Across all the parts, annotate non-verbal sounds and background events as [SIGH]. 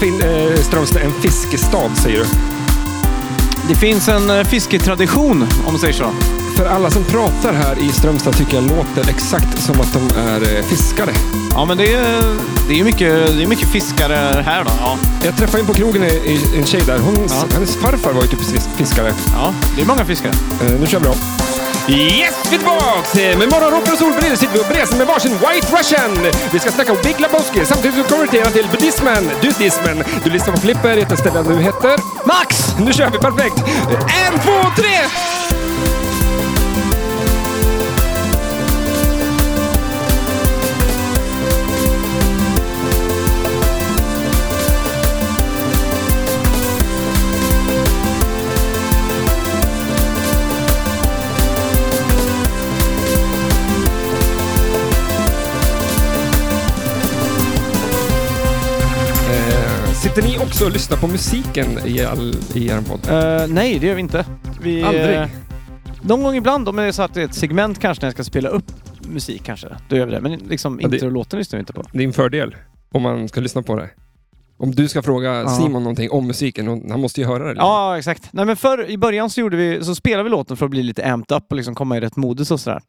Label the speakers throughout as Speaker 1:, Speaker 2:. Speaker 1: fin, eh, Strömstad en fiskestad, säger du?
Speaker 2: Det finns en eh, fisketradition, om man säger så.
Speaker 1: För alla som pratar här i Strömstad tycker jag låter exakt som att de är eh, fiskare.
Speaker 2: Ja, men det är, det är, ju mycket, det är mycket fiskare här då. Ja.
Speaker 1: Jag träffade en på krogen i- i- en tjej där. Hon,
Speaker 2: Ja.
Speaker 1: Hennes farfar var ju typ fis- fiskare.
Speaker 2: ja, det är många fiskare.
Speaker 1: Eh, nu kör vi då. Yes, vi är tillbaks! Eh, Med morgonrock och solbrillor sitter vi och breser med varsin White Russian. Vi ska snacka om Big Lebowski samtidigt som vi konverterar till buddhismen, dudismen. Du lyssnar på Flipper, jag heter Stellan, du heter...
Speaker 2: Max!
Speaker 1: Nu kör vi, perfekt! Eh, En, två, tre! Eh, Sitter ni också och lyssnar på musiken i, all, i er podd?
Speaker 2: Eh, nej, det gör vi inte. Vi,
Speaker 1: Aldrig.
Speaker 2: eh, någon gång ibland, om det är så att det är ett segment kanske när jag ska spela upp musik kanske, då gör vi det. Men liksom
Speaker 1: Ja, det-
Speaker 2: introlåten lyssnar vi inte på.
Speaker 1: Det är en fördel om man ska lyssna på det. Om du ska fråga
Speaker 2: Ja.
Speaker 1: Simon någonting om musiken, och han måste ju höra det. liksom.
Speaker 2: Ja, exakt. Nej, men förr i början så, gjorde vi, så spelade vi låten för att bli lite amped up och liksom komma i rätt modus och sådär.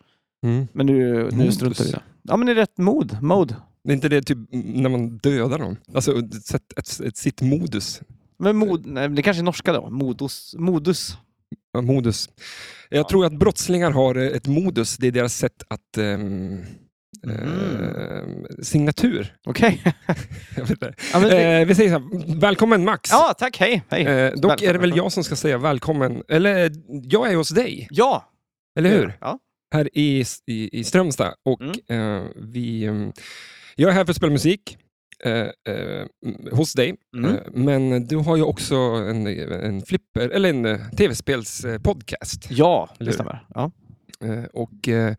Speaker 1: Mm.
Speaker 2: Men nu, nu
Speaker 1: Modus?
Speaker 2: struntar vi i det. Ja, men i rätt mod. Mode.
Speaker 1: Det är inte det typ när man dödar någon? Alltså ett, sätt- ett, ett, sitt modus.
Speaker 2: Men mod, nej, det kanske är norska då. Modus. Modus.
Speaker 1: Ja, modus. Jag tror att brottslingar har eh, ett modus, det är deras sätt att... ehm,
Speaker 2: Mm-hmm.
Speaker 1: ehm, signatur. [LAUGHS]
Speaker 2: Okej.
Speaker 1: Jag vet inte.
Speaker 2: Ja, men det-
Speaker 1: Eh, vi säger så här, välkommen Max!
Speaker 2: ja, tack. Hej. hej.
Speaker 1: Eh, dock är det
Speaker 2: Välkommen.
Speaker 1: väl jag som ska säga välkommen, eller eh, jag är hos dig,
Speaker 2: Ja.
Speaker 1: eller hur?
Speaker 2: Ja.
Speaker 1: här i, i, i Strömstad. Och,
Speaker 2: Mm.
Speaker 1: eh, vi, eh, jag är här för att spela musik eh, eh, m- hos dig,
Speaker 2: Mm.
Speaker 1: eh, men du har ju också en, en, flipper, eller en eh, tv-spelspodcast.
Speaker 2: Ja,
Speaker 1: Eller hur?
Speaker 2: det stämmer. Ja.
Speaker 1: Eh, och eh,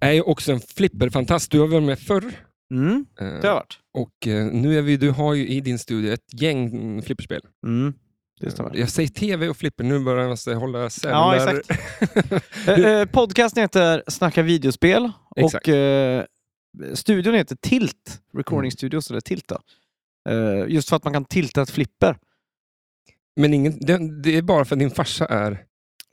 Speaker 1: är ju också en flipperfantast. Du har varit med förr.
Speaker 2: Mm,
Speaker 1: eh,
Speaker 2: det har jag varit.
Speaker 1: och eh, nu är vi, du har ju i din studio ett gäng mm, flipperspel.
Speaker 2: Mm. Det stämmer.
Speaker 1: Jag säger tv och flipper, nu börjar jag måste hålla isär
Speaker 2: Ja,
Speaker 1: de där.
Speaker 2: exakt. Eh, eh, Podcasten heter Snacka videospel
Speaker 1: Exakt.
Speaker 2: och eh, studion heter Tilt.
Speaker 1: Mm.
Speaker 2: Recording Studios, eller Tilt då. Eh, just för att man kan tilta ett flipper.
Speaker 1: Men ingen, det, det är bara för att din farsa är,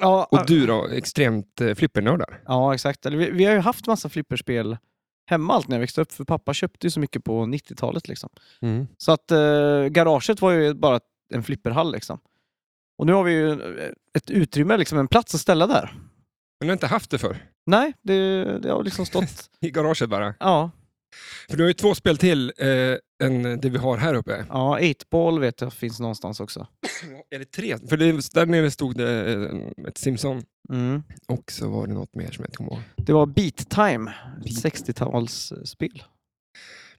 Speaker 2: Ja,
Speaker 1: och du då, extremt eh, flippernördar.
Speaker 2: ja exakt. Eller, vi, vi har ju haft massa flipperspel hemma allt när jag växte upp, för pappa köpte ju så mycket på 90-talet. Liksom.
Speaker 1: Mm.
Speaker 2: Så att eh, garaget var ju bara en flipperhall. Liksom. Och nu har vi ju eh, ett utrymme, liksom, en plats att ställa där.
Speaker 1: Men du har inte haft det för
Speaker 2: Nej, det, det har
Speaker 1: [LAUGHS]
Speaker 2: liksom stått...
Speaker 1: I garaget bara.
Speaker 2: ja,
Speaker 1: För du har ju två spel till eh, än det vi har här uppe.
Speaker 2: ja 8-ball vet jag finns någonstans också.
Speaker 1: Eller tre. För det, där nere stod det eh, ett Simpson.
Speaker 2: Mm.
Speaker 1: Och så var det något mer som jag inte kommer ihåg.
Speaker 2: Det var Beat Time, ett
Speaker 1: Beat.
Speaker 2: 60-talsspel.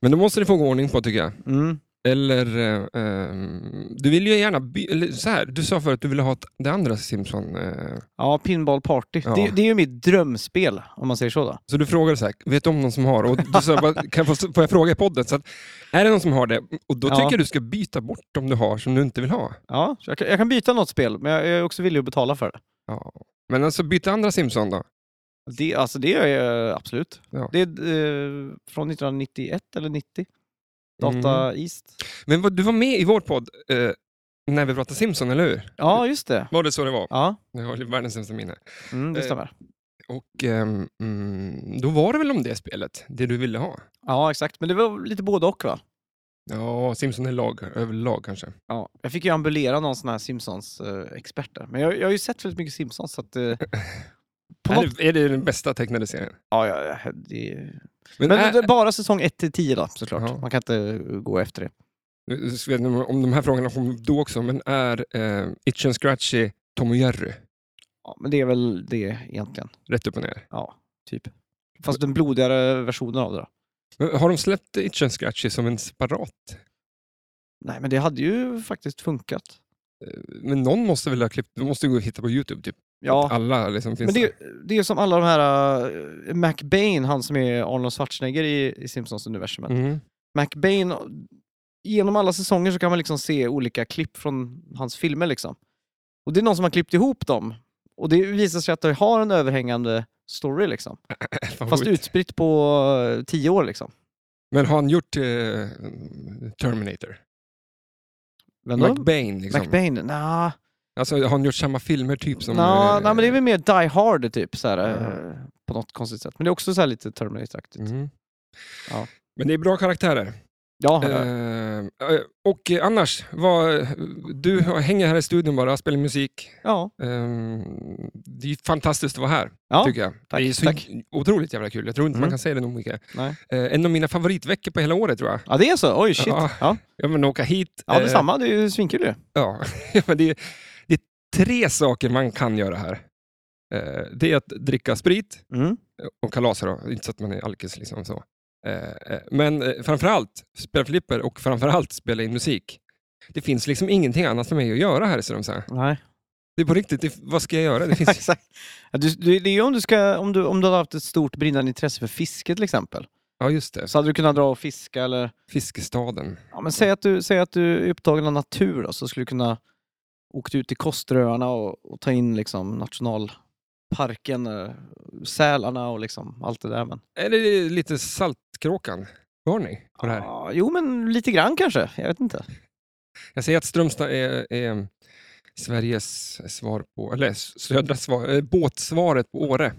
Speaker 1: Men då måste ni få ordning på tycker jag.
Speaker 2: Mm.
Speaker 1: Eller, eh, eh, du vill ju gärna, by- eller så här, du sa förut att du ville ha ett- det andra Simpson. Eh,
Speaker 2: Ja, Pinball Party.
Speaker 1: Ja.
Speaker 2: Det, det är ju mitt drömspel, om man säger så. Då.
Speaker 1: så du frågade så här, vet du om någon som har? Och du sa, bara, kan jag få, får jag fråga i podden? Så att, är det någon som har det? Och då
Speaker 2: Ja.
Speaker 1: tycker jag du ska byta bort de du har som du inte vill ha.
Speaker 2: Ja, så jag, kan, jag kan byta något spel, men jag, jag är också villig att betala för det.
Speaker 1: Ja. Men alltså byta andra Simpson då.
Speaker 2: Det, alltså, det gör jag eh, absolut.
Speaker 1: Ja.
Speaker 2: Det är eh, från 1991 eller 90. Data East.
Speaker 1: Men vad, du var med i vår podd eh, när vi pratade Simpson, eller hur?
Speaker 2: Ja, just det.
Speaker 1: Var det så det var?
Speaker 2: Ja,
Speaker 1: Jag har ju världens sämsta minne.
Speaker 2: mm, det
Speaker 1: Eh.
Speaker 2: stämmer.
Speaker 1: Och ehm, mm, då var det väl om det spelet, det du ville ha?
Speaker 2: Ja, exakt. Men det var lite både och, va?
Speaker 1: Ja, Simpson är lag, överlag kanske.
Speaker 2: Ja, jag fick ju ambulera någon sån här Simpsons-experter. Men jag, jag har ju sett väldigt mycket Simpsons, så att... Eh, på något...
Speaker 1: Är, det, är det den bästa tecknade serien?
Speaker 2: Ja, ja, ja, det...
Speaker 1: Men,
Speaker 2: Men
Speaker 1: är,
Speaker 2: det är bara säsong 1 till 10 då, såklart.
Speaker 1: Ja.
Speaker 2: Man kan inte eh, gå efter det.
Speaker 1: jag vet inte om de här frågorna kom då också, men är eh, Itch and Scratchy Tom och Jerry
Speaker 2: Ja, men det är väl det egentligen.
Speaker 1: rätt upp och ner?
Speaker 2: Ja, typ. Fast den blodigare versionen av det då.
Speaker 1: Men har de släppt Itch and Scratchy som en separat?
Speaker 2: Nej, men det hade ju faktiskt funkat.
Speaker 1: Men någon måste väl ha klippt, de måste gå och hitta på YouTube typ. Att
Speaker 2: Ja,
Speaker 1: Alla liksom finns
Speaker 2: men det,
Speaker 1: där.
Speaker 2: det är som alla de här... eh, McBain, han som är Arnold Schwarzenegger i, i Simpsons-universumet.
Speaker 1: [LAUGHS] Mm.
Speaker 2: McBain, genom alla säsonger så kan man liksom se olika klipp från hans filmer. Liksom. Och det är någon som har klippt ihop dem. Och det visar sig att det har en överhängande story. Liksom.
Speaker 1: Fan,
Speaker 2: Fast
Speaker 1: vad
Speaker 2: utspritt på eh, tio år. Liksom.
Speaker 1: Men har han gjort eh, Terminator?
Speaker 2: Vem då?
Speaker 1: McBain liksom.
Speaker 2: McBain? Nja,
Speaker 1: Alltså, har han gjort samma filmer typ som...
Speaker 2: nja,
Speaker 1: eh,
Speaker 2: nej, men det är väl mer Die Hard typ, så här,
Speaker 1: Ja.
Speaker 2: eh, på något konstigt sätt. Men det är också så här lite Terminator-aktigt.
Speaker 1: Mhm.
Speaker 2: Ja.
Speaker 1: Men det är bra karaktärer.
Speaker 2: Ja, ja.
Speaker 1: Eh, eh, och eh, annars, vad, du hänger här i studion bara, spelar musik.
Speaker 2: ja.
Speaker 1: Eh, det är ju fantastiskt att vara här,
Speaker 2: ja.
Speaker 1: tycker jag.
Speaker 2: tack,
Speaker 1: det är så
Speaker 2: tack.
Speaker 1: otroligt jävla kul. Jag tror inte man
Speaker 2: Mm.
Speaker 1: kan säga det nog mycket.
Speaker 2: Nej.
Speaker 1: Eh, en av mina favoritveckor på hela året tror jag.
Speaker 2: Ja, det är så? Oj, shit.
Speaker 1: Ja.
Speaker 2: Ja, ja.
Speaker 1: Ja, men åka hit. eh,
Speaker 2: detsamma. Det är ju svinkul ju.
Speaker 1: Ja, [LAUGHS] men det, är, det är tre saker man kan göra här. Eh, det är att dricka sprit
Speaker 2: Mm.
Speaker 1: och kalasa då, inte så att man är alkis liksom så. Eh, eh, men eh, framförallt spela flipper och framförallt spela in musik. Det finns liksom ingenting annat för mig att göra här i Strömsö.
Speaker 2: Nej,
Speaker 1: Det är på riktigt, det, vad ska jag göra?
Speaker 2: [LAUGHS]
Speaker 1: Det finns,
Speaker 2: exakt. Ja, du, du, det är ju om du, ska, om, du, om du hade haft ett stort brinnande intresse för fiske till exempel.
Speaker 1: ja, just det.
Speaker 2: Så hade du kunnat dra och fiska eller...
Speaker 1: Fiskestaden.
Speaker 2: Ja, men säg, att du, säg att du är upptagen av natur då, så skulle du kunna åka ut till Kosteröarna och, och ta in liksom nationalparken, eh, Sälarna och liksom allt det där. Men...
Speaker 1: Eller det är lite Saltkråkan. Hör ni på det här?
Speaker 2: Ja, jo, men lite grann kanske. Jag vet inte.
Speaker 1: Jag säger att Strömstad är, är Sveriges svar på, eller södra svar, eh, båtsvaret på Åre.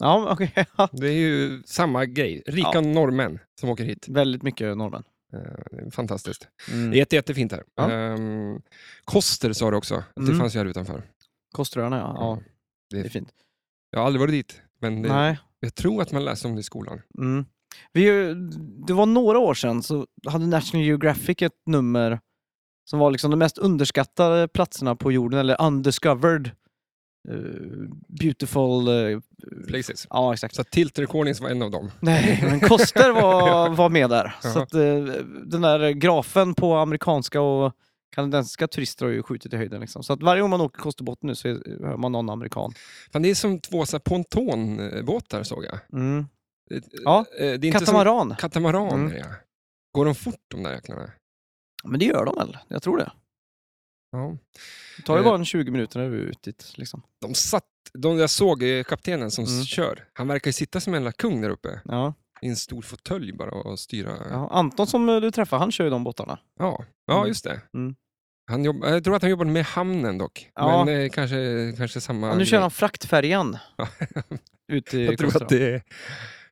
Speaker 2: Ja, men okej. [LAUGHS] ja.
Speaker 1: Det är ju samma grej. Rika
Speaker 2: Ja.
Speaker 1: norrmän som åker hit.
Speaker 2: Väldigt mycket norrmän.
Speaker 1: Eh, Fantastiskt. Det är
Speaker 2: Mm.
Speaker 1: jätte, jättefint här.
Speaker 2: Ja.
Speaker 1: Ehm, Koster sa du också. Det
Speaker 2: Mm.
Speaker 1: fanns ju här utanför.
Speaker 2: Kosteröarna, ja. ja.
Speaker 1: Det
Speaker 2: Det
Speaker 1: är
Speaker 2: är fint.
Speaker 1: Jag har aldrig varit dit, men det,
Speaker 2: Nej.
Speaker 1: jag tror att man läser om det i skolan.
Speaker 2: Mm. Vi, det var några år sedan så hade National Geographic ett nummer som var liksom de mest underskattade platserna på jorden, eller undiscovered. eh, beautiful... eh,
Speaker 1: Places.
Speaker 2: ja, exakt. [LAUGHS]
Speaker 1: Så Tilt Recordings var en av dem.
Speaker 2: Nej, men Koster var, var med där. Så
Speaker 1: [LAUGHS] Ja.
Speaker 2: att, eh, den där grafen på amerikanska och kanadensiska turister har ju skjutit i höjden. Liksom. Så att varje gång man åker Kosterbotten nu så är, hör man någon amerikan.
Speaker 1: Fan, det är som två så här pontonbåtar såg jag.
Speaker 2: Mm.
Speaker 1: Eh,
Speaker 2: Ja.
Speaker 1: eh, Det är inte som
Speaker 2: Katamaran.
Speaker 1: katamaraner.
Speaker 2: Mm.
Speaker 1: Ja. Går de fort de där jäklarna?
Speaker 2: Men det gör de väl? Jag tror det.
Speaker 1: Ja.
Speaker 2: Det tar ju
Speaker 1: Eh.
Speaker 2: bara en 20 minuter när vi är ute dit. Liksom.
Speaker 1: De satt, de, jag såg eh, kaptenen som
Speaker 2: Mm.
Speaker 1: kör. Han verkar ju sitta som en jävla kung där uppe.
Speaker 2: Ja.
Speaker 1: I en stor fåtölj bara och styra.
Speaker 2: Ja, Anton som eh, du träffar, han kör ju de båtarna.
Speaker 1: Ja, ja
Speaker 2: Mm.
Speaker 1: just det.
Speaker 2: Mm.
Speaker 1: Han jobb, jag tror att han jobbade med hamnen dock.
Speaker 2: Ja.
Speaker 1: Men eh, kanske, kanske samma
Speaker 2: Ja, nu kör
Speaker 1: grej.
Speaker 2: han fraktfärjan.
Speaker 1: Ja.
Speaker 2: [LAUGHS] ut i
Speaker 1: Jag tror
Speaker 2: Kosterö.
Speaker 1: att [LAUGHS] det är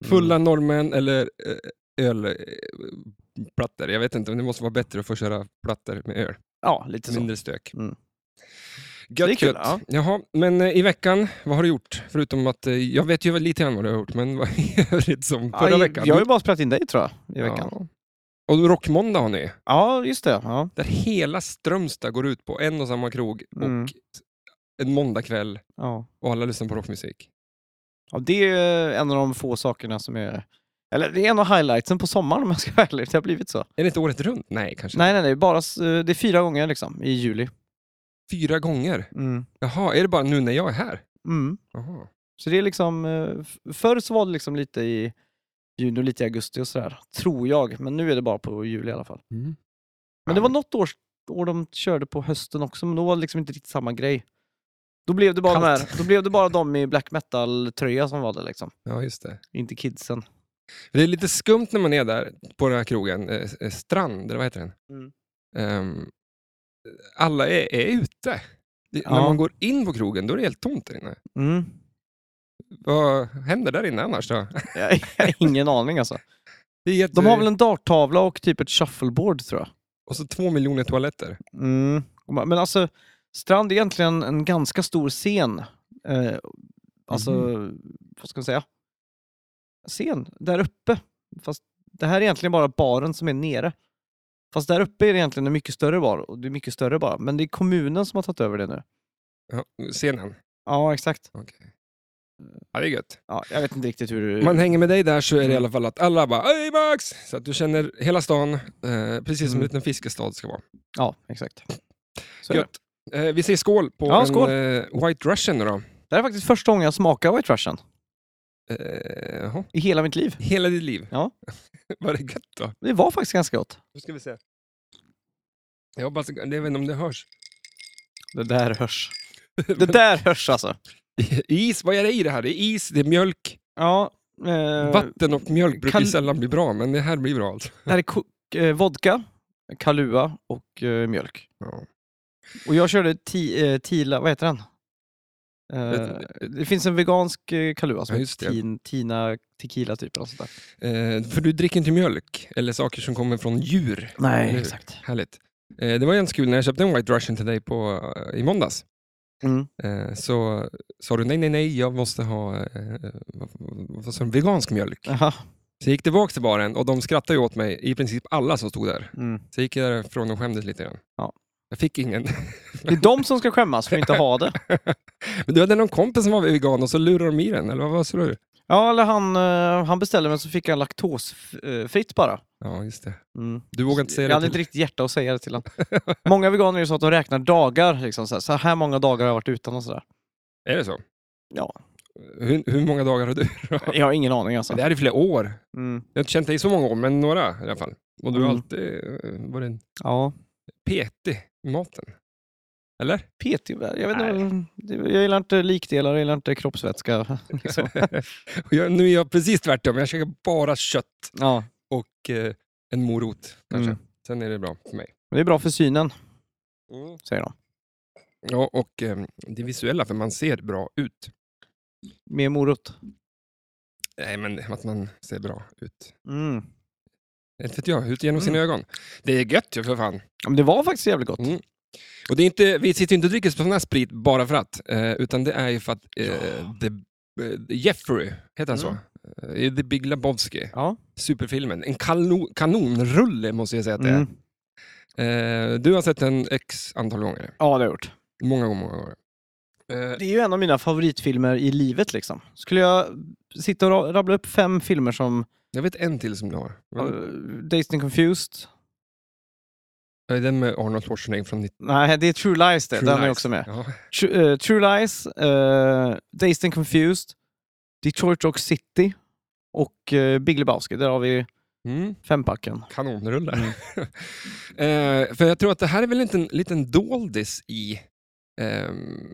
Speaker 1: fulla
Speaker 2: Mm.
Speaker 1: norrmän eller eh, ölplattor. Jag vet inte, men det måste vara bättre att få köra plattor med öl.
Speaker 2: Ja, lite så.
Speaker 1: Mindre stök.
Speaker 2: Mm.
Speaker 1: Gött,
Speaker 2: Det är kul,
Speaker 1: gött.
Speaker 2: ja.
Speaker 1: Jaha, men eh, i veckan, vad har du gjort? Förutom att, eh, jag vet ju lite grann vad du har gjort, men vad i övrigt som förra
Speaker 2: Ja,
Speaker 1: veckan?
Speaker 2: Jag har ju bara spelat in dig tror jag, i veckan. Ja,
Speaker 1: Ja. Och Rockmåndag har ni,
Speaker 2: just det. Ja.
Speaker 1: där hela Strömstad går ut på en och samma krog
Speaker 2: Mm.
Speaker 1: och en måndagkväll
Speaker 2: Ja.
Speaker 1: och alla lyssnar på rockmusik.
Speaker 2: Ja, det är eh, en av de få sakerna som är... Eller det är en av highlightsen på sommaren om jag ska vara ärlig. Det har blivit så.
Speaker 1: Är det inte året runt? Nej, kanske
Speaker 2: Nej, nej, nej. Bara, s- eh, det är fyra gånger liksom, i juli.
Speaker 1: Fyra gånger?
Speaker 2: Mm.
Speaker 1: Jaha, är det bara nu när jag är här?
Speaker 2: Mm.
Speaker 1: Jaha.
Speaker 2: Så det är liksom... eh, f- Förr så var det liksom lite i juni och lite i augusti och sådär. Tror jag. Men nu är det bara på juli i alla fall. Mm. Men det var något år, år de körde på hösten också, men då var det liksom inte riktigt samma grej. Då blev det bara, de,
Speaker 1: Kallt.
Speaker 2: här, då blev det bara de i black metal-tröja som var det liksom.
Speaker 1: Ja, just det.
Speaker 2: Inte kidsen.
Speaker 1: Det är lite skumt när man är där på den här krogen, eh, eh, Strand, eller vad heter den?
Speaker 2: Mm.
Speaker 1: Ehm, alla är, är ute. Det, När
Speaker 2: Ja.
Speaker 1: man går in på krogen, då är det helt tomt där inne.
Speaker 2: Mm.
Speaker 1: Vad händer där inne annars då?
Speaker 2: [LAUGHS]
Speaker 1: [LAUGHS]
Speaker 2: Jag har ingen aning alltså.
Speaker 1: Det är jätte...
Speaker 2: De har väl en darttavla och typ ett shuffleboard tror jag.
Speaker 1: Och så två miljoner toaletter.
Speaker 2: Mm. Men alltså, Strand är egentligen en ganska stor scen. Eh, alltså, vad ska man säga? Scen, där uppe. Fast det här är egentligen bara baren som är nere. Fast där uppe är det egentligen en mycket större bar. Och det är mycket större bara. Men det är kommunen som har tagit över det nu.
Speaker 1: Ja, scenen.
Speaker 2: Ja, exakt.
Speaker 1: Okej. Ja, det är gött.
Speaker 2: Ja, jag vet inte riktigt hur...
Speaker 1: man hänger med dig där så är det i
Speaker 2: Mm.
Speaker 1: alla fall att alla bara Hej Max! Så att du känner hela stan, eh, precis som en
Speaker 2: Mm.
Speaker 1: liten fiskestad ska vara.
Speaker 2: Ja, exakt. Så är det.
Speaker 1: Gött. Eh, vi säger skål på
Speaker 2: Ja,
Speaker 1: en
Speaker 2: skål.
Speaker 1: Eh, White Russian nu då.
Speaker 2: det här är faktiskt första gången jag smakar White Russian
Speaker 1: Eh, jaha.
Speaker 2: i hela mitt liv.
Speaker 1: Hela ditt liv.
Speaker 2: Ja.
Speaker 1: [LAUGHS] Var det gött då?
Speaker 2: Det var faktiskt ganska gott.
Speaker 1: Nu ska vi se. Jag hoppas, jag vet inte om det hörs. [LAUGHS]
Speaker 2: Det där hörs. Det där hörs alltså.
Speaker 1: is, vad är det i det här? Det är is, det är mjölk.
Speaker 2: Ja, eh,
Speaker 1: Vatten och mjölk brukar
Speaker 2: Kal-
Speaker 1: ju sällan bli bra, men det här blir bra alltså.
Speaker 2: Det här är ko- eh, vodka, Kalua och eh, mjölk.
Speaker 1: Ja.
Speaker 2: Och jag körde ti, eh, Tila, vad heter den? Eh, det finns en vegansk eh, Kalua som
Speaker 1: Ja, just
Speaker 2: heter
Speaker 1: det.
Speaker 2: tin, Tina Tequila typ. Eller sånt där.
Speaker 1: Eh, för du dricker inte mjölk eller saker som kommer från djur. Eller
Speaker 2: Nej,
Speaker 1: hur?
Speaker 2: exakt.
Speaker 1: Härligt. Eh, det var ju en kul när jag köpte en White Russian till dig på, eh, i måndags.
Speaker 2: Mm.
Speaker 1: Eh, så sa du nej, nej, nej, jag måste ha eh, vad, vad, vad, sa du, vegansk mjölk.
Speaker 2: Aha.
Speaker 1: Så jag gick tillbaka till baren och de skrattade ju åt mig, i princip alla som stod där.
Speaker 2: Mm.
Speaker 1: Så jag gick jag därifrån och skämdes lite grann.
Speaker 2: Ja.
Speaker 1: Jag fick ingen. [LAUGHS]
Speaker 2: Det är de som ska skämmas för att inte ha det.
Speaker 1: Men du hade någon kompis som var vegan och så lurade de i den, eller vad, vad sa du?
Speaker 2: Ja, eller han, eh, han beställde men så fick han laktosfritt bara.
Speaker 1: Ja, just det.
Speaker 2: Mm.
Speaker 1: Du vågar inte säga
Speaker 2: jag
Speaker 1: det
Speaker 2: hade
Speaker 1: till...
Speaker 2: inte riktigt hjärta att säga det
Speaker 1: [LAUGHS]
Speaker 2: till honom. många veganer är ju så att de räknar dagar. Liksom, så, här, så här många dagar har jag varit utan
Speaker 1: [LAUGHS]
Speaker 2: och sådär.
Speaker 1: Är det så?
Speaker 2: Ja.
Speaker 1: Hur, hur många dagar har du?
Speaker 2: Jag har ingen aning alltså.
Speaker 1: Det här är flera år.
Speaker 2: Mm.
Speaker 1: Jag har inte känt dig i så många år, men några i alla fall. Och du har
Speaker 2: Mm.
Speaker 1: alltid eh, varit en
Speaker 2: Ja.
Speaker 1: petig i maten. Eller?
Speaker 2: PT, jag vet inte. det- Jag gillar inte likdelar, jag gillar
Speaker 1: [LAUGHS]
Speaker 2: inte kroppsvätska. Liksom.
Speaker 1: Och jag, nu är jag precis tvärtom. Jag käkar bara kött
Speaker 2: Ja.
Speaker 1: och eh, en morot kanske.
Speaker 2: Mm.
Speaker 1: Sen är det bra för mig.
Speaker 2: Men det är bra för synen, säger de.
Speaker 1: Ja, och eh, det visuella, för man ser bra ut.
Speaker 2: Mer morot.
Speaker 1: Nej, men att man ser bra ut.
Speaker 2: Mm.
Speaker 1: Inte vet jag, ut genom sina ögon. Det är gött ju för fan.
Speaker 2: Ja, Men det var faktiskt jävligt gott.
Speaker 1: Mm. Och det är inte, vi sitter ju inte och dricker sån här sprit bara för att, eh, utan det är ju för att eh, the, eh, Jeffrey, heter han
Speaker 2: Mm.
Speaker 1: så? Eh, The Big Lebowski,
Speaker 2: Ja.
Speaker 1: superfilmen. En kano, kanonrulle måste jag säga att det är.
Speaker 2: Mm.
Speaker 1: Eh, du har sett den x antal gånger.
Speaker 2: Ja, det har jag gjort.
Speaker 1: Många gånger. Många gånger. Eh,
Speaker 2: Det är ju en av mina favoritfilmer i livet. liksom. Skulle jag sitta och ra- rabbla upp fem filmer som
Speaker 1: jag vet en till som du har.
Speaker 2: uh,
Speaker 1: Men,
Speaker 2: Dazed and Confused?
Speaker 1: är Eh, den med Arnold Schwarzenegger från 90
Speaker 2: Nej, det är True Lies det.
Speaker 1: True
Speaker 2: Den är
Speaker 1: Lies.
Speaker 2: också med.
Speaker 1: Ja.
Speaker 2: True, eh, True Lies, eh, Dazed and Confused, Detroit Rock City och eh, Big Lebowski. Där har vi
Speaker 1: Mm,
Speaker 2: fempacken.
Speaker 1: kanonrulle.
Speaker 2: Mm.
Speaker 1: [LAUGHS] eh, för jag tror att det här är väl en liten, liten doldis i... ehm,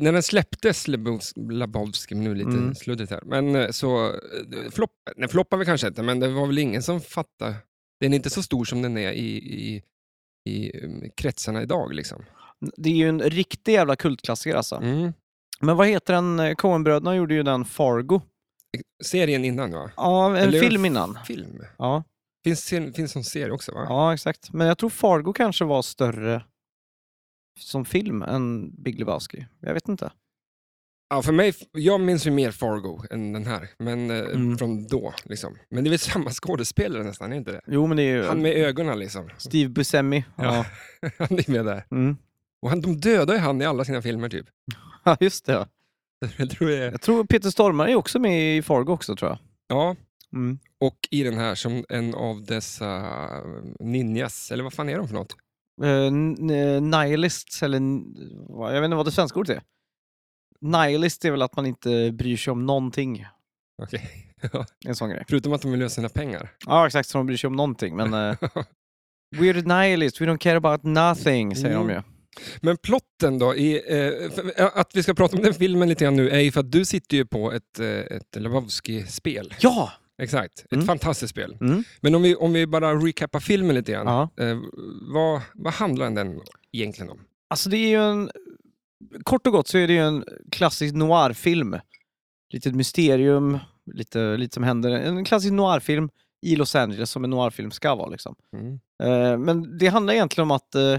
Speaker 1: när den släpptes, Lebowski- Lebowski, men nu är det lite
Speaker 2: Mm.
Speaker 1: sluddigt här, men eh, så eh, flopp, den floppade väl kanske inte, men det var väl ingen som fattade. Den är inte så stor som den är i, i, i um, kretsarna idag. Liksom.
Speaker 2: Det är ju en riktig jävla kultklassiker alltså.
Speaker 1: Mm.
Speaker 2: Men vad heter den? eh, Coenbröderna gjorde ju den Fargo.
Speaker 1: Serien innan, va?
Speaker 2: Ja, en
Speaker 1: Eller
Speaker 2: film innan.
Speaker 1: Film.
Speaker 2: Ja,
Speaker 1: Finns, ser- finns som serie också, va?
Speaker 2: ja, exakt. Men jag tror Fargo kanske var större som film än Big Lebowski. Jag vet inte.
Speaker 1: Ja, för mig, jag minns ju mer Fargo än den här, men eh,
Speaker 2: Mm.
Speaker 1: från då. Liksom. Men det är väl samma skådespelare nästan, är inte det?
Speaker 2: Jo, men det är ju
Speaker 1: Han med ögonen liksom. [LAUGHS]
Speaker 2: Steve Buscemi. Ja.
Speaker 1: Ja. Han är med där.
Speaker 2: Mm. [LAUGHS]
Speaker 1: Och han, de dödar ju han i alla sina filmer typ. [LAUGHS]
Speaker 2: ja, just det.
Speaker 1: Jag tror det är...
Speaker 2: Jag tror Peter Stormare är också med i Fargo också, tror jag.
Speaker 1: Ja,
Speaker 2: Mm.
Speaker 1: och i den här som en av dessa eh, ninjas, eller vad fan är de för något?
Speaker 2: Eh, n- eh, nihilists, eller n- vad- jag vet inte vad det svenska ordet är. Nihilist är väl att man inte bryr sig om någonting.
Speaker 1: Okej. [LAUGHS]
Speaker 2: En sån grej.
Speaker 1: Förutom att de vill lösa sina pengar.
Speaker 2: Ja, exakt. Så de bryr sig om någonting. Men eh, we're nihilist, we don't care about nothing, säger
Speaker 1: Mm.
Speaker 2: de ju.
Speaker 1: Men plotten då, i, eh, för, att vi ska prata om den filmen lite grann nu är ju för att du sitter ju på ett, eh, ett Lebowski-spel.
Speaker 2: Ja!
Speaker 1: Exakt, ett
Speaker 2: Mm.
Speaker 1: fantastiskt spel.
Speaker 2: Mm.
Speaker 1: Men om vi, om vi bara recappar filmen lite grann.
Speaker 2: Ja.
Speaker 1: Eh, vad, vad handlar den egentligen om?
Speaker 2: Alltså det är ju en... Kort och gott så är det ju en klassisk noirfilm. Litet mysterium, lite, lite som händer. En klassisk noirfilm i Los Angeles som en noirfilm ska vara liksom.
Speaker 1: Mm.
Speaker 2: Eh, men det handlar egentligen om att eh,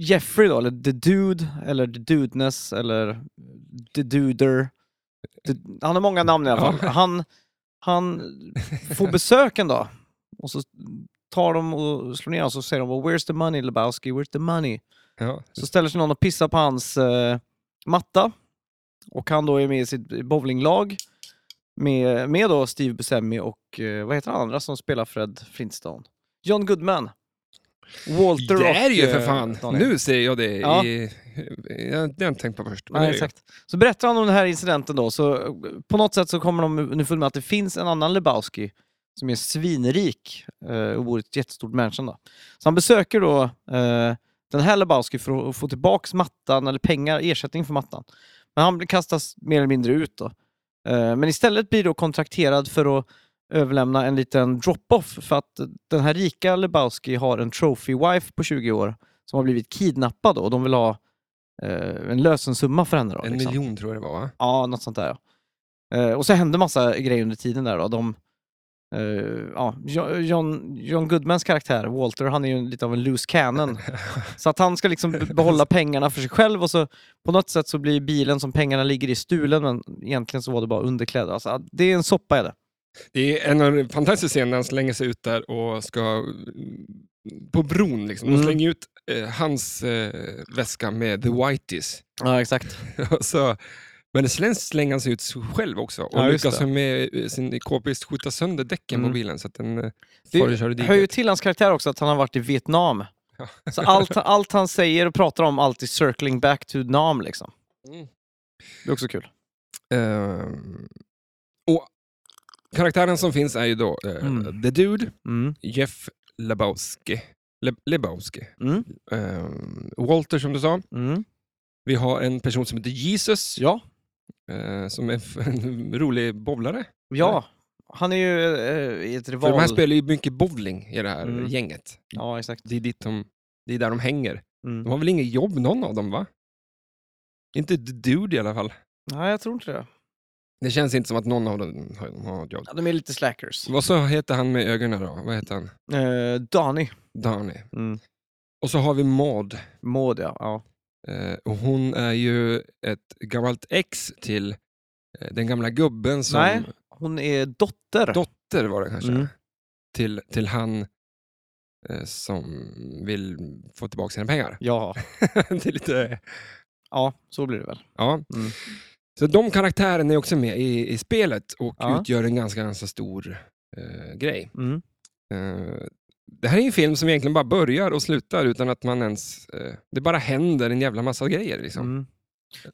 Speaker 2: Jeffrey då, eller The Dude, eller The Dudeness, eller The Duder. The, han har många namn i alla fall.
Speaker 1: Ja.
Speaker 2: Han, han får besök en dag. Och så tar de och slår ner honom och så säger de “Where's the money Lebowski? Where's the money?”
Speaker 1: Ja.
Speaker 2: Så ställer sig någon och pissar på hans eh, matta. Och han då är med i sitt bowlinglag med, med då Steve Buscemi och eh, vad heter han andra som spelar Fred Flintstone? John Goodman. Walter
Speaker 1: Det är
Speaker 2: och,
Speaker 1: ju för
Speaker 2: eh,
Speaker 1: fan,
Speaker 2: Daniel.
Speaker 1: nu ser jag det.
Speaker 2: Ja.
Speaker 1: I, jag, det har jag inte tänkt på först. men
Speaker 2: Nej,
Speaker 1: det är ju-
Speaker 2: exakt. Så berättar han om den här incidenten då, så eh, på något sätt så kommer de underfund med att det finns en annan Lebowski som är svinrik eh, och bor i ett jättestort mansion. Då. Så han besöker då eh, den här Lebowski för att få tillbaka mattan, eller pengar, ersättning för mattan. Men han blir- kastas mer eller mindre ut då. Eh, Men istället blir då kontrakterad för att överlämna en liten drop-off för att den här rika Lebowski har en trophy-wife på 20 år som har blivit kidnappad och de vill ha eh, en lösensumma för henne. Då,
Speaker 1: En
Speaker 2: liksom.
Speaker 1: miljon tror jag det var va?
Speaker 2: Ja, något sånt där. ja. Eh, och så hände massa grejer under tiden där. Då. De, eh, ja, Jo- John, John Goodmans karaktär, Walter, han är ju lite av en loose cannon. så att han ska liksom be- behålla pengarna för sig själv och så på något sätt så blir bilen som pengarna ligger i stulen men egentligen så var det bara underkläder. Alltså, ja, det är en soppa är det.
Speaker 1: Det är en fantastisk scen när han slänger sig ut där och ska mm, på bron. Liksom. De
Speaker 2: Mm.
Speaker 1: slänger ut eh, hans eh, väska med the whiteys. [LAUGHS]
Speaker 2: Ja, exakt.
Speaker 1: Och så, men sen slänger han sig ut själv också och
Speaker 2: Ja, just
Speaker 1: lyckas
Speaker 2: det.
Speaker 1: med eh, sin k-pist skjuta sönder däcken på
Speaker 2: Mm.
Speaker 1: bilen så att den eh,
Speaker 2: Det
Speaker 1: far och kör i
Speaker 2: hör ju
Speaker 1: diket.
Speaker 2: till hans karaktär också att han har varit i Vietnam.
Speaker 1: Ja.
Speaker 2: Så allt, allt han säger och pratar om alltid circling back to Nam liksom.
Speaker 1: Mm.
Speaker 2: Det är också kul.
Speaker 1: Ehm, och karaktären som finns är ju då eh,
Speaker 2: Mm.
Speaker 1: The Dude,
Speaker 2: Mm.
Speaker 1: Jeff Lebowski. Le- Lebowski.
Speaker 2: Mm.
Speaker 1: Ehm, Walter som du sa.
Speaker 2: Mm.
Speaker 1: Vi har en person som heter Jesus,
Speaker 2: Ja,
Speaker 1: eh, som är [LAUGHS] f- en rolig bowlare.
Speaker 2: Ja, han är ju eh, i ett rival...
Speaker 1: För de här spelar ju mycket bowling i det här
Speaker 2: Mm.
Speaker 1: gänget.
Speaker 2: Ja, exakt.
Speaker 1: Det är, dit de, det är där de hänger. De
Speaker 2: Mm.
Speaker 1: har väl inget jobb någon av dem, va? Inte The Dude i alla fall.
Speaker 2: Nej, jag tror inte det.
Speaker 1: Det känns inte som att någon av dem har, har ett jobb.
Speaker 2: Ja, de är lite slackers.
Speaker 1: Vad så heter han med ögonen då? Vad heter han?
Speaker 2: Eh, Dani.
Speaker 1: Danny.
Speaker 2: Mm.
Speaker 1: Och så har vi Maud.
Speaker 2: Maud, ja. ja.
Speaker 1: Eh, och hon är ju ett gammalt ex till eh, den gamla gubben som...
Speaker 2: Nej. Hon är dotter.
Speaker 1: Dotter var det kanske.
Speaker 2: Mm.
Speaker 1: Till, till han eh, som vill få tillbaka sina pengar.
Speaker 2: ja.
Speaker 1: det är lite...
Speaker 2: ja, så blir det väl.
Speaker 1: Ja.
Speaker 2: Mm.
Speaker 1: Så de karaktärerna är också med i, i spelet och
Speaker 2: Ja.
Speaker 1: utgör en ganska, ganska stor eh, grej.
Speaker 2: Mm.
Speaker 1: Eh, det här är en film som egentligen bara börjar och slutar utan att man ens... Eh, det bara händer en jävla massa grejer. Liksom.
Speaker 2: Mm.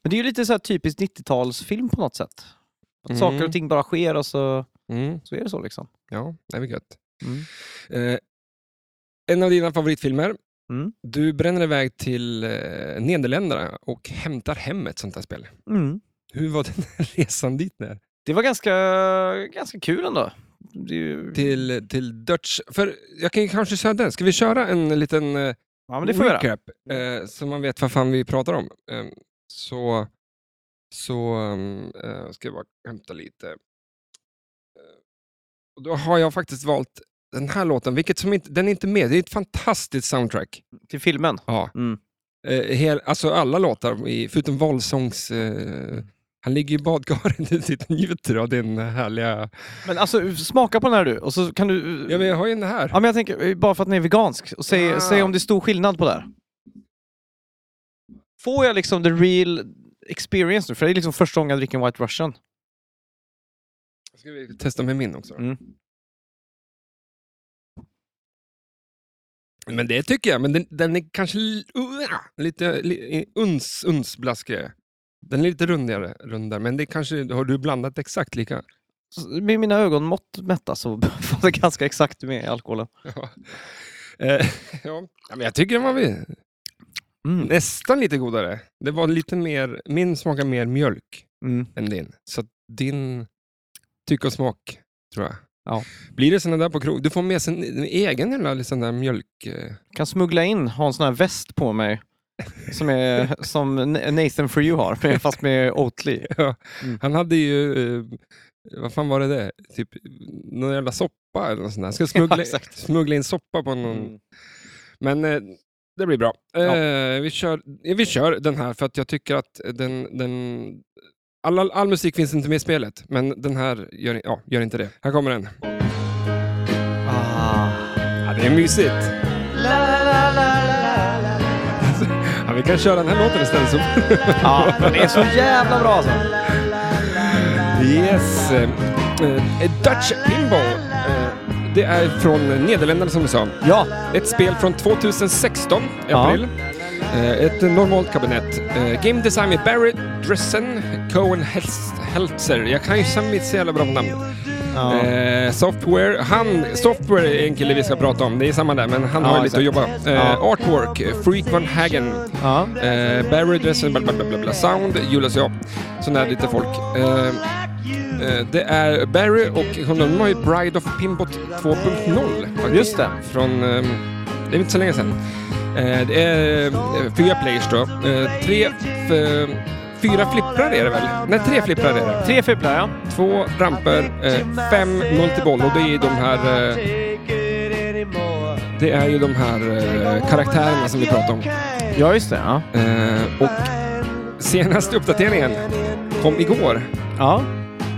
Speaker 2: Men det är ju lite så här typiskt 90-talsfilm på något sätt. Att Saker
Speaker 1: Mm.
Speaker 2: och ting bara sker och så,
Speaker 1: Mm.
Speaker 2: så är det så liksom.
Speaker 1: Ja, det är väl gött.
Speaker 2: Mm.
Speaker 1: Eh, en av dina favoritfilmer.
Speaker 2: Mm.
Speaker 1: Du bränner iväg till eh, Nederländerna och hämtar hem ett sånt här spel.
Speaker 2: Mm.
Speaker 1: Hur var den [LAUGHS] här resan dit? Där?
Speaker 2: Det var ganska, ganska kul ändå. Det är ju...
Speaker 1: Till, till Dutch... För jag kan ju kanske köra den. Ska vi köra en liten eh,
Speaker 2: Ja, men det får vi göra. Mm.
Speaker 1: recap? Eh, så man vet vad fan vi pratar om. Eh, så så eh, ska jag bara hämta lite. Eh, och då har jag faktiskt valt den här låten, vilket som inte, den är inte med. Det är ett fantastiskt soundtrack.
Speaker 2: Till filmen.
Speaker 1: Ja.
Speaker 2: Mm.
Speaker 1: Eh, hel, alltså alla låtar, i- förutom valsångs... Eh, han ligger i badkaret och sitter och njuter av den härliga...
Speaker 2: Men alltså, smaka på den här du. Och så kan du...
Speaker 1: Ja, men jag har ju den här.
Speaker 2: Ja, men jag tänker, eh, bara för att den är vegansk, och säg,
Speaker 1: Ah.
Speaker 2: säg om det är stor skillnad på det här. Får jag liksom the real experience nu? För det är liksom första gången jag dricker en White Russian.
Speaker 1: Ska vi testa med min också? då?
Speaker 2: Mm.
Speaker 1: Men det tycker jag, men den, den är kanske li- uh, lite li, uns, uns blaskigare. Den är lite rundigare, rundare, men det kanske, har du blandat exakt lika?
Speaker 2: Så Med mina ögonmått mätta så [LAUGHS] var det ganska exakt med alkoholen.
Speaker 1: Ja. Eh, ja. Ja, men jag tycker den var vi-
Speaker 2: Mm.
Speaker 1: nästan lite godare. Det var lite mer, min smakar mer mjölk
Speaker 2: Mm.
Speaker 1: än din. Så att din tycke och smak, tror jag.
Speaker 2: Ja.
Speaker 1: Blir det såna där på krog? Du får med sin en egen jävla sån där mjölk... eh,
Speaker 2: Kan smuggla in, ha en sån här väst på mig. Som, [LAUGHS] är, som Na- Nathan For You har, men fast med Oatly.
Speaker 1: Han hade ju, eh, vad fan var det där? Typ någon jävla soppa eller något sånt där. Han
Speaker 2: [LAUGHS]
Speaker 1: ska smuggla,
Speaker 2: Ja, exakt.
Speaker 1: smuggla in soppa på någon.
Speaker 2: Mm.
Speaker 1: Men eh, det blir bra. Eh,
Speaker 2: Ja.
Speaker 1: vi, kör, eh, vi kör den här för att jag tycker att den... den all, all, all musik finns inte med i spelet, men den här gör, ja, gör inte det. Här kommer den.
Speaker 2: Ah.
Speaker 1: Ja, det är mysigt. Ja, vi kan köra den här låten istället. Så.
Speaker 2: Ja, den är så jävla bra alltså.
Speaker 1: Yes. eh, eh, Dutch Pinball. Eh, det är från Nederländerna som du sa.
Speaker 2: Ja,
Speaker 1: Ett spel från 2016 i
Speaker 2: Ja.
Speaker 1: april. Eh, Ett normalt kabinett. Eh, Game design med Barry Dressen, Cohen Hels- Heltzer. Jag kan ju samma så jävla bra på namn.
Speaker 2: ja.
Speaker 1: Eh, software. Han, software är en kille vi ska prata om. Det är samma där, men han
Speaker 2: Ja,
Speaker 1: har ju lite att
Speaker 2: exakt.
Speaker 1: jobba. Eh,
Speaker 2: Ja.
Speaker 1: Artwork. eh, Freak von Hagen.
Speaker 2: ja.
Speaker 1: Eh, Barry Dressen, bla bla bla, bla bla. Sound. Julas ja. Sån där lite folk. Eh, Eh, Det är Barry och hon- de har ju Bride of Pimbot 2.0. faktiskt.
Speaker 2: Just det.
Speaker 1: Från... ehm, Det är inte så länge sedan. Eh, Det är eh, fyra players då. Eh, Tre... f- Fyra flipprar är det väl? Nej, tre flipprar är det.
Speaker 2: Tre fipplar, ja.
Speaker 1: Två ramper, eh, fem multiboll och det är ju de här... eh, Det är ju de här eh, karaktärerna som vi pratar om.
Speaker 2: Ja, just det. Ja.
Speaker 1: Eh, Och senaste uppdateringen kom igår.
Speaker 2: Ja.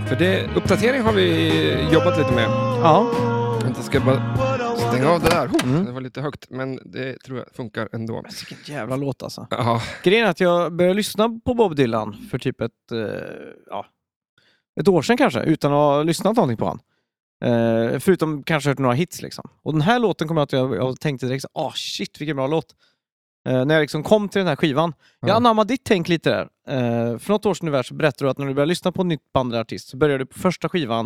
Speaker 1: För det, uppdatering har vi jobbat lite med.
Speaker 2: ja.
Speaker 1: Vänta, ska jag bara stänga av det där. Oh, Det var lite högt, men det tror jag funkar ändå.
Speaker 2: Vilken jävla låt alltså.
Speaker 1: Ja,
Speaker 2: Grejen är att jag började lyssna på Bob Dylan för typ ett, eh, ja, ett år sedan kanske, utan att ha lyssnat någonting på han. Eh, förutom kanske hört några hits liksom. Och den här låten kommer jag att jag, jag tänkte direkt så, ah shit vilken bra låt. Eh, när jag liksom kom till den här skivan. Jag
Speaker 1: Ja.
Speaker 2: anammade ditt tänk lite där. Eh, för något år sedan ungefär så berättade du att när du började lyssna på ett nytt band eller artist så började du på första skivan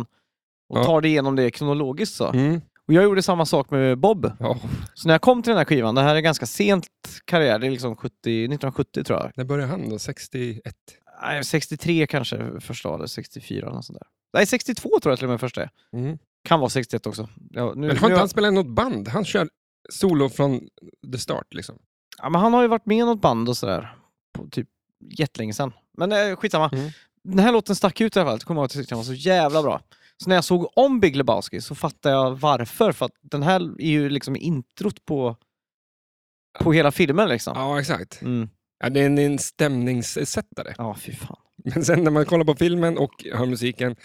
Speaker 2: och
Speaker 1: Ja.
Speaker 2: tar dig igenom det kronologiskt så.
Speaker 1: mm.
Speaker 2: Och jag gjorde samma sak med Bob.
Speaker 1: ja
Speaker 2: Så när jag kom till den här skivan, det här är ganska sent karriär, det är liksom 70, 1970 tror jag.
Speaker 1: när började han då? 61?
Speaker 2: Nej, 63 kanske första eller 64 eller något sånt där. Nej, 62 tror jag till och med första är.
Speaker 1: Mm.
Speaker 2: Kan vara 61 också. Ja, nu,
Speaker 1: Men har
Speaker 2: nu,
Speaker 1: inte han spelat i något band? Han kör solo från the start liksom.
Speaker 2: ja, men han har ju varit med i något band och sådär. På typ jättelänge sedan. Men eh, skitsamma.
Speaker 1: Mm.
Speaker 2: Den här låten stack ut i alla fall. Det kommer jag ihåg att jag tyckte den var så jävla bra. Så när jag såg om Big Lebowski så fattade jag varför. För att den här är ju liksom introt på, på hela filmen liksom.
Speaker 1: Ja, exakt.
Speaker 2: Mm.
Speaker 1: Ja, det är en, en stämningssättare. [LAUGHS]
Speaker 2: Ja, fy fan.
Speaker 1: Men sen när man kollar på filmen och hör musiken.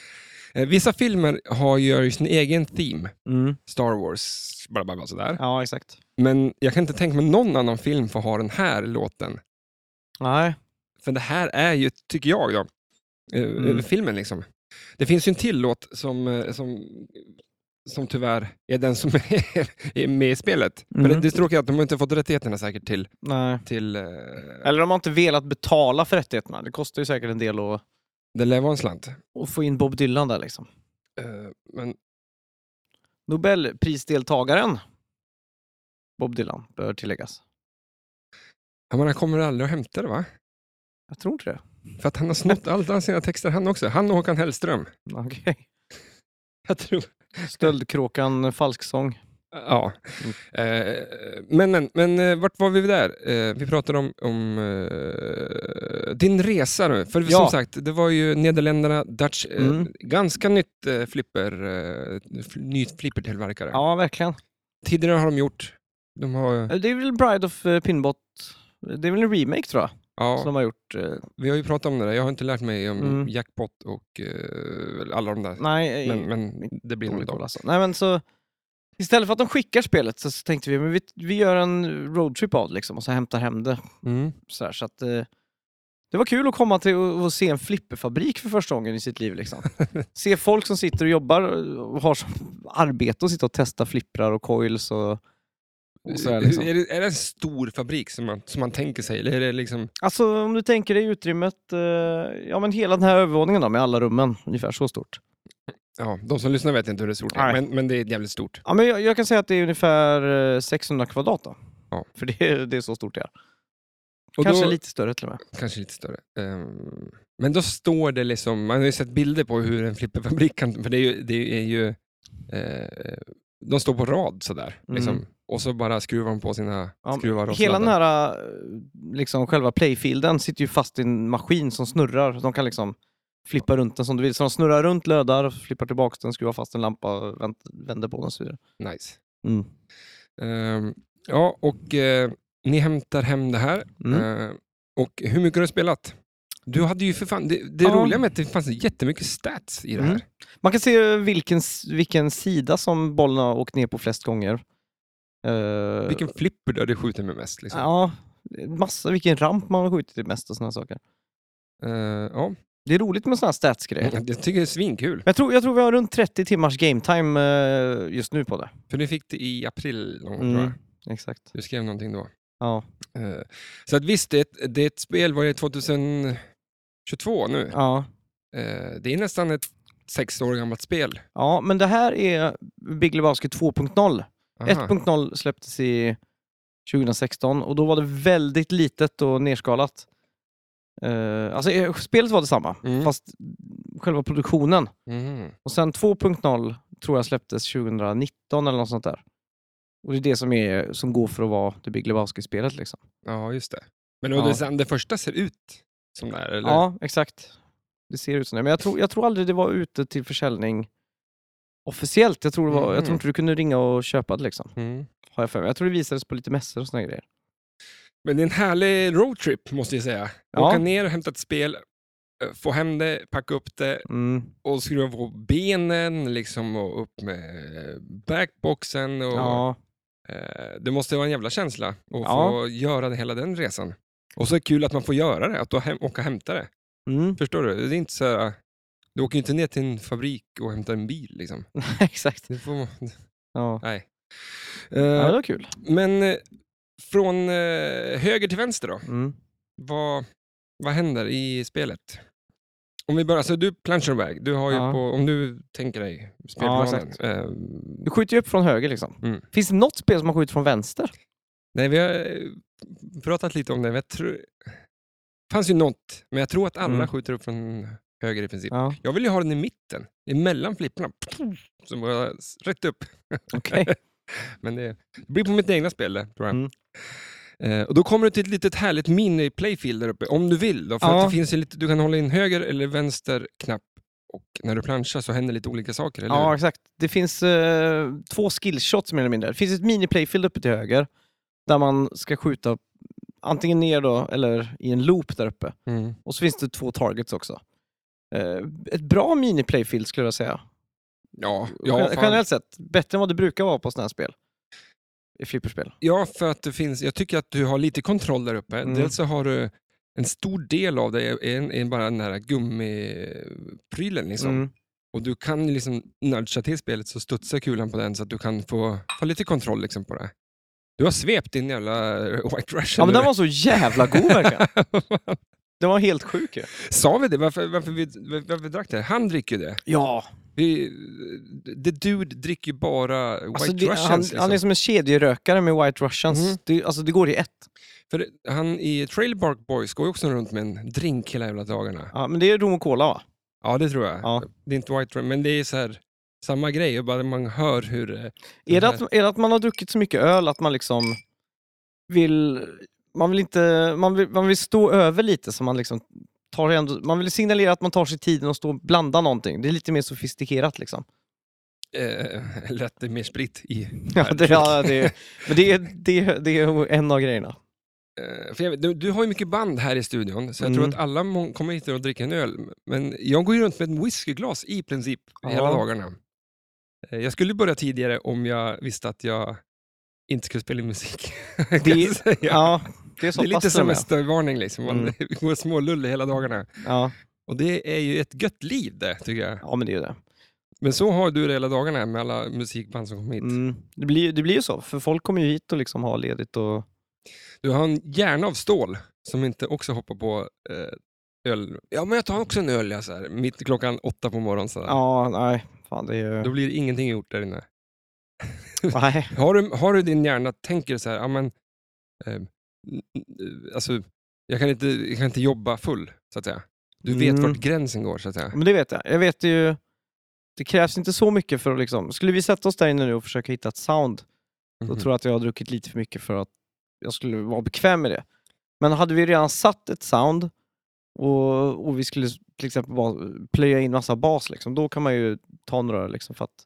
Speaker 1: Eh, vissa filmer har, gör ju sin egen theme.
Speaker 2: Mm.
Speaker 1: Star Wars, bla bla bla sådär.
Speaker 2: Ja, exakt.
Speaker 1: Men jag kan inte tänka mig någon annan film får ha den här låten.
Speaker 2: Nej.
Speaker 1: För det här är ju, tycker jag, då, eh,
Speaker 2: Mm.
Speaker 1: filmen liksom. Det finns ju en till låt som, eh, som, som tyvärr är den som [LAUGHS] är, är med i spelet. Men det,
Speaker 2: Mm.
Speaker 1: det är tråkigt att de har inte fått rättigheterna säkert till...
Speaker 2: Nej.
Speaker 1: till eh,
Speaker 2: Eller de har inte velat betala för rättigheterna. Det kostar ju säkert en del att,
Speaker 1: det lär vara en slant.
Speaker 2: att få in Bob Dylan där liksom.
Speaker 1: Eh, men
Speaker 2: Nobelprisdeltagaren Bob Dylan, bör tilläggas.
Speaker 1: jag menar, han kommer aldrig att hämta det va?
Speaker 2: Jag tror inte det.
Speaker 1: För att han har snott allt alla sina texter han också. Han och Håkan Hellström.
Speaker 2: [LAUGHS] Okej.
Speaker 1: Jag tror...
Speaker 2: Stöldkråkan, falsksång.
Speaker 1: Ja.
Speaker 2: Mm.
Speaker 1: Eh, men men, men eh, vart var vi där? Eh, vi pratade om, om eh, din resa nu. För
Speaker 2: Ja.
Speaker 1: som sagt, det var ju Nederländerna, Dutch, eh,
Speaker 2: Mm.
Speaker 1: ganska nytt eh, flipper, eh, fl- nytt flippertillverkare.
Speaker 2: Ja, Eh, verkligen.
Speaker 1: Tidigare har de gjort, de har,
Speaker 2: Det är väl Bride of eh, Pinbot. Det är väl en remake tror jag,
Speaker 1: ja,
Speaker 2: som de har gjort. eh,
Speaker 1: vi har ju pratat om det där. Jag har inte lärt mig om
Speaker 2: Mm.
Speaker 1: jackpot och eh, alla de där.
Speaker 2: Nej, eh,
Speaker 1: men, men det blir nog
Speaker 2: dålig koll
Speaker 1: idag.
Speaker 2: alltså. Nej, men så, istället för att de skickar spelet så, så tänkte vi men vi, vi gör en roadtrip av det liksom, och så hämtar hem det.
Speaker 1: Mm.
Speaker 2: Så, här, så att, eh, det var kul att komma till och, och se en flipperfabrik för första gången i sitt liv.
Speaker 1: [LAUGHS]
Speaker 2: Liksom. se folk som sitter och jobbar och har som arbete att sitta och testa flipprar och coils och, och sådär. Liksom.
Speaker 1: Är, det, är det en stor fabrik som man, som man tänker sig? Eller är det liksom...
Speaker 2: Alltså om du tänker dig utrymmet, eh, ja men hela den här övervåningen då med alla rummen, ungefär så stort.
Speaker 1: Ja, de som lyssnar vet inte hur det är stort,
Speaker 2: Nej.
Speaker 1: men, men det är jävligt stort.
Speaker 2: Ja men jag, jag kan säga att det är ungefär eh, 600 kvadrat då.
Speaker 1: Ja.
Speaker 2: För det, är- det är så stort det är.
Speaker 1: Och
Speaker 2: Kanske
Speaker 1: då-
Speaker 2: lite större till och med.
Speaker 1: Kanske lite större. Ehm, men då står det liksom, man har ju sett bilder på hur en flipperfabrik kan, för det är ju, det är ju eh, de står på rad sådär.
Speaker 2: Mm.
Speaker 1: Liksom, och så bara skruvar de på sina
Speaker 2: Ja, men
Speaker 1: skruvar. Och
Speaker 2: Hela den
Speaker 1: sladdar.
Speaker 2: här eh, liksom, själva playfielden sitter ju fast i en maskin som snurrar. De kan liksom flippa runt den som du vill. Så de snurrar runt lödar, flippar tillbaka den, skruvar fast en lampa, vänt, vänder på den och så vidare.
Speaker 1: Nice.
Speaker 2: Mm.
Speaker 1: Ehm, ja, och eh, ni hämtar hem det här.
Speaker 2: Mm.
Speaker 1: Ehm, och hur mycket har du spelat? Du hade ju för fan, det, det
Speaker 2: Ja.
Speaker 1: roliga med att det fanns jättemycket stats i det här.
Speaker 2: Mm. Man kan se vilken, s- vilken sida som bollen har åkt ner på flest gånger. Eh,
Speaker 1: Vilken flipper du hade skjutit med mest. Liksom.
Speaker 2: Ja, massa, vilken ramp man har skjutit i mest och sådana saker.
Speaker 1: Ehm, ja.
Speaker 2: Det är roligt med sådana här statsgrejer.
Speaker 1: Eh, Jag tycker det är svinkul.
Speaker 2: Jag tror, jag tror vi har runt 30 timmars game time eh, just nu på det.
Speaker 1: För du fick det i april någon gång,
Speaker 2: Mm.
Speaker 1: tror jag.
Speaker 2: Exakt.
Speaker 1: Du skrev någonting då.
Speaker 2: Ja.
Speaker 1: Eh, Så att visst, det är ett, det är ett spel, vad är det, 2022 nu?
Speaker 2: ja.
Speaker 1: Eh, Det är nästan ett sex år gammalt spel.
Speaker 2: Ja, men det här är Big Lebowski 2.0.
Speaker 1: Aha.
Speaker 2: 1.0 släpptes i 2016 och då var det väldigt litet och nerskalat. Eh, alltså eh, spelet var detsamma,
Speaker 1: Mm.
Speaker 2: fast själva produktionen.
Speaker 1: Mhm.
Speaker 2: Och sen 2.0 tror jag släpptes 2019 eller något sånt där. Och det är det som, är, som går för att vara det Big Lebowski-spelet liksom.
Speaker 1: Ja, just det. Men
Speaker 2: Ja.
Speaker 1: ja. den, den första ser ut som det här, eller?
Speaker 2: Ja, exakt. Det ser ut som det. Men jag tror, jag tror aldrig det var ute till försäljning officiellt. Jag tror, det var, jag tror
Speaker 1: Mhm.
Speaker 2: inte du kunde ringa och köpa det liksom.
Speaker 1: Mm.
Speaker 2: Har jag för mig. Jag tror det visades på lite mässor och såna grejer.
Speaker 1: Men det är en härlig roadtrip, måste jag säga.
Speaker 2: Ja.
Speaker 1: Åka ner och hämta ett spel, eh, få hem det, packa upp det
Speaker 2: Mm.
Speaker 1: och skruva på benen liksom, och upp med eh, backboxen. Och,
Speaker 2: Ja.
Speaker 1: eh, det måste vara en jävla känsla att
Speaker 2: Ja.
Speaker 1: få göra det- hela den resan. Och så är det kul att man får göra det, att då hem, åka och hämta det.
Speaker 2: Mm.
Speaker 1: Förstår du? Det är inte så här, du åker ju inte ner till en fabrik och hämtar en bil. Liksom.
Speaker 2: [LAUGHS] Mm. exakt. Eh,
Speaker 1: Det får,
Speaker 2: Ja.
Speaker 1: [LAUGHS] nej.
Speaker 2: ja, det
Speaker 1: Eh,
Speaker 2: var kul.
Speaker 1: men eh, från eh, höger till vänster då?
Speaker 2: Mm.
Speaker 1: Vad, vad händer i spelet? Om vi börjar, så du planchar iväg. Du har ju
Speaker 2: Ja.
Speaker 1: på, om du tänker dig spelplanen.
Speaker 2: exakt.
Speaker 1: eh,
Speaker 2: Du skjuter ju upp från höger liksom.
Speaker 1: Mm.
Speaker 2: Finns det något spel som man skjuter från vänster?
Speaker 1: nej, vi har eh, pratat lite om det. men Jag tror, det fanns ju något, men jag tror att alla
Speaker 2: Mm.
Speaker 1: skjuter upp från höger i princip.
Speaker 2: Ja,
Speaker 1: Jag vill ju ha den i mitten, emellan flipprarna. Som bara s- rätt upp.
Speaker 2: [LAUGHS] okej.
Speaker 1: Men det, det blir på mitt egna spel det, tror jag.
Speaker 2: Mm.
Speaker 1: Eh, och då kommer du till ett litet härligt mini-playfield där uppe, om du vill. Då, för
Speaker 2: Ja.
Speaker 1: att det finns ju lite, du kan hålla in höger eller vänster knapp och när du planschar så händer lite olika saker, eller
Speaker 2: Ja,
Speaker 1: hur?
Speaker 2: exakt. Det finns eh, två skillshots mer eller mindre. Det finns ett mini-playfield uppe till höger där man ska skjuta antingen ner då eller i en loop där uppe.
Speaker 1: Mm.
Speaker 2: Och så finns det två targets också. Eh, ett bra mini-playfield skulle jag säga.
Speaker 1: Ja,
Speaker 2: Gen-
Speaker 1: ja, fan.
Speaker 2: Generellt sett. Bättre än vad det brukar vara på sådana här spel. I flipperspel.
Speaker 1: ja, för att det finns, jag tycker att du har lite kontroll där uppe.
Speaker 2: Mm.
Speaker 1: Dels så har du en stor del av det är, är, är bara den här gummiprylen. Liksom.
Speaker 2: Mm.
Speaker 1: Och du kan ju liksom nudga till spelet så studsar kulan på den så att du kan få ta lite kontroll liksom på det. Du har svept din jävla eh, White Russian.
Speaker 2: Ja, men
Speaker 1: nu.
Speaker 2: den var så jävla god verkligen. [LAUGHS] Den var helt sjuk ju.
Speaker 1: Sa vi det? Varför, varför, vi, varför vi drack det? Han dricker ju det.
Speaker 2: Ja,
Speaker 1: Vi, the Dude dricker ju bara White
Speaker 2: alltså det,
Speaker 1: Russians.
Speaker 2: han,
Speaker 1: liksom.
Speaker 2: han är som en kedjerökare med White Russians.
Speaker 1: Mm.
Speaker 2: Det, alltså det går i ett.
Speaker 1: För han i Trailer Park Boys går ju också runt med en drink hela jävla dagarna.
Speaker 2: Ja, men det är rom och cola va?
Speaker 1: Ja, det tror jag.
Speaker 2: Ja.
Speaker 1: Det är inte White Russian, men det är så här, samma grej. Bara man hör hur... eh,
Speaker 2: Är det,
Speaker 1: den
Speaker 2: att, är det att man har druckit så mycket öl att man liksom vill... Man vill, inte, man vill, man vill stå över lite så man liksom tar ändå, Man vill signalera att man tar sig tiden och står och blandar någonting. Det är lite mer sofistikerat liksom.
Speaker 1: Eh, [LAUGHS] lät det mer sprit i
Speaker 2: Ja, [LAUGHS] det, ja, det, är- men det, är- det, är- det är en av grejerna.
Speaker 1: Eh, För jag, vet- du, du har ju mycket band här i studion, så jag
Speaker 2: Mm.
Speaker 1: tror att alla må- kommer hit och dricker en öl. Men jag går ju runt med ett whiskyglas i princip
Speaker 2: Ja.
Speaker 1: hela dagarna. Eh, Jag skulle börja tidigare om jag visste att jag inte skulle spela in musik. [LAUGHS] kan
Speaker 2: Det-
Speaker 1: jag säga.
Speaker 2: Ja, det är så
Speaker 1: det är lite
Speaker 2: pass till och med.
Speaker 1: semestervarning, liksom. man
Speaker 2: Mm.
Speaker 1: [LAUGHS] går smålull hela dagarna.
Speaker 2: Ja,
Speaker 1: Och det är ju ett gött liv det, tycker jag.
Speaker 2: ja, men det är ju det.
Speaker 1: Men så har du det hela dagarna med alla musikband som kommer hit.
Speaker 2: Mm, det, blir, ju- det blir ju så, för folk kommer ju hit och liksom har ledigt och...
Speaker 1: Du har en hjärna av stål som inte också hoppar på eh, öl. Ja, men jag tar också en öl, jag, så här, mitt i klockan åtta på morgonen. Så här.
Speaker 2: Ja, nej. Fan, det är [LAUGHS]
Speaker 1: Då
Speaker 2: ju...
Speaker 1: blir det ingenting gjort där inne.
Speaker 2: Nej.
Speaker 1: Har du, har du din hjärna, tänker så här, ja men, eh, n- n- eh, alltså, jag kan, inte, jag kan inte jobba full, så att säga. Du vet
Speaker 2: Mm.
Speaker 1: vart gränsen går, så att säga.
Speaker 2: Men det vet jag. Jag vet ju... Det krävs inte så mycket för att liksom... Skulle vi sätta oss där inne nu och försöka hitta ett sound, då
Speaker 1: Mhm.
Speaker 2: tror jag att jag har druckit lite för mycket för att jag skulle vara bekväm med det. Men hade vi redan satt ett sound och, och vi skulle till exempel bara plöja in massa bas, liksom, då kan man ju ta några liksom, för att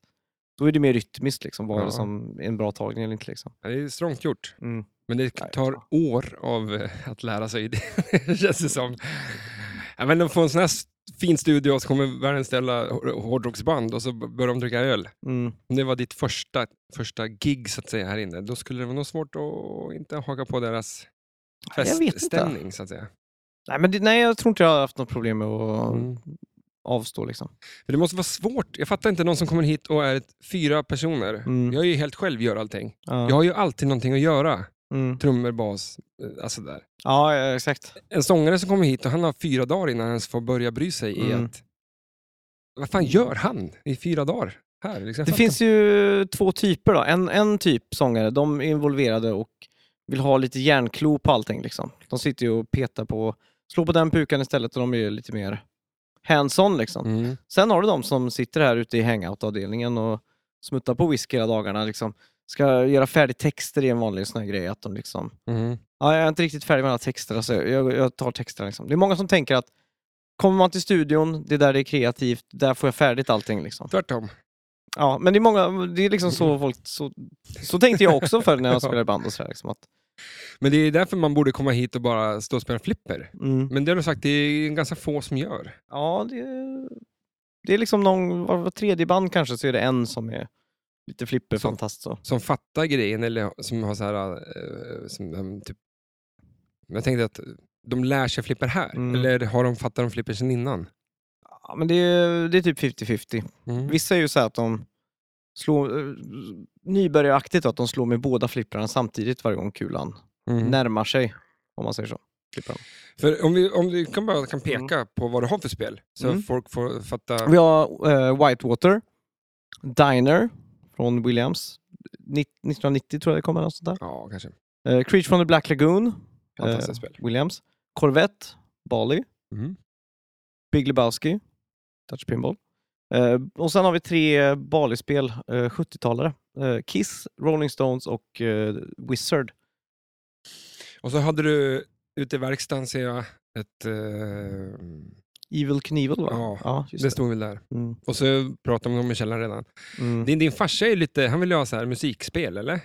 Speaker 2: då är det mer rytmiskt, liksom, vad är
Speaker 1: Ja.
Speaker 2: det som är en bra tagning eller inte. Liksom.
Speaker 1: Ja, Det är strångt gjort,
Speaker 2: Mm.
Speaker 1: men det
Speaker 2: Nej,
Speaker 1: tar år av eh, att lära sig det, [LAUGHS] känns det som. Ja, men att få en sån här s- fin studio och så kommer världens ställa hår- hårdrocksband och så b- börjar de dricka öl.
Speaker 2: Mm.
Speaker 1: Om det var ditt första, första gig, så att säga, här inne, då skulle det vara nog svårt att inte haka på deras
Speaker 2: Ja, jag vet inte.
Speaker 1: feststämning, så att säga.
Speaker 2: Nej, men det, nej, jag tror inte jag har haft något problem med att
Speaker 1: Mm.
Speaker 2: avstå. Liksom.
Speaker 1: Men det måste vara svårt. Jag fattar inte någon som kommer hit och är ett, fyra personer.
Speaker 2: Mm.
Speaker 1: Jag är ju helt själv, gör allting.
Speaker 2: Ja.
Speaker 1: Jag har ju alltid någonting att göra.
Speaker 2: Mm.
Speaker 1: Trummor, bas, eh, alltså där.
Speaker 2: ja, ja, exakt.
Speaker 1: En sångare som kommer hit och han har fyra dagar innan han ens får börja bry sig
Speaker 2: Mm.
Speaker 1: i att... Vad fan gör han i fyra dagar? Här, liksom, jag
Speaker 2: Det
Speaker 1: fattar
Speaker 2: finns ju två typer. Då. En, en typ sångare, de är involverade och vill ha lite järnklo på allting. Liksom. De sitter ju och petar på, slår på den pukan istället och de är ju lite mer hands-on liksom.
Speaker 1: Mm.
Speaker 2: Sen har du de som sitter här ute i hangout-avdelningen och smuttar på whisky hela dagarna. Liksom. Ska göra färdig texter i en vanlig sån här grej. Att de liksom,
Speaker 1: Mm.
Speaker 2: ja, jag är inte riktigt färdig med alla texter, alltså, jag, jag tar texterna. Liksom. Det är många som tänker att kommer man till studion, det är där det är kreativt, där får jag färdigt allting. Liksom.
Speaker 1: Tvärtom.
Speaker 2: Ja, men det är, många, det är liksom så folk... Så, så tänkte jag också förr när [LAUGHS] jag spelade i band och sådär. Liksom, att,
Speaker 1: Men det är därför man borde komma hit och bara stå och spela flipper.
Speaker 2: mm,
Speaker 1: Men det har du sagt, det är ganska få som gör.
Speaker 2: ja, det, det är liksom någon, var, var tredje band kanske så är det en som är lite flipperfantast. Så.
Speaker 1: Som fattar grejen eller som har så här, eh, som, eh, typ... Jag tänkte att de lär sig flipper här.
Speaker 2: Mm.
Speaker 1: Eller har de fattat de flipper sen innan?
Speaker 2: Ja, men det, är- det är typ 50-50.
Speaker 1: Mm.
Speaker 2: Vissa är ju så här att de slår, eh, nybörjaraktigt då, att de slår med båda flipprarna samtidigt varje gång kulan
Speaker 1: Mm.
Speaker 2: närmar sig, om man säger så. Typ Flipprarna.
Speaker 1: För om vi, om vi kan bara kan peka på vad du har för spel, så
Speaker 2: Mm.
Speaker 1: folk får fatta.
Speaker 2: Vi har eh, Whitewater, Diner från Williams, Ni- 1990 tror jag det kommer. Något sånt där.
Speaker 1: Ja, kanske.
Speaker 2: Eh, Creature from the Black Lagoon,
Speaker 1: Fantastiskt
Speaker 2: Eh,
Speaker 1: spel.
Speaker 2: Williams. Corvette, Bali,
Speaker 1: Mm.
Speaker 2: Big Lebowski, Dutch Pinball. Eh, och sen har vi tre Bali-spel, eh, 70-talare. Eh, Kiss, Rolling Stones och eh, Wizard.
Speaker 1: Och så hade du ute i verkstaden, ser jag, ett... Eh,
Speaker 2: Evil Knievel va?
Speaker 1: Ja,
Speaker 2: just
Speaker 1: det
Speaker 2: det.
Speaker 1: stod väl där.
Speaker 2: Mm,
Speaker 1: Och så pratade de om i källaren redan.
Speaker 2: mm.
Speaker 1: Din, din farsa är lite, han vill ju ha så här musikspel, eller?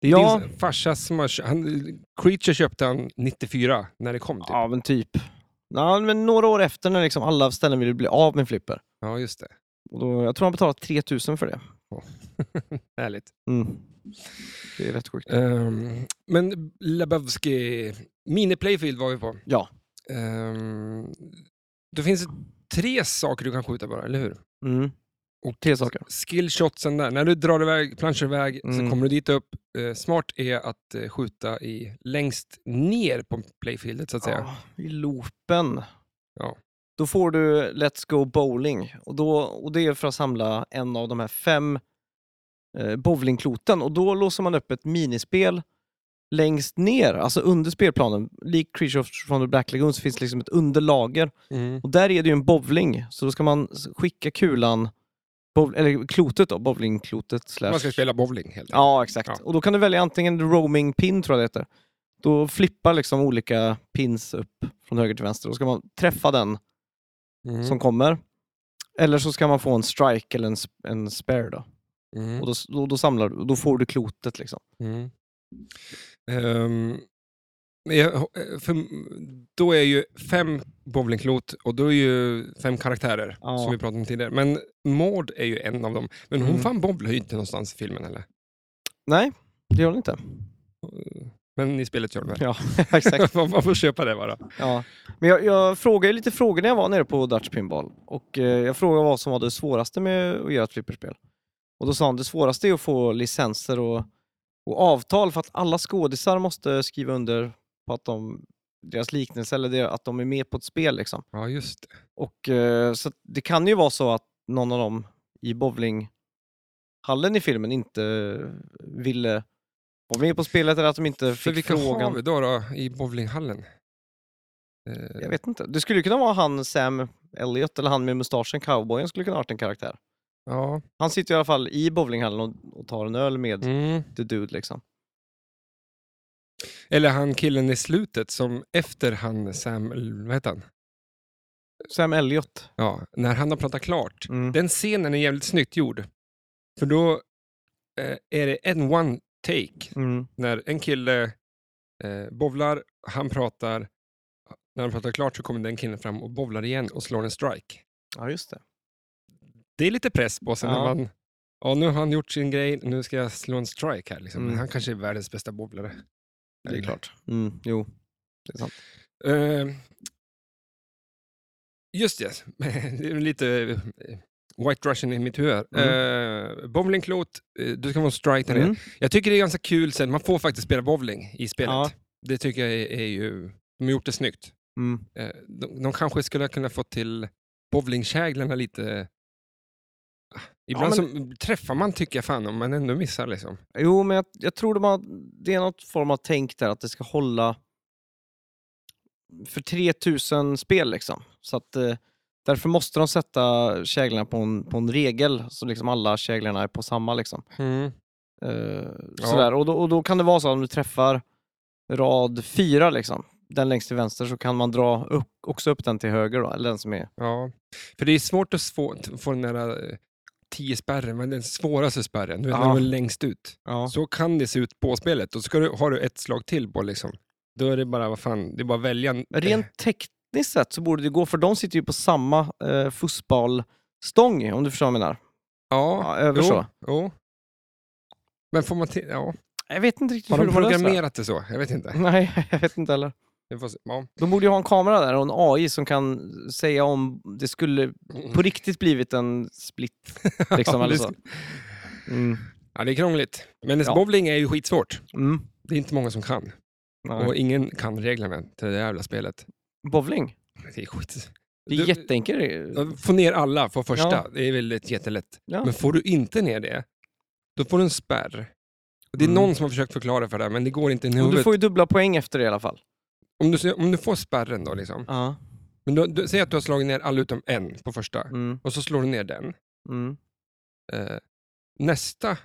Speaker 1: Det är
Speaker 2: Ja.
Speaker 1: din farsa som har, kö- han, Creature köpte han 94, när det kom typ. Ja,
Speaker 2: Ja, men typ. Ja, men några år efter när liksom alla ställen ville bli av med flipper.
Speaker 1: just det.
Speaker 2: Och då, jag tror han betalade 3000 för det.
Speaker 1: Härligt.
Speaker 2: Mm. Det är rätt sjukt.
Speaker 1: Ehm, men Lebowski, Mini Playfield var vi på.
Speaker 2: Ja.
Speaker 1: Ehm, det finns tre saker du kan skjuta bara, eller hur?
Speaker 2: Mm.
Speaker 1: Och
Speaker 2: Tre saker.
Speaker 1: Skillshotsen där, när du drar iväg, planschar iväg, så
Speaker 2: Mm.
Speaker 1: kommer du dit upp. Eh, smart är att eh, skjuta i, längst ner på playfieldet så att säga.
Speaker 2: Ja, I loopen.
Speaker 1: Ja.
Speaker 2: Då får du Let's Go Bowling. Och, då, och det är för att samla en av de här fem eh, bowlingkloten. Och då låser man upp ett minispel längst ner, alltså under spelplanen. Lik Creature of- from the Black Lagoon så finns det liksom ett underlager.
Speaker 1: Mm.
Speaker 2: Och där är det ju en bowling, så då ska man s- skicka kulan, bowl, eller klotet då, bowlingklotet. Slash.
Speaker 1: Man ska spela bowling helt enkelt.
Speaker 2: Ja, exakt.
Speaker 1: Ja.
Speaker 2: Och då kan du välja antingen roaming pin, tror jag det heter. Då flippar liksom olika pins upp från höger till vänster. Då ska man träffa den
Speaker 1: Mm.
Speaker 2: som kommer. Eller så ska man få en strike eller en, sp- en spare då.
Speaker 1: Mm.
Speaker 2: Och då, s- då, då samlar du, och då får du klotet liksom.
Speaker 1: Mm. Ehm, men jag, eh, för, då är ju fem bowlingklot och då är ju fem karaktärer
Speaker 2: Ja.
Speaker 1: som vi pratade om tidigare. Men Maud är ju en av dem. Men hon
Speaker 2: Mm.
Speaker 1: fan bowlar ju inte någonstans i filmen eller?
Speaker 2: Nej, det gör
Speaker 1: [LAUGHS]
Speaker 2: det inte.
Speaker 1: Men i spelet gör de det.
Speaker 2: Ja, exakt.
Speaker 1: man [LAUGHS] man får köpa det bara.
Speaker 2: Ja. Men jag, jag frågade ju lite frågor när jag var nere på Dutch Pinball. Och eh, jag frågade vad som var det svåraste med att göra ett flipperspel. Och då sa han det svåraste är att få licenser och, och avtal för att alla skådisar måste skriva under på att de, deras liknelse eller det, att de är med på ett spel. Liksom.
Speaker 1: Ja, just det.
Speaker 2: Och, eh, så att det kan ju vara så att någon av dem i bowlinghallen i filmen inte ville vara med på spelet eller att de inte
Speaker 1: För
Speaker 2: Eh, fick
Speaker 1: vilka har
Speaker 2: frågan.
Speaker 1: vi då, då i bowlinghallen? Eh,
Speaker 2: Jag vet inte. Det skulle ju kunna vara han Sam Elliot eller han med mustaschen, cowboyen, skulle kunna ha varit en karaktär.
Speaker 1: Ja.
Speaker 2: Han sitter i alla fall i bowlinghallen och, och tar en öl med
Speaker 1: Mm.
Speaker 2: the dude liksom.
Speaker 1: Eller han killen i slutet som efter han Sam, vad heter han?
Speaker 2: Sam Elliot.
Speaker 1: Ja, när han har pratat klart
Speaker 2: Mm.
Speaker 1: Den scenen är jävligt snyggt gjord. För då eh, är det en one take.
Speaker 2: Mm.
Speaker 1: När en kille eh, bowlar, han pratar. När han pratar klart så kommer den killen fram och bowlar igen och slår en strike.
Speaker 2: Ja, just det.
Speaker 1: Det är lite press på sig när
Speaker 2: Ja.
Speaker 1: man... Ja, nu har han gjort sin grej, nu ska jag slå en strike här. Liksom.
Speaker 2: Mm.
Speaker 1: Men han kanske är världens bästa bowlare.
Speaker 2: Det är klart. Mm. Jo, det är sant.
Speaker 1: Eh, just det, [LAUGHS] det är lite eh, White Russian i mitt huvud. här. Eh, bowlingklot, eh, du ska vara en strike där nere.
Speaker 2: Mm.
Speaker 1: Jag tycker det är ganska kul sen, man får faktiskt spela bowling i spelet.
Speaker 2: Ja.
Speaker 1: Det tycker jag är, är ju, de har gjort det snyggt.
Speaker 2: Mm.
Speaker 1: Eh, De, de kanske skulle kunna få till bowlingkäglarna lite... Ah, Ibland
Speaker 2: Ja,
Speaker 1: så träffar man tycker jag fan om man ändå missar liksom.
Speaker 2: Jo, men jag, jag tror de har, det är något form av tänk där att det ska hålla för 3000 spel liksom. Så att eh, Därför måste de sätta käglarna på en, på en regel, så liksom alla käglarna är på samma. Liksom.
Speaker 1: Mm.
Speaker 2: Eh,
Speaker 1: Ja.
Speaker 2: sådär. Och, då, och då kan det vara så att om du träffar rad fyra, liksom, den längst till vänster, så kan man dra upp, också upp den till höger, då, eller den som är...
Speaker 1: Ja, för det är svårt att få, t- få den där eh, 10-spärren, men den svåraste spärren, du vet,
Speaker 2: Ja.
Speaker 1: när du är längst ut.
Speaker 2: Ja.
Speaker 1: Så kan det se ut på spelet och så ska du, har du ett slag till på liksom. Då är det bara, vad fan, det är bara att välja. en- eh,
Speaker 2: Rent tekniskt sett så borde det gå, för de sitter ju på samma eh, fussballstång, om du förstår vad jag menar.
Speaker 1: Ja,
Speaker 2: Ja, över så.
Speaker 1: jo, jo. Men får man till, ja.
Speaker 2: Jag vet inte riktigt
Speaker 1: Har
Speaker 2: hur
Speaker 1: de
Speaker 2: de har löst det.
Speaker 1: programmerat det så? Jag vet inte.
Speaker 2: [LAUGHS] Nej, jag vet inte heller.
Speaker 1: Vi får se. Ja.
Speaker 2: De borde ju ha en kamera där och en AI som kan säga om det skulle
Speaker 1: Mm.
Speaker 2: på riktigt blivit en split. [LAUGHS] Liksom,
Speaker 1: Ja,
Speaker 2: eller
Speaker 1: det
Speaker 2: så.
Speaker 1: sk-
Speaker 2: Mm.
Speaker 1: ja, det är krångligt. Men
Speaker 2: Ja.
Speaker 1: bowling är ju skitsvårt.
Speaker 2: Mm.
Speaker 1: Det är inte många som kan.
Speaker 2: Nej.
Speaker 1: Och ingen kan reglerna till det där jävla spelet.
Speaker 2: Bowling.
Speaker 1: Det är skit.
Speaker 2: Det är
Speaker 1: Du-
Speaker 2: jätteenkelt.
Speaker 1: Få ner alla på första,
Speaker 2: Ja.
Speaker 1: det är väldigt jättelätt.
Speaker 2: Ja.
Speaker 1: Men får du inte ner det, då får du en spärr. Och det är
Speaker 2: Mm.
Speaker 1: någon som har försökt förklara för det, här, men det går inte in i
Speaker 2: Och du
Speaker 1: huvudet.
Speaker 2: får ju dubbla poäng efter det i alla fall.
Speaker 1: Om, du, ser- om du får spärren då, liksom.
Speaker 2: Ja.
Speaker 1: Men du, du, säg att du har slagit ner alla utom en på första,
Speaker 2: Mm.
Speaker 1: och så slår du ner den.
Speaker 2: Mm.
Speaker 1: Eh, nästa,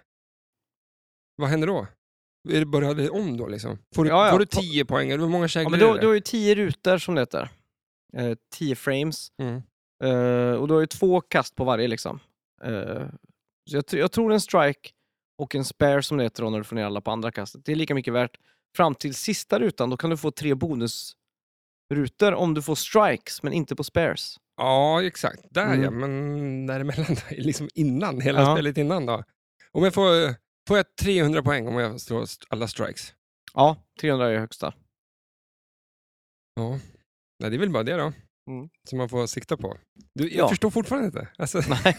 Speaker 1: vad händer då? Är det, börjar det om då? Liksom? Får, du,
Speaker 2: Ja, ja.
Speaker 1: får du tio poäng? Eller hur många
Speaker 2: Ja,
Speaker 1: käglor
Speaker 2: men du,
Speaker 1: är
Speaker 2: har-
Speaker 1: det?
Speaker 2: du har ju tio rutor som det heter. Eh, tio frames.
Speaker 1: Mm.
Speaker 2: Eh, och du har ju två kast på varje liksom. Eh, så jag, tr- jag tror en strike och en spare som det heter då när du får ner alla på andra kastet. Det är lika mycket värt. Fram till sista rutan, då kan du få tre bonusrutor om du får strikes men inte på spares.
Speaker 1: Ja, exakt. Där
Speaker 2: Mm.
Speaker 1: ja, men däremellan, [LAUGHS] liksom innan, hela
Speaker 2: Ja.
Speaker 1: spelet innan då. Om jag får, får jag 300 poäng om jag slår st- alla strikes?
Speaker 2: Ja, 300
Speaker 1: [LAUGHS]
Speaker 2: är högsta.
Speaker 1: Ja, Nej, det är väl bara det då.
Speaker 2: Mm.
Speaker 1: Som man får sikta på. Du, jag
Speaker 2: Ja.
Speaker 1: förstår fortfarande inte. Alltså,
Speaker 2: Nej.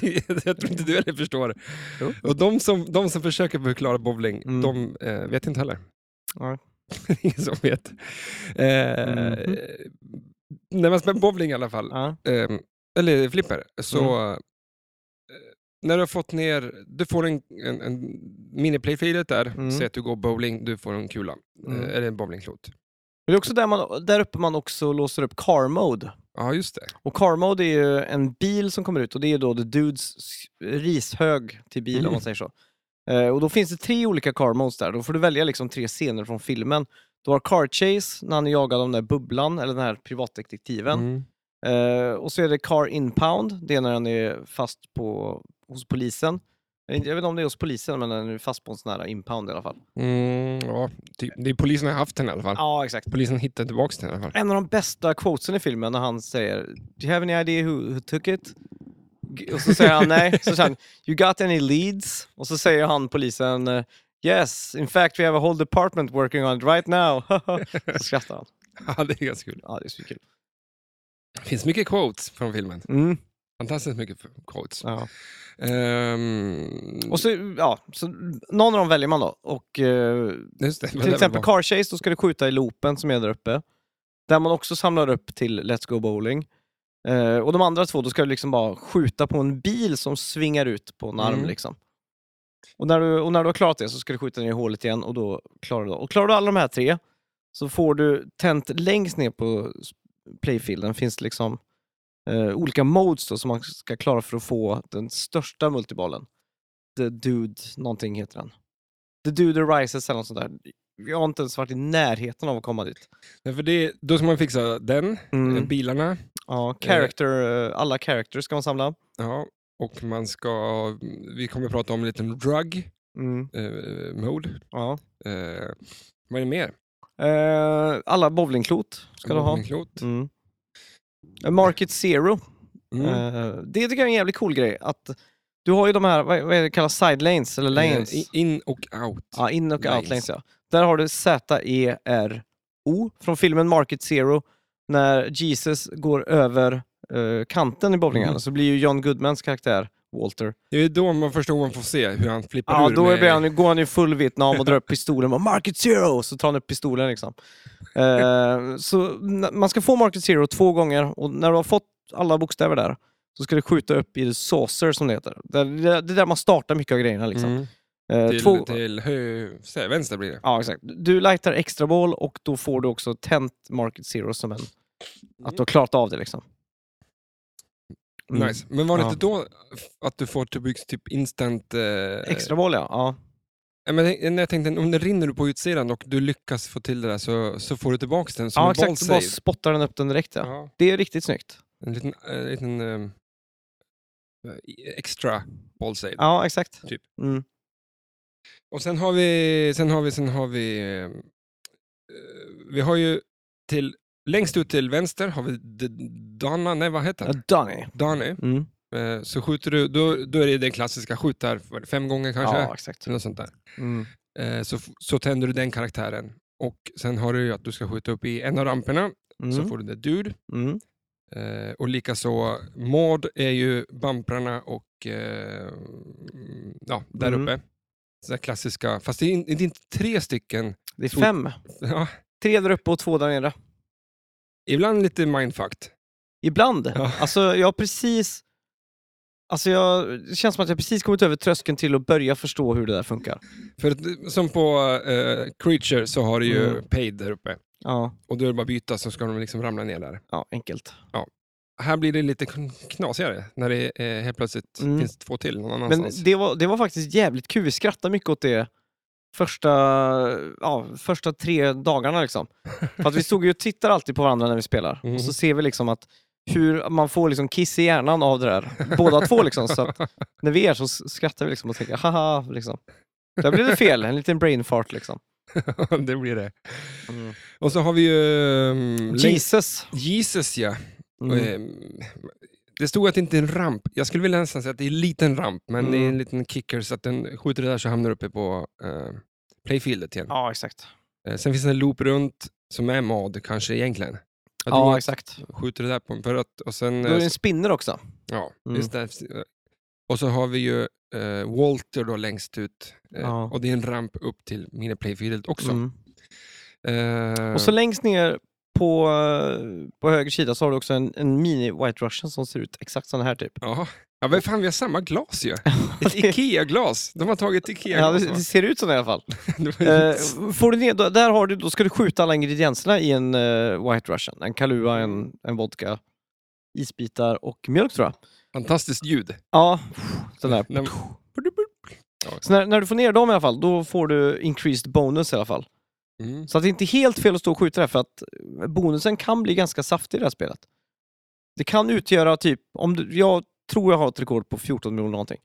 Speaker 1: det- [LAUGHS] jag tror inte du heller förstår.
Speaker 2: Jo.
Speaker 1: Och de som, de som försöker förklara bowling,
Speaker 2: Mm.
Speaker 1: de eh, vet inte heller.
Speaker 2: Nej.
Speaker 1: [LAUGHS] Det är Ingen som vet. Eh,
Speaker 2: Mhm.
Speaker 1: När man spelar bowling i alla fall,
Speaker 2: Ja. Mm.
Speaker 1: eh, eller flipper, så eh, när du har fått ner, du får en, en, en mini-playfilet där,
Speaker 2: Mm.
Speaker 1: säg att du går bowling, du får en kula,
Speaker 2: Mm.
Speaker 1: eh, eller en bowlingklot.
Speaker 2: Men det är också där, man, där uppe man också låser upp car mode.
Speaker 1: Ja, just det.
Speaker 2: Och car mode är ju en bil som kommer ut och det är ju då the dudes s- rishög till bil
Speaker 1: Mm.
Speaker 2: om man säger så. Eh, och då finns det tre olika car modes där. Då får du välja liksom tre scener från filmen. Du har car chase när han är jagad av den där bubblan eller den här privatdetektiven.
Speaker 1: Mm.
Speaker 2: Eh, och så är det car inpound, det är när han är fast på, hos polisen. Eh, Jag vet inte om det är hos polisen, men han är fast på en sån här inpound i alla fall.
Speaker 1: Mm, ja, typ. Det är polisen har haft den i alla fall.
Speaker 2: Ja, exakt.
Speaker 1: Polisen hittade tillbaka den i alla fall.
Speaker 2: en av de bästa quotesen i filmen när han säger Do you have any idea who, who took it? G- Och så säger han nej. Så säger han You got any leads? Och så säger han polisen eh, Yes, in fact we have a whole department working on it right now. [LAUGHS] så skrattar han.
Speaker 1: Ja, det är ganska kul.
Speaker 2: Ja, det är så kul.
Speaker 1: Det finns mycket quotes från filmen.
Speaker 2: Mm,
Speaker 1: Fantastiskt mycket f- quotes.
Speaker 2: ja.
Speaker 1: Ehm,
Speaker 2: Och så, ja, så någon av dem väljer man då. Och, eh,
Speaker 1: just det, vad
Speaker 2: till
Speaker 1: det
Speaker 2: exempel
Speaker 1: var.
Speaker 2: Car Chase, då ska du skjuta i loopen som är där uppe. Där man också samlar upp till Let's Go Bowling. Eh, och de andra två, då ska du liksom bara skjuta på en bil som svingar ut på en arm.
Speaker 1: Mm.
Speaker 2: Liksom. Och, när du, och när du har klarat det så ska du skjuta ner i hålet igen och då klarar du det. Och klarar du alla de här tre så får du tänt längst ner på s- playfielden finns det liksom eh, olika modes då, som man ska klara för att få den största multibollen. The Dude, någonting heter den. The Dude Arises eller något sånt där. Jag har inte ens varit i närheten av att komma dit.
Speaker 1: Ja, för det, då ska man fixa den, eh,
Speaker 2: Mm.
Speaker 1: bilarna,
Speaker 2: Ja, character, eh, alla characters ska man samla.
Speaker 1: ja, och man ska... Vi kommer att prata om en liten drug
Speaker 2: Mm.
Speaker 1: eh, mode.
Speaker 2: Ja.
Speaker 1: Eh, vad är det mer?
Speaker 2: Eh, alla bowlingklot ska du ha.
Speaker 1: En klot.
Speaker 2: Mm. Eh, Market Zero.
Speaker 1: Mm.
Speaker 2: Eh, det tycker jag är en jävligt cool grej. Att du har ju de här, vad vad är det kallas, side lanes eller lanes?
Speaker 1: Eh, i- in och out.
Speaker 2: Ja, in och
Speaker 1: Lanes.
Speaker 2: out lanes ja. Där har du Z-E-R-O från filmen Market Zero. När Jesus går över eh, kanten i bowlingen
Speaker 1: Mm.
Speaker 2: så blir ju John Goodmans karaktär Walter.
Speaker 1: Det är då man första gången får se hur han flippar
Speaker 2: Ja,
Speaker 1: ur.
Speaker 2: då
Speaker 1: med-
Speaker 2: blir han, går han ju full Vietnam och drar upp pistolen och bara, Market Zero! Så tar han upp pistolen liksom. Eh, så n- man ska få Market Zero två gånger och när du har fått alla bokstäver där så ska du skjuta upp i the saucer som det heter. Det, det, det är där man startar mycket av grejerna liksom.
Speaker 1: Mm.
Speaker 2: Eh,
Speaker 1: Till,
Speaker 2: två-
Speaker 1: till hö, så här, vänster blir det.
Speaker 2: Ja, exakt. Du lightar extra boll och då får du också tent Market Zero som en... Att du har klarat av det liksom. Mm.
Speaker 1: Nice. Men var det
Speaker 2: Ja.
Speaker 1: inte då att du får typ, typ instant... Eh,
Speaker 2: Extra mål ja. ja.
Speaker 1: Ja, men jag- när jag tänkte, om det rinner du på utsidan och du lyckas få till det där så, så får du tillbaka den som
Speaker 2: Ja
Speaker 1: en
Speaker 2: exakt, så bara
Speaker 1: ballsave.
Speaker 2: spottar den upp den direkt ja.
Speaker 1: Ja,
Speaker 2: Det är riktigt snyggt.
Speaker 1: en liten, eh, liten ehm, eh, extra ballsave.
Speaker 2: Ja exakt.
Speaker 1: Typ.
Speaker 2: Mm.
Speaker 1: Och sen har vi, sen har vi, sen har vi, ehm, eh, vi har ju till, längst ut till vänster har vi D- Dana, nej vad heter
Speaker 2: Ja,
Speaker 1: han?
Speaker 2: Danny.
Speaker 1: Dani.
Speaker 2: Mm.
Speaker 1: Eh, så skjuter du, då, då är det den klassiska, skjut där vad är det, fem gånger kanske.
Speaker 2: Ja exakt.
Speaker 1: Eller Något sånt där.
Speaker 2: Mm.
Speaker 1: Eh, så, f- så tänder du den karaktären. Och sen har du ju att du ska skjuta upp i en av ramperna. så
Speaker 2: Mm.
Speaker 1: får du det dur.
Speaker 2: Mm.
Speaker 1: Eh, och likaså mod är ju bumprarna och eh, mm, ja, där
Speaker 2: Mm.
Speaker 1: uppe. Så där klassiska, fast det är, in, det är inte tre stycken. [LAUGHS]
Speaker 2: Det är
Speaker 1: Stort.
Speaker 2: fem.
Speaker 1: Ja,
Speaker 2: Tre där uppe och två där nere.
Speaker 1: ibland lite mindfucked.
Speaker 2: Ibland.
Speaker 1: Ja.
Speaker 2: Alltså jag har precis... Alltså jag, det känns som att jag precis kommit över tröskeln till att börja förstå hur det där funkar.
Speaker 1: För att, som på eh, Creature så har du ju
Speaker 2: Mm.
Speaker 1: Paid där uppe.
Speaker 2: Ja,
Speaker 1: Och då är det bara att byta så ska de liksom ramla ner där.
Speaker 2: ja enkelt.
Speaker 1: Här blir det lite kn- knasigare när det eh, helt plötsligt
Speaker 2: Mm.
Speaker 1: finns två till någon
Speaker 2: Men
Speaker 1: annanstans. [LAUGHS]
Speaker 2: det var, det var faktiskt jävligt kul. Vi skrattade mycket åt det första, ja, första tre dagarna.
Speaker 1: [LAUGHS]
Speaker 2: Liksom. För att vi stod ju och tittade alltid på varandra när vi spelar.
Speaker 1: Mm.
Speaker 2: Och så ser vi liksom att hur man får liksom kiss i hjärnan av det där. Båda två liksom. Så att när vi är så s- skrattar vi liksom och tänker haha. Liksom. Där blev det fel. En liten brain fart liksom.
Speaker 1: Det, blir det. Och så har vi ju... ehm, längst-
Speaker 2: Mm. Jesus.
Speaker 1: Jesus ja.
Speaker 2: Mm.
Speaker 1: Ehm, Det stod att det inte är en ramp. Jag skulle vilja nästan säga att det är en liten ramp, men
Speaker 2: Mm.
Speaker 1: det är en liten kicker så att den skjuter det där så hamnar det uppe på eh, playfieldet igen.
Speaker 2: Ja, exakt.
Speaker 1: Eh, sen finns det en loop runt som är MAD kanske egentligen. Att
Speaker 2: Ja,
Speaker 1: du
Speaker 2: exakt.
Speaker 1: skjuter det där på en för att, och sen...
Speaker 2: Då
Speaker 1: eh,
Speaker 2: är det en spinner också.
Speaker 1: ja,
Speaker 2: Mm.
Speaker 1: just där. Och så har vi ju eh, Walter då längst ut. Eh,
Speaker 2: Ja.
Speaker 1: Och det är en ramp upp till mina playfieldet också.
Speaker 2: Mm.
Speaker 1: Eh,
Speaker 2: Och så längst ner på, eh, på höger sida så har du också en, en mini White Russian som ser ut exakt sån här typ.
Speaker 1: ja. ja, men fan vi har samma
Speaker 2: [LAUGHS]
Speaker 1: glas ju. Ett Ikea-glas. De har tagit
Speaker 2: Ja,
Speaker 1: [LAUGHS]
Speaker 2: det, alltså.
Speaker 1: Ikea-glas. va?
Speaker 2: det ser ut så i alla [LAUGHS] fall.
Speaker 1: Det var ju-
Speaker 2: Eh, får du ner, då, där har du, då ska du skjuta alla ingredienserna i en eh, White Russian. En Kahlua, en, en vodka, isbitar och mjölk tror jag.
Speaker 1: Fantastiskt ljud.
Speaker 2: Ja, den där.
Speaker 1: När-
Speaker 2: Så när, när du får ner dem i alla fall, då får du increased bonus i alla fall.
Speaker 1: Mm.
Speaker 2: Så att det är inte helt fel att stå och skjuta där för att eh, bonusen kan bli ganska saftig i det här spelet. Det kan utgöra typ, om du, jag tror jag har ett rekord på 14 miljoner någonting.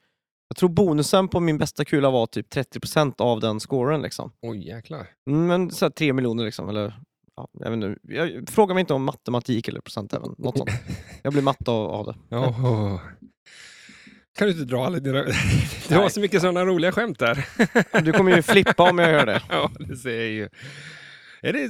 Speaker 2: Jag tror bonusen på min bästa kula var typ 30% av den scoren liksom.
Speaker 1: Oj, jäklar.
Speaker 2: Mm, Men så här 3 miljoner liksom, eller ja, jag vet inte. Jag frågar mig inte om matematik eller procent även,
Speaker 1: [LAUGHS]
Speaker 2: något sånt. Jag blir matte av, av det.
Speaker 1: Jaha. [LAUGHS] Kan du inte dra alla
Speaker 2: [LAUGHS]
Speaker 1: dina... Du har
Speaker 2: Nej.
Speaker 1: så mycket sådana roliga skämt
Speaker 2: [LAUGHS]
Speaker 1: där.
Speaker 2: Du kommer ju flippa om jag gör det.
Speaker 1: Ja, det ser jag ju. Är, det...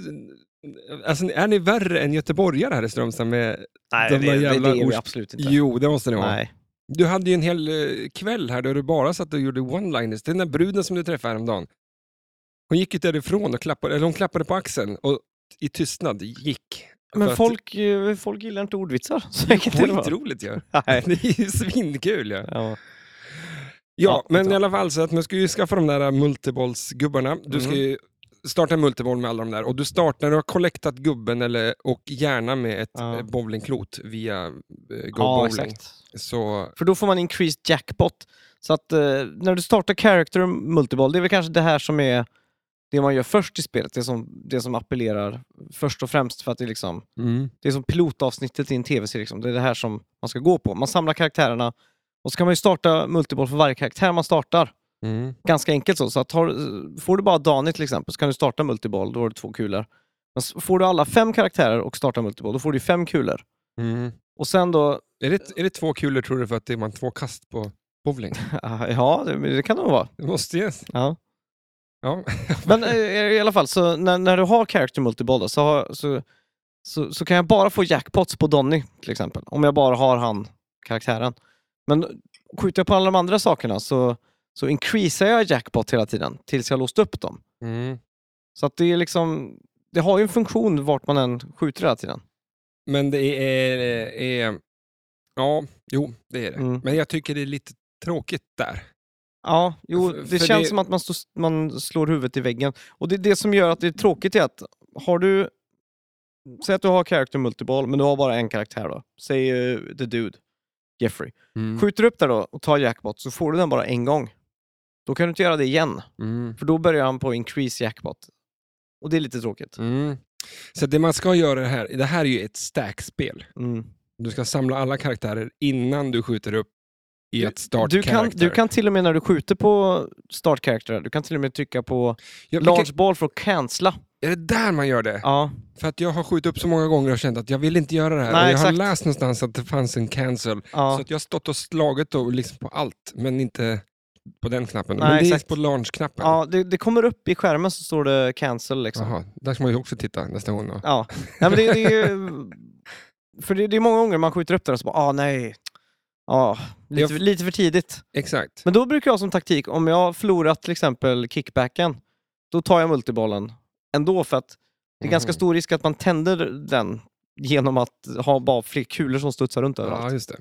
Speaker 1: alltså, är ni värre än göteborgare här i Strömstad? Med...
Speaker 2: [LAUGHS] Nej,
Speaker 1: De
Speaker 2: det,
Speaker 1: där
Speaker 2: det, det,
Speaker 1: jävla
Speaker 2: är vi
Speaker 1: ors-
Speaker 2: absolut inte.
Speaker 1: Jo, det måste ni vara.
Speaker 2: Nej.
Speaker 1: Du hade ju en hel eh, kväll här där du bara satt och gjorde one-liners. Den där bruden som du träffade häromdagen. Hon gick ju därifrån och klappade, eller hon klappade på axeln och i tystnad gick. För
Speaker 2: Men
Speaker 1: att-
Speaker 2: folk, eh, folk gillar inte ordvitsar. [LAUGHS] Så enkelt är det bara.
Speaker 1: Skitroligt ju.
Speaker 2: Nej.
Speaker 1: [LAUGHS] Det är ju svinkul ju.
Speaker 2: Ja.
Speaker 1: Ja,
Speaker 2: Ja,
Speaker 1: men
Speaker 2: vet
Speaker 1: i
Speaker 2: jag.
Speaker 1: alla fall så att man ska ju skaffa de där eh, multibollsgubbarna. Du ska
Speaker 2: Mm.
Speaker 1: ju starta en multiboll med alla de där och du startar när du har collectat gubben eller, och gärna med ett
Speaker 2: Ja.
Speaker 1: eh, bowlingklot via eh, Go
Speaker 2: ja,
Speaker 1: Bowling.
Speaker 2: exakt.
Speaker 1: Så,
Speaker 2: För då får man increased jackpot. Så att eh, när du startar character och multiball, det är väl kanske det här som är det man gör först i spelet. Det som, det som appellerar först och främst för att det är, liksom,
Speaker 1: mm.
Speaker 2: det är som pilotavsnittet i en tv-serie. Liksom. Det är det här som man ska gå på. Man samlar karaktärerna och så kan man ju starta multiball för varje karaktär man startar.
Speaker 1: Mm.
Speaker 2: Ganska enkelt så. så att har, får du bara Dani till exempel så kan du starta multiball, då har du två kulor. Men s- får du alla fem karaktärer och startar multiball, då får du ju fem kulor.
Speaker 1: Mm.
Speaker 2: Och sen då, [LAUGHS]
Speaker 1: Är, det, är det två kulor tror du för att det är man två kast på
Speaker 2: [LAUGHS]
Speaker 1: bowling?
Speaker 2: ja det, det kan det nog vara.
Speaker 1: Det måste ju...
Speaker 2: Ja.
Speaker 1: Ja.
Speaker 2: Men eh, i alla fall, så när, när du har character multiball då, så, har, så, så, så kan jag bara få jackpots på Donny till exempel. Om jag bara har han, karaktären. Men skjuter jag på alla de andra sakerna så, så increasar jag jackpot hela tiden tills jag låst upp dem.
Speaker 1: Mm.
Speaker 2: Så att det är liksom, det har ju en funktion vart man än skjuter hela tiden.
Speaker 1: Men det är, eh, är... Ja, jo, det är det.
Speaker 2: Mm.
Speaker 1: Men jag tycker det är lite tråkigt där.
Speaker 2: Ja, jo,
Speaker 1: För-
Speaker 2: det
Speaker 1: för
Speaker 2: känns
Speaker 1: det-
Speaker 2: som att man, stå, man slår huvudet i väggen. Och det är det som gör att det är tråkigt är att har du... Säg att du har character multiball, men du har bara en karaktär då. Säg eh, the dude. Jeffrey.
Speaker 1: Mm.
Speaker 2: Skjuter du upp där då och tar jackpot så får du den bara en gång. Då kan du inte göra det igen,
Speaker 1: Mm.
Speaker 2: för då börjar han på increase jackpot. Och det är lite tråkigt.
Speaker 1: Mm. Så det man ska göra det här, det här är ju ett stackspel.
Speaker 2: Mm.
Speaker 1: Du ska samla alla karaktärer innan du skjuter upp i ett start
Speaker 2: Du, kan, du kan till och med när du skjuter på start character, du kan till och med trycka på
Speaker 1: ja, vilka-
Speaker 2: launch ball för att cancella.
Speaker 1: Är det där man gör det?
Speaker 2: Ja.
Speaker 1: För att jag har skjutit upp så många gånger och känt att jag vill inte göra det här.
Speaker 2: Nej,
Speaker 1: och jag har
Speaker 2: exakt.
Speaker 1: läst någonstans att det fanns en cancel.
Speaker 2: ja.
Speaker 1: Så att jag har stått och slagit då liksom på allt, men inte på den knappen.
Speaker 2: Nej,
Speaker 1: men det
Speaker 2: exakt.
Speaker 1: är på launch-knappen.
Speaker 2: Ja, det, det kommer upp i skärmen så står det cancel liksom.
Speaker 1: Jaha, där ska man ju också titta nästa gång. Då.
Speaker 2: Ja, nej, men det, det är [LAUGHS] ju... För det, det är många gånger man skjuter upp den och så bara, ah nej. Ja, lite,
Speaker 1: Jag-
Speaker 2: lite för tidigt.
Speaker 1: Exakt.
Speaker 2: Men då brukar jag som taktik, om jag har förlorat till exempel kickbacken, då tar jag multibollen ändå för att det är ganska
Speaker 1: Mhm.
Speaker 2: stor risk att man tänder den genom att ha bara fler kulor som studsar runt
Speaker 1: Ja,
Speaker 2: överallt.
Speaker 1: just det.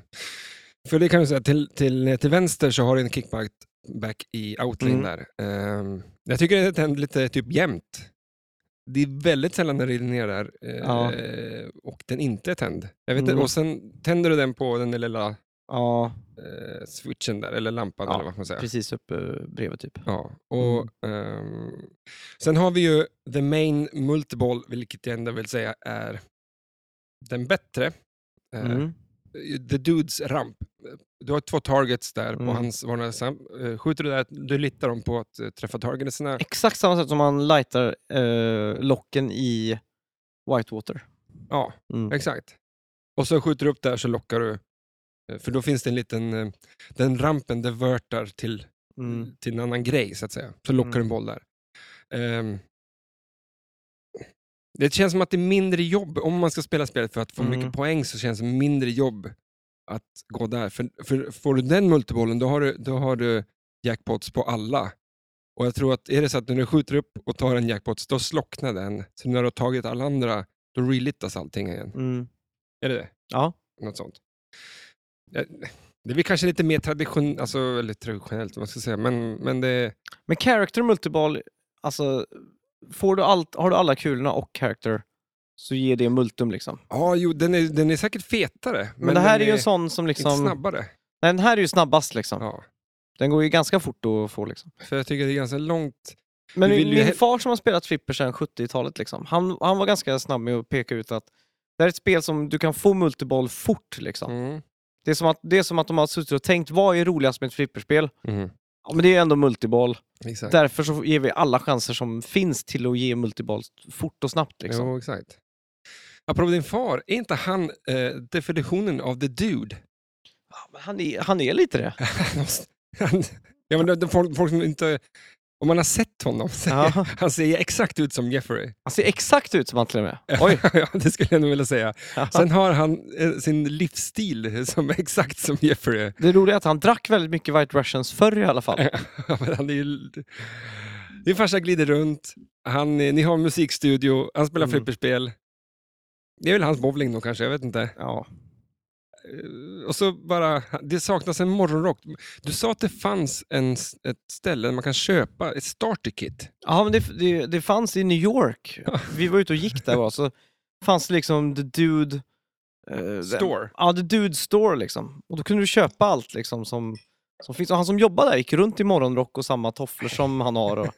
Speaker 1: För det kan vi säga, till, till, till vänster så har du en kickback back i outlane
Speaker 2: Mm.
Speaker 1: där. Ehm, jag tycker att den är lite typ jämnt. Det är väldigt sällan den rinner ner där eh,
Speaker 2: Ja.
Speaker 1: och den inte är tänd. Jag vet
Speaker 2: Mm.
Speaker 1: inte, och sen tänder du den på den där lilla
Speaker 2: Ja,
Speaker 1: eh, switchen där, eller lampan
Speaker 2: Ja,
Speaker 1: eller vad man säger.
Speaker 2: precis Mm. uppe bredvid typ.
Speaker 1: Ja, och, ehm, sen har vi ju the main multiball, vilket jag ändå vill säga är den bättre. Eh,
Speaker 2: Mm.
Speaker 1: The Dudes ramp. Eh, Du har två targets där på
Speaker 2: Mm.
Speaker 1: hans varnare. Eh, Skjuter du där, du litar dem på att eh, träffa targetsna.
Speaker 2: Exakt samma sätt som man lightar eh, locken i Whitewater.
Speaker 1: Ja,
Speaker 2: Mm.
Speaker 1: exakt. Och så skjuter du upp där så lockar du. Eh, För då finns det en liten, eh, den rampen divertar till,
Speaker 2: Mm.
Speaker 1: till en annan grej så att säga. Så lockar du en boll där. Ehm, det känns som att det är mindre jobb, om man ska spela spelet för att få
Speaker 2: Mm.
Speaker 1: mycket poäng så känns det mindre jobb att gå där. För, för får du den multibollen då har du, då har du jackpots på alla. Och jag tror att är det så att när du skjuter upp och tar en jackpot, då slocknar den. Så när du har tagit alla andra, då relittas allting igen.
Speaker 2: Mm.
Speaker 1: Är det det?
Speaker 2: Ja.
Speaker 1: Något sånt. Eh, Det är väl kanske lite mer tradition, alltså, eller traditionellt, vad ska jag säga, men, men det...
Speaker 2: Men character multiball, alltså får du allt, har du alla kulorna och character så ger det multum liksom.
Speaker 1: Ja, jo, den är, den är säkert fetare.
Speaker 2: Men, det här
Speaker 1: den
Speaker 2: är ju en sån
Speaker 1: inte
Speaker 2: som liksom...
Speaker 1: snabbare.
Speaker 2: Nej, den här är ju snabbast liksom.
Speaker 1: Ja.
Speaker 2: Den går ju ganska fort att få liksom.
Speaker 1: För jag tycker det är ganska långt.
Speaker 2: Men
Speaker 1: Du
Speaker 2: min,
Speaker 1: vill ju
Speaker 2: min
Speaker 1: he-
Speaker 2: far som har spelat flipper sedan 70-talet liksom, han, han var ganska snabb med att peka ut att det här är ett spel som du kan få multiball fort liksom.
Speaker 1: Mm.
Speaker 2: Det, är som att, det är som att de har suttit och tänkt, vad är roligast med ett flipperspel?
Speaker 1: Mm.
Speaker 2: Ja men det är ändå multiball.
Speaker 1: Exakt.
Speaker 2: Därför så ger vi alla chanser som finns till att ge multiball fort och snabbt liksom.
Speaker 1: Jo, exakt. Apropå din far, är inte han eh, definitionen av the dude? [LAUGHS]
Speaker 2: Ja, men han, är, han är lite det.
Speaker 1: Han måste- han, ja, men det, det, folk, folk som inte... Om man har sett honom,
Speaker 2: [LAUGHS] Ja.
Speaker 1: [LAUGHS] han ser ju exakt ut som Jeffrey.
Speaker 2: Han ser exakt ut som han till och med. [LAUGHS] Oj!
Speaker 1: [LAUGHS] ja, det skulle jag nog vilja säga. Sen har han eh, sin livsstil som är [LAUGHS] exakt som Jeffrey.
Speaker 2: Det roliga är att han drack väldigt mycket White Russians förr i alla fall.
Speaker 1: Ja, men han är ju... Din farsa glider runt, han, eh, ni har en musikstudio, han spelar
Speaker 2: Mm.
Speaker 1: flipperspel. Det är väl hans bowling då kanske, jag vet inte.
Speaker 2: Ja.
Speaker 1: Eh, Och så bara, det saknas en morgonrock. Du sa att det fanns en, s- ett ställe där man kan köpa ett starter kit.
Speaker 2: Ja, men det, det, det fanns i New York. Vi var ute och gick där bara, så fanns det liksom The Dude... eh,
Speaker 1: Store.
Speaker 2: Ja, The Dude Store liksom. Och då kunde du köpa allt liksom som, som finns. Och han som jobbade där gick runt i morgonrock och samma tofflor som han har. Och,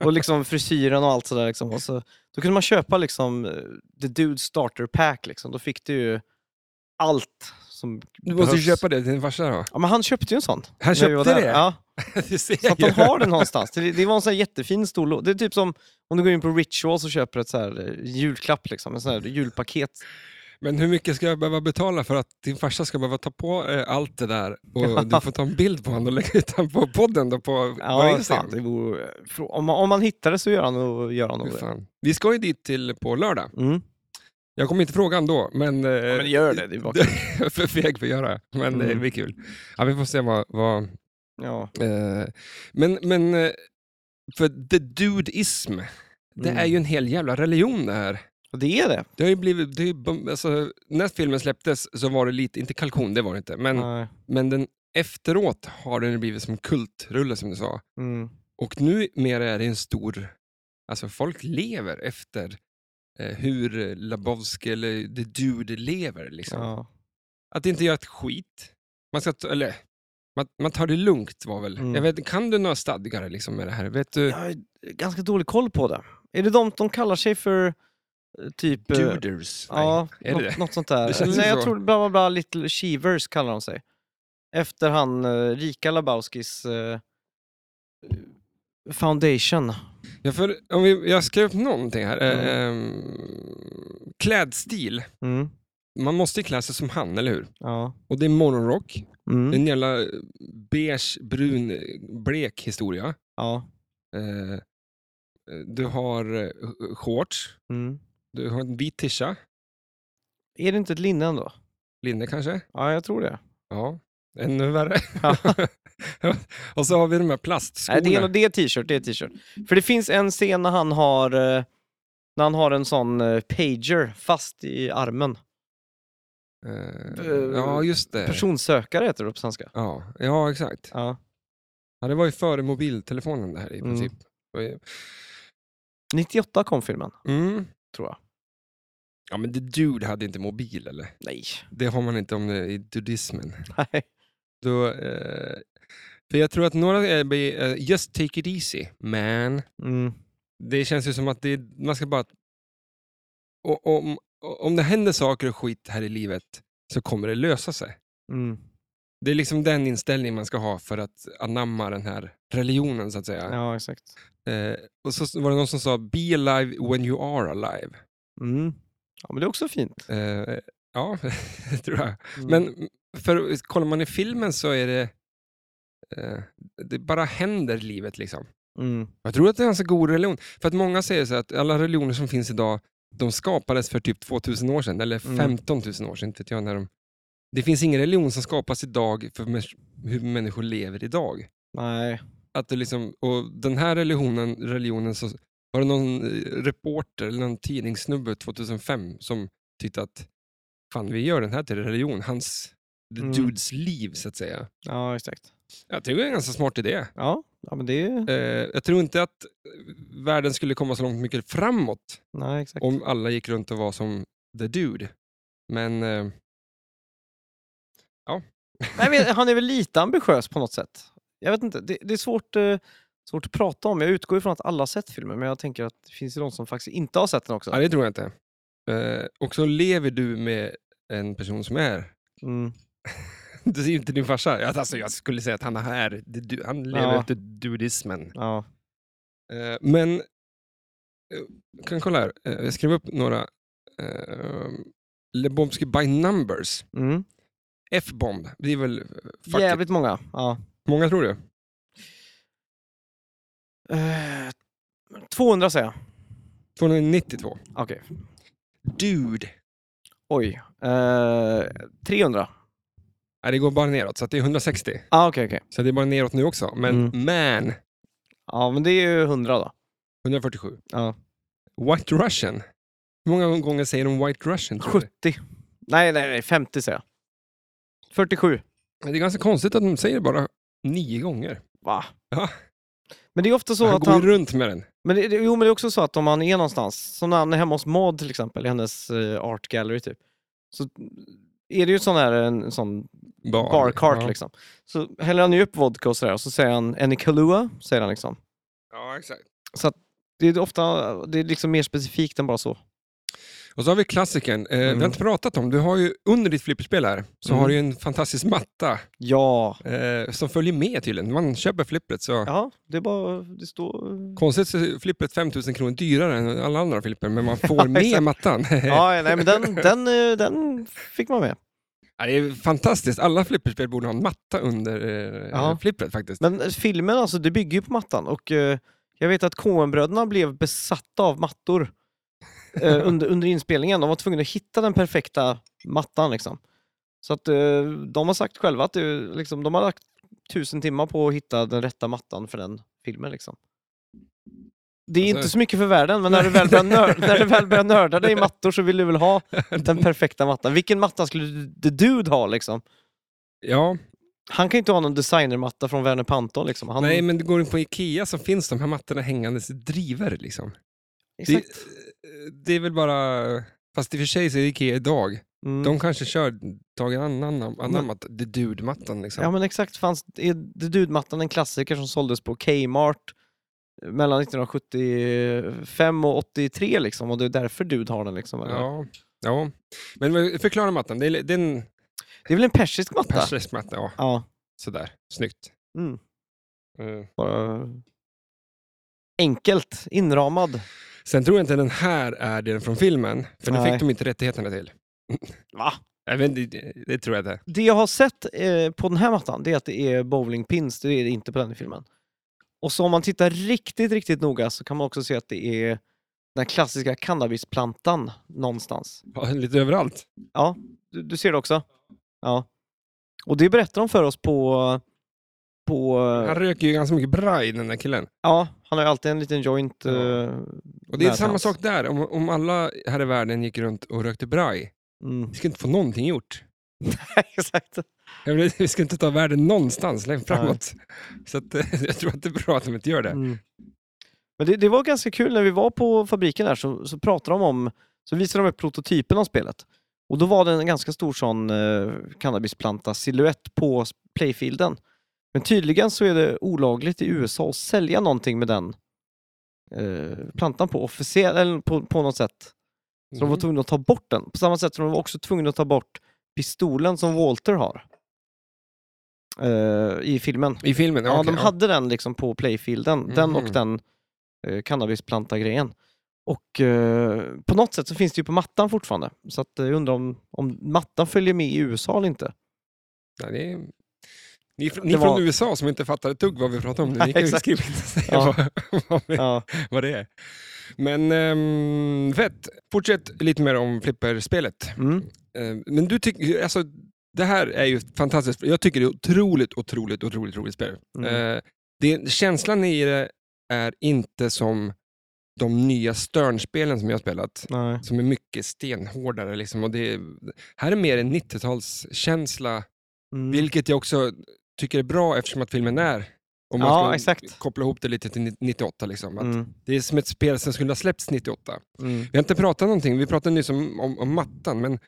Speaker 2: och liksom frisyren och allt sådär liksom. Och så, då kunde man köpa liksom eh, The Dude Starter Pack liksom. Då fick du ju allt som
Speaker 1: Du måste ju
Speaker 2: behövs.
Speaker 1: köpa det till din farsa då. [LAUGHS]
Speaker 2: Ja, men han köpte ju en sån.
Speaker 1: Han
Speaker 2: när vi var
Speaker 1: köpte
Speaker 2: där.
Speaker 1: det?
Speaker 2: Ja.
Speaker 1: Det ser
Speaker 2: Så
Speaker 1: jag
Speaker 2: att de
Speaker 1: ju.
Speaker 2: har det någonstans. Det, det var en sån här jättefin stor låda. Det är typ som om du går in på Rituals och köper ett så här eh, julklapp, liksom, en sån här julpaket.
Speaker 1: Men hur mycket ska jag behöva betala för att din farsa ska behöva ta på eh, allt det där
Speaker 2: [LAUGHS]
Speaker 1: och du får ta en bild på honom och lägga ut den på podden då på på
Speaker 2: Ja,
Speaker 1: Instagram?
Speaker 2: fan, det vore, eh, frå- om, man, om man hittar det så gör han nog, gör han nog
Speaker 1: Fy
Speaker 2: det.
Speaker 1: fan. Vi ska ju dit till på lördag.
Speaker 2: Mm.
Speaker 1: Jag kommer inte fråga ändå, men...
Speaker 2: Ja, men gör det. det är bara...
Speaker 1: jag är [LAUGHS] för feg för att göra, men eh,
Speaker 2: Mm.
Speaker 1: det blir kul. Ja, vi får se vad... vad
Speaker 2: ja.
Speaker 1: eh, men, men... eh, För the dudeism, det
Speaker 2: Mm.
Speaker 1: är ju en hel jävla religion det här.
Speaker 2: Och det är det.
Speaker 1: Det har ju blivit... Det är, ju bom- alltså, när filmen släpptes så var det lite, inte kalkon, det var det inte, men,
Speaker 2: Nej.
Speaker 1: men den efteråt har den blivit som kultrulle som du sa.
Speaker 2: Mm.
Speaker 1: Och numera är det en stor... Alltså folk lever efter eh, hur Labowski eller The Dude lever. Liksom.
Speaker 2: Ja.
Speaker 1: Att inte göra ett skit. Man, ska ta, eller, man, man tar det lugnt var väl...
Speaker 2: Mm.
Speaker 1: Jag vet, kan du några stadgar liksom med det här? Vet du?
Speaker 2: Jag har ganska dålig koll på det. Är det de som kallar sig för eh, typ... eh,
Speaker 1: Duders?
Speaker 2: Ja,
Speaker 1: Nej. Är det
Speaker 2: något,
Speaker 1: det?
Speaker 2: något sånt där.
Speaker 1: Det känns
Speaker 2: Nej,
Speaker 1: ju
Speaker 2: jag
Speaker 1: så.
Speaker 2: tror bla bla bla, Little Shivers kallar de sig. Efter han eh, rika Labowskis eh, foundation.
Speaker 1: Ja, för, om vi, jag skrev upp någonting här. Eh,
Speaker 2: Mm.
Speaker 1: ehm, klädstil.
Speaker 2: Mm,
Speaker 1: Man måste ju klä sig som han, eller hur?
Speaker 2: ja.
Speaker 1: Och det är morgonrock. Det är
Speaker 2: Mm,
Speaker 1: en jävla eh, beige, brun, eh, blek historia.
Speaker 2: ja.
Speaker 1: Eh, du har eh, shorts,
Speaker 2: Mm.
Speaker 1: du har en vit tisha,
Speaker 2: Är det inte ett linne ändå?
Speaker 1: linne kanske?
Speaker 2: Ja, jag tror det.
Speaker 1: Ja, ännu värre. [LAUGHS] och så har vi de här
Speaker 2: Nej,
Speaker 1: plastskorna.
Speaker 2: det är nog det är t-shirt, det är t-shirt. För det finns en scen när han har, eh, när han har en sån eh, pager fast i armen.
Speaker 1: Eh, ja, just det.
Speaker 2: Personsökare heter det på svenska.
Speaker 1: Ja, ja, exakt.
Speaker 2: Ja.
Speaker 1: Ja, det var ju före mobiltelefonen det här i
Speaker 2: Mm.
Speaker 1: princip. Mm.
Speaker 2: 98 kom filmen,
Speaker 1: Mm.
Speaker 2: tror jag.
Speaker 1: Ja, men The Dude hade inte mobil, eller?
Speaker 2: Nej.
Speaker 1: Det har man inte om det i dudismen.
Speaker 2: Nej.
Speaker 1: Då, eh, för jag tror att några är eh, just take it easy, man.
Speaker 2: Mm.
Speaker 1: Det känns ju som att det, är- man ska bara... Och, om, om det händer saker och skit här i livet så kommer det lösa sig.
Speaker 2: Mm.
Speaker 1: Det är liksom den inställning man ska ha för att anamma den här religionen så att säga.
Speaker 2: Ja, exakt.
Speaker 1: Eh, och så var det någon som sa “Be alive when you are alive”.
Speaker 2: Mm. Ja, men det är också fint. Mm.
Speaker 1: Eh, ja, [LAUGHS] det tror jag. Men för, kollar man i filmen så är det... Eh, det bara händer livet liksom.
Speaker 2: Mm.
Speaker 1: Jag tror att det är en ganska god religion. För att många säger så att alla religioner som finns idag, de skapades för typ 2000 år sedan, eller
Speaker 2: Mm.
Speaker 1: 15 000 år sedan, inte vet jag när de... Det finns ingen religion som skapas idag för männis- hur människor lever idag.
Speaker 2: Nej.
Speaker 1: Att det liksom, och den här religionen, religionen så var det någon eh, reporter eller någon tidningssnubbe 2005 som tyckte att fan vi gör den här till religion, hans the
Speaker 2: Mm.
Speaker 1: dudes liv så att säga.
Speaker 2: Ja, exakt.
Speaker 1: Jag tycker det är en ganska smart idé.
Speaker 2: Ja, ja men det är...
Speaker 1: Eh, jag tror inte att eh, världen skulle komma så långt mycket framåt
Speaker 2: Nej, exakt.
Speaker 1: om alla gick runt och var som the dude. Men eh,
Speaker 2: Nej, men han är väl lite ambitiös på något sätt. Jag vet inte, det, det är svårt, eh, svårt att prata om. Jag utgår ifrån att alla har sett filmen, men jag tänker att det finns ju de som faktiskt inte har sett den också.
Speaker 1: ja, det tror jag inte. Eh, och så lever du med en person som är [LAUGHS]
Speaker 2: Mm.
Speaker 1: Du ser ju inte din farsa. Ja, Alltså, jag skulle säga att han är det du, han lever
Speaker 2: Ja.
Speaker 1: efter dudismen.
Speaker 2: Ja.
Speaker 1: Eh, men, eh, kan kolla här. Eh, jag skrev upp några. Eh, Lebomsky by numbers.
Speaker 2: Mm.
Speaker 1: F-bomb. Det är väl... eh, Fuck it.
Speaker 2: Jävligt många. Ja.
Speaker 1: Många tror det.
Speaker 2: Eh, 200 säger jag.
Speaker 1: 292.
Speaker 2: Okej.
Speaker 1: Dude.
Speaker 2: Oj. Eh, 300.
Speaker 1: Nej, det går bara neråt, så att det är 160.
Speaker 2: Ah, okej, okej.
Speaker 1: Så det är bara neråt nu också. Men
Speaker 2: Mm.
Speaker 1: man.
Speaker 2: Ja, men det är ju 100 då.
Speaker 1: 147.
Speaker 2: Ja.
Speaker 1: White Russian. Hur många gånger säger de White Russian? tror du?
Speaker 2: 70. Nej, nej, nej. 50 säger jag. 47.
Speaker 1: Det är ganska konstigt att de säger bara nio gånger.
Speaker 2: Va?
Speaker 1: Ja.
Speaker 2: Men det är ofta så
Speaker 1: han
Speaker 2: att
Speaker 1: går ju
Speaker 2: han...
Speaker 1: runt med den.
Speaker 2: Men det, det- jo, men det är också så att om han är någonstans, som när han är hemma hos Maud till exempel, i hennes eh, art gallery typ, så är det ju sån här, en sån
Speaker 1: Bar,
Speaker 2: bar cart
Speaker 1: ja.
Speaker 2: liksom. Så häller han ju upp vodka och sådär och så säger han Any Kahlua, säger han liksom.
Speaker 1: Ja, exakt.
Speaker 2: Det är ofta, det är liksom mer specifikt än bara så.
Speaker 1: Och så har vi klassikern. Eh, Vi
Speaker 2: Mm.
Speaker 1: har inte pratat om, du har ju under ditt flipperspel här, så
Speaker 2: Mm.
Speaker 1: har du ju en fantastisk matta
Speaker 2: Ja,
Speaker 1: eh, som följer med tydligen. Man köper flippret så...
Speaker 2: ja, det är bara, det står...
Speaker 1: [LAUGHS] Konstigt så är flippret 5000 kronor dyrare än alla andra flipper, men man
Speaker 2: [LAUGHS]
Speaker 1: får med
Speaker 2: exakt.
Speaker 1: mattan.
Speaker 2: Ja, nej men den, den, eh, den fick man med.
Speaker 1: Ja, det är fantastiskt. Alla flipperspel borde ha en matta under eh,
Speaker 2: Ja.
Speaker 1: flippret faktiskt.
Speaker 2: Men eh, filmen alltså, det bygger ju på mattan och eh, jag vet att Coen-bröderna blev besatta av mattor
Speaker 1: [LAUGHS]
Speaker 2: eh, under, under inspelningen. De var tvungna att hitta den perfekta mattan liksom. Så att eh, de har sagt själva att det, liksom, de har lagt tusen timmar på att hitta den rätta mattan för den filmen liksom. Det är
Speaker 1: Alltså-
Speaker 2: inte så mycket för världen, men
Speaker 1: [LAUGHS]
Speaker 2: när du väl börjar, nör- när du väl börjar nörda dig i mattor så vill du väl ha den perfekta mattan. Vilken matta skulle The Dude ha liksom?
Speaker 1: Ja,
Speaker 2: Han kan ju inte ha någon designermatta från Werner Panton liksom. Han,
Speaker 1: nej men du går in på Ikea så finns de här mattorna hängandes i drivor liksom. eh,
Speaker 2: Exakt.
Speaker 1: Det, det är väl bara... Fast i och för sig så är Ikea idag
Speaker 2: Mm.
Speaker 1: De kanske kör Tage Anam- Anammat, the dude-mattan liksom.
Speaker 2: Ja men exakt, fanns är Dudmattan en klassiker som såldes på Kmart eh, mellan 1975 och 83 liksom och det är därför Dud har den liksom? eller?
Speaker 1: ja. ja. Men förklara mattan, det är, det är en
Speaker 2: Det är väl en persisk matta?
Speaker 1: persisk matta. Ja,
Speaker 2: Ja.
Speaker 1: sådär, snyggt.
Speaker 2: Mm.
Speaker 1: Eh,
Speaker 2: Bara... Enkelt, inramad.
Speaker 1: Sen tror jag inte den här är den från filmen, för den
Speaker 2: Nej.
Speaker 1: fick de inte rättigheterna till.
Speaker 2: Va?
Speaker 1: Jag vet, inte, det, det tror jag inte.
Speaker 2: Det jag har sett eh, på den här mattan det är att det är bowlingpins, det är det inte på den i filmen. Och så om man tittar riktigt, riktigt noga så kan man också se att det är den klassiska cannabisplantan någonstans.
Speaker 1: Ja, Lite överallt.
Speaker 2: Du, du ser det också? Ja. Och det berättar de för oss på... på
Speaker 1: Han röker ju ganska mycket braj den där killen.
Speaker 2: ja, han har ju alltid en liten joint.
Speaker 1: Ja.
Speaker 2: eh,
Speaker 1: Och det är
Speaker 2: Nära
Speaker 1: samma
Speaker 2: hans.
Speaker 1: sak där, om, om alla här i världen gick runt och rökte braj,
Speaker 2: mm.
Speaker 1: vi skulle inte få någonting gjort.
Speaker 2: [LAUGHS] Exakt.
Speaker 1: Jag vill, [LAUGHS] vi ska inte ta världen någonstans längre
Speaker 2: Nej.
Speaker 1: framåt. [LAUGHS] Så att, eh, jag tror att det är bra att de inte gör det.
Speaker 2: Mm. Men det, det var ganska kul, när vi var på fabriken där så, så pratade de om, så visade de upp prototypen av spelet. Och då var det en ganska stor sån eh, cannabisplanta, silhuett på s- playfielden. Men tydligen så är det olagligt i USA att sälja någonting med den eh, plantan på, officiellt, eller på, på något sätt. Så
Speaker 1: Mm.
Speaker 2: de var tvungna att ta bort den. På samma sätt som de var också tvungna att ta bort pistolen som Walter har. Eh, I filmen.
Speaker 1: I filmen?
Speaker 2: Ja,
Speaker 1: okej,
Speaker 2: de hade den liksom på playfielden. Den och
Speaker 1: Mhm.
Speaker 2: den eh, cannabisplanta-grejen. Och eh, på något sätt så finns det ju på mattan fortfarande. Så att eh, jag undrar om, om mattan följer med i USA eller
Speaker 1: [LAUGHS]
Speaker 2: inte.
Speaker 1: Ja, det är... Ni, fr- ni
Speaker 2: Det
Speaker 1: från
Speaker 2: var-
Speaker 1: USA som inte fattar ett dugg vad vi pratar om nu,
Speaker 2: Nej,
Speaker 1: ni kan ju
Speaker 2: exakt.
Speaker 1: skriva in och säga
Speaker 2: Ja.
Speaker 1: vad, [LAUGHS] vad, vi-
Speaker 2: Ja,
Speaker 1: vad det är. Men ehm, fett, fortsätt lite mer om flipperspelet.
Speaker 2: mm.
Speaker 1: Eh, men du tycker, alltså det här är ju fantastiskt. Jag tycker det är otroligt, otroligt, otroligt roligt spel.
Speaker 2: Mm.
Speaker 1: Eh, det, känslan i det är inte som de nya Stern-spelen som jag har spelat,
Speaker 2: Nej.
Speaker 1: som är mycket stenhårdare. Liksom, och det, är- här är mer en 90-talskänsla
Speaker 2: Mm.
Speaker 1: vilket jag också tycker är bra eftersom att filmen är, om man
Speaker 2: Ja,
Speaker 1: ska
Speaker 2: exakt.
Speaker 1: koppla ihop det lite till 98, liksom, att
Speaker 2: Mm.
Speaker 1: det är som ett spel som skulle ha släppts 98.
Speaker 2: Mm.
Speaker 1: Vi har inte pratat någonting, vi pratade nyss om, om, om mattan, men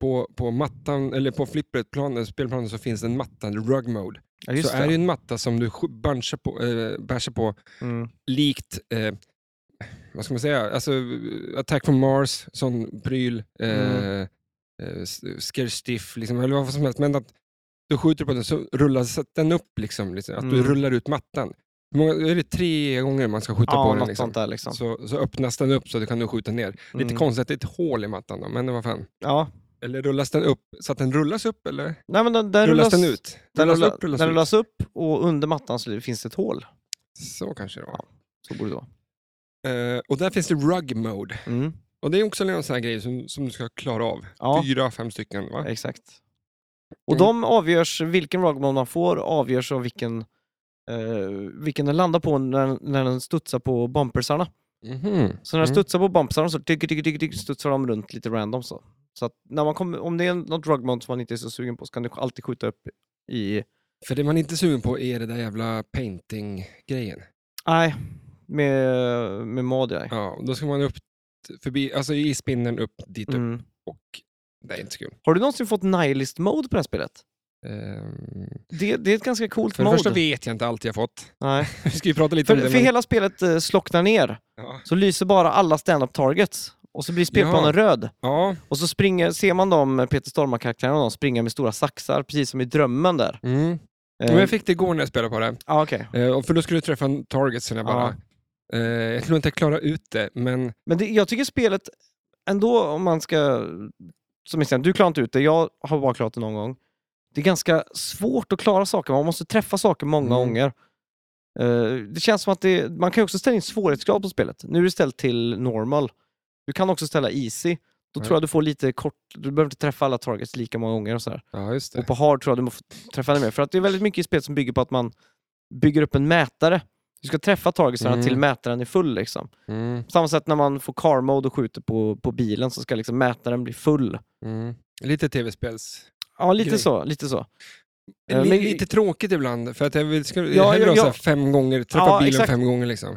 Speaker 1: på, på mattan, eller på flippret, planen, spelplanen så finns det en matta, en rug mode.
Speaker 2: Ja, just
Speaker 1: så
Speaker 2: det.
Speaker 1: är det ju en matta som du sk- bunchar på, eh, bashar på
Speaker 2: Mm.
Speaker 1: likt, eh, vad ska man säga, alltså Attack from Mars, sån pryl, eh,
Speaker 2: Mm.
Speaker 1: eh, s- Scare Stiff, liksom, eller vad som helst. Men att du skjuter på den så rullas den upp, liksom, liksom, att du
Speaker 2: Mm.
Speaker 1: rullar ut mattan. Hur många, är det tre gånger man ska skjuta
Speaker 2: Ja,
Speaker 1: på den?
Speaker 2: något
Speaker 1: Liksom?
Speaker 2: sånt där liksom.
Speaker 1: Så, så öppnas den upp så du kan du skjuta ner. Lite
Speaker 2: Mm.
Speaker 1: konstigt att det är ett hål i mattan, då, men vad fan.
Speaker 2: Ja.
Speaker 1: Eller rullas den upp så att den rullas upp, eller
Speaker 2: Nej, men den, den
Speaker 1: rullas, den ut?
Speaker 2: Den
Speaker 1: rullas
Speaker 2: rullas,
Speaker 1: upp, rullas
Speaker 2: den
Speaker 1: ut.
Speaker 2: rullas upp och under mattan så finns det ett hål.
Speaker 1: Så kanske det var.
Speaker 2: Så borde det vara.
Speaker 1: Eh, och där finns det rug mode.
Speaker 2: Mm.
Speaker 1: Och det är också en sån här grej som, som du ska klara av.
Speaker 2: Ja.
Speaker 1: Fyra, fem stycken va?
Speaker 2: Exakt. Och
Speaker 1: Mm.
Speaker 2: de avgörs, vilken rugmode man får avgörs av vilken, eh, vilken den landar på när, när den studsar på bumpersarna.
Speaker 1: Mhm.
Speaker 2: Så när den
Speaker 1: Mm.
Speaker 2: studsar på bumpersarna så tyck, tyck, tyck, tyck, studsar de runt lite random. Så, så att när man kommer, om det är något rugmode som man inte är så sugen på så kan du alltid skjuta upp i...
Speaker 1: För det man inte är sugen på är det där jävla painting-grejen.
Speaker 2: Nej, med, med mod ja.
Speaker 1: Ja, då ska man upp t- förbi, alltså i spinnen upp dit upp
Speaker 2: Mm.
Speaker 1: och det är inte så kul.
Speaker 2: Har du någonsin fått nihilist mode på det här spelet?
Speaker 1: Ehm,
Speaker 2: Det, det är ett ganska coolt
Speaker 1: för det
Speaker 2: mode.
Speaker 1: första vet jag inte allt jag fått. [LAUGHS]
Speaker 2: Nej.
Speaker 1: Vi ska ju prata lite
Speaker 2: För,
Speaker 1: om det.
Speaker 2: för hela spelet eh, slocknar ner.
Speaker 1: ja.
Speaker 2: så lyser bara alla stand-up targets och så blir spelplanen röd.
Speaker 1: ja.
Speaker 2: Och så springer, ser man de eh, Peter Stormare-karaktärerna, de springer med stora saxar, precis som i drömmen där.
Speaker 1: Mm.
Speaker 2: Eh,
Speaker 1: Men jag fick det igår när jag spelade på det.
Speaker 2: ja, okej.
Speaker 1: Eh, och för då skulle du träffa en target sen jag bara... Eh, jag tror inte jag klarar ut det, men
Speaker 2: Men det, jag tycker spelet, ändå om man ska... Som exempel, du klarar inte ut det, jag har bara klarat det någon gång. Det är ganska svårt att klara saker, man måste träffa saker många
Speaker 1: Mm.
Speaker 2: gånger. Eh, det känns som att det, man kan ju också ställa in svårighetsgrad på spelet. Nu är det ställt till normal. Du kan också ställa easy. Då
Speaker 1: Ja.
Speaker 2: tror jag du får lite kort, du behöver inte träffa alla targets lika många gånger och sådär.
Speaker 1: ja, just det.
Speaker 2: Och på hard tror jag du måste träffa ännu mer. För att det är väldigt mycket i spelet som bygger på att man bygger upp en mätare. Du ska träffa targetsarna
Speaker 1: Mm.
Speaker 2: till mätaren är full. Liksom.
Speaker 1: Mm,
Speaker 2: På samma sätt när man får car mode och skjuter på, på bilen så ska liksom mätaren bli full.
Speaker 1: mm. Lite tv-spels...
Speaker 2: Ja, lite
Speaker 1: Grej.
Speaker 2: så. Lite så. Eh,
Speaker 1: Li-
Speaker 2: men-
Speaker 1: lite tråkigt ibland, för att jag vill, skulle
Speaker 2: Ja,
Speaker 1: hellre
Speaker 2: ja,
Speaker 1: ha så här
Speaker 2: ja.
Speaker 1: fem gånger, träffa
Speaker 2: Ja,
Speaker 1: bilen
Speaker 2: exakt.
Speaker 1: fem gånger liksom.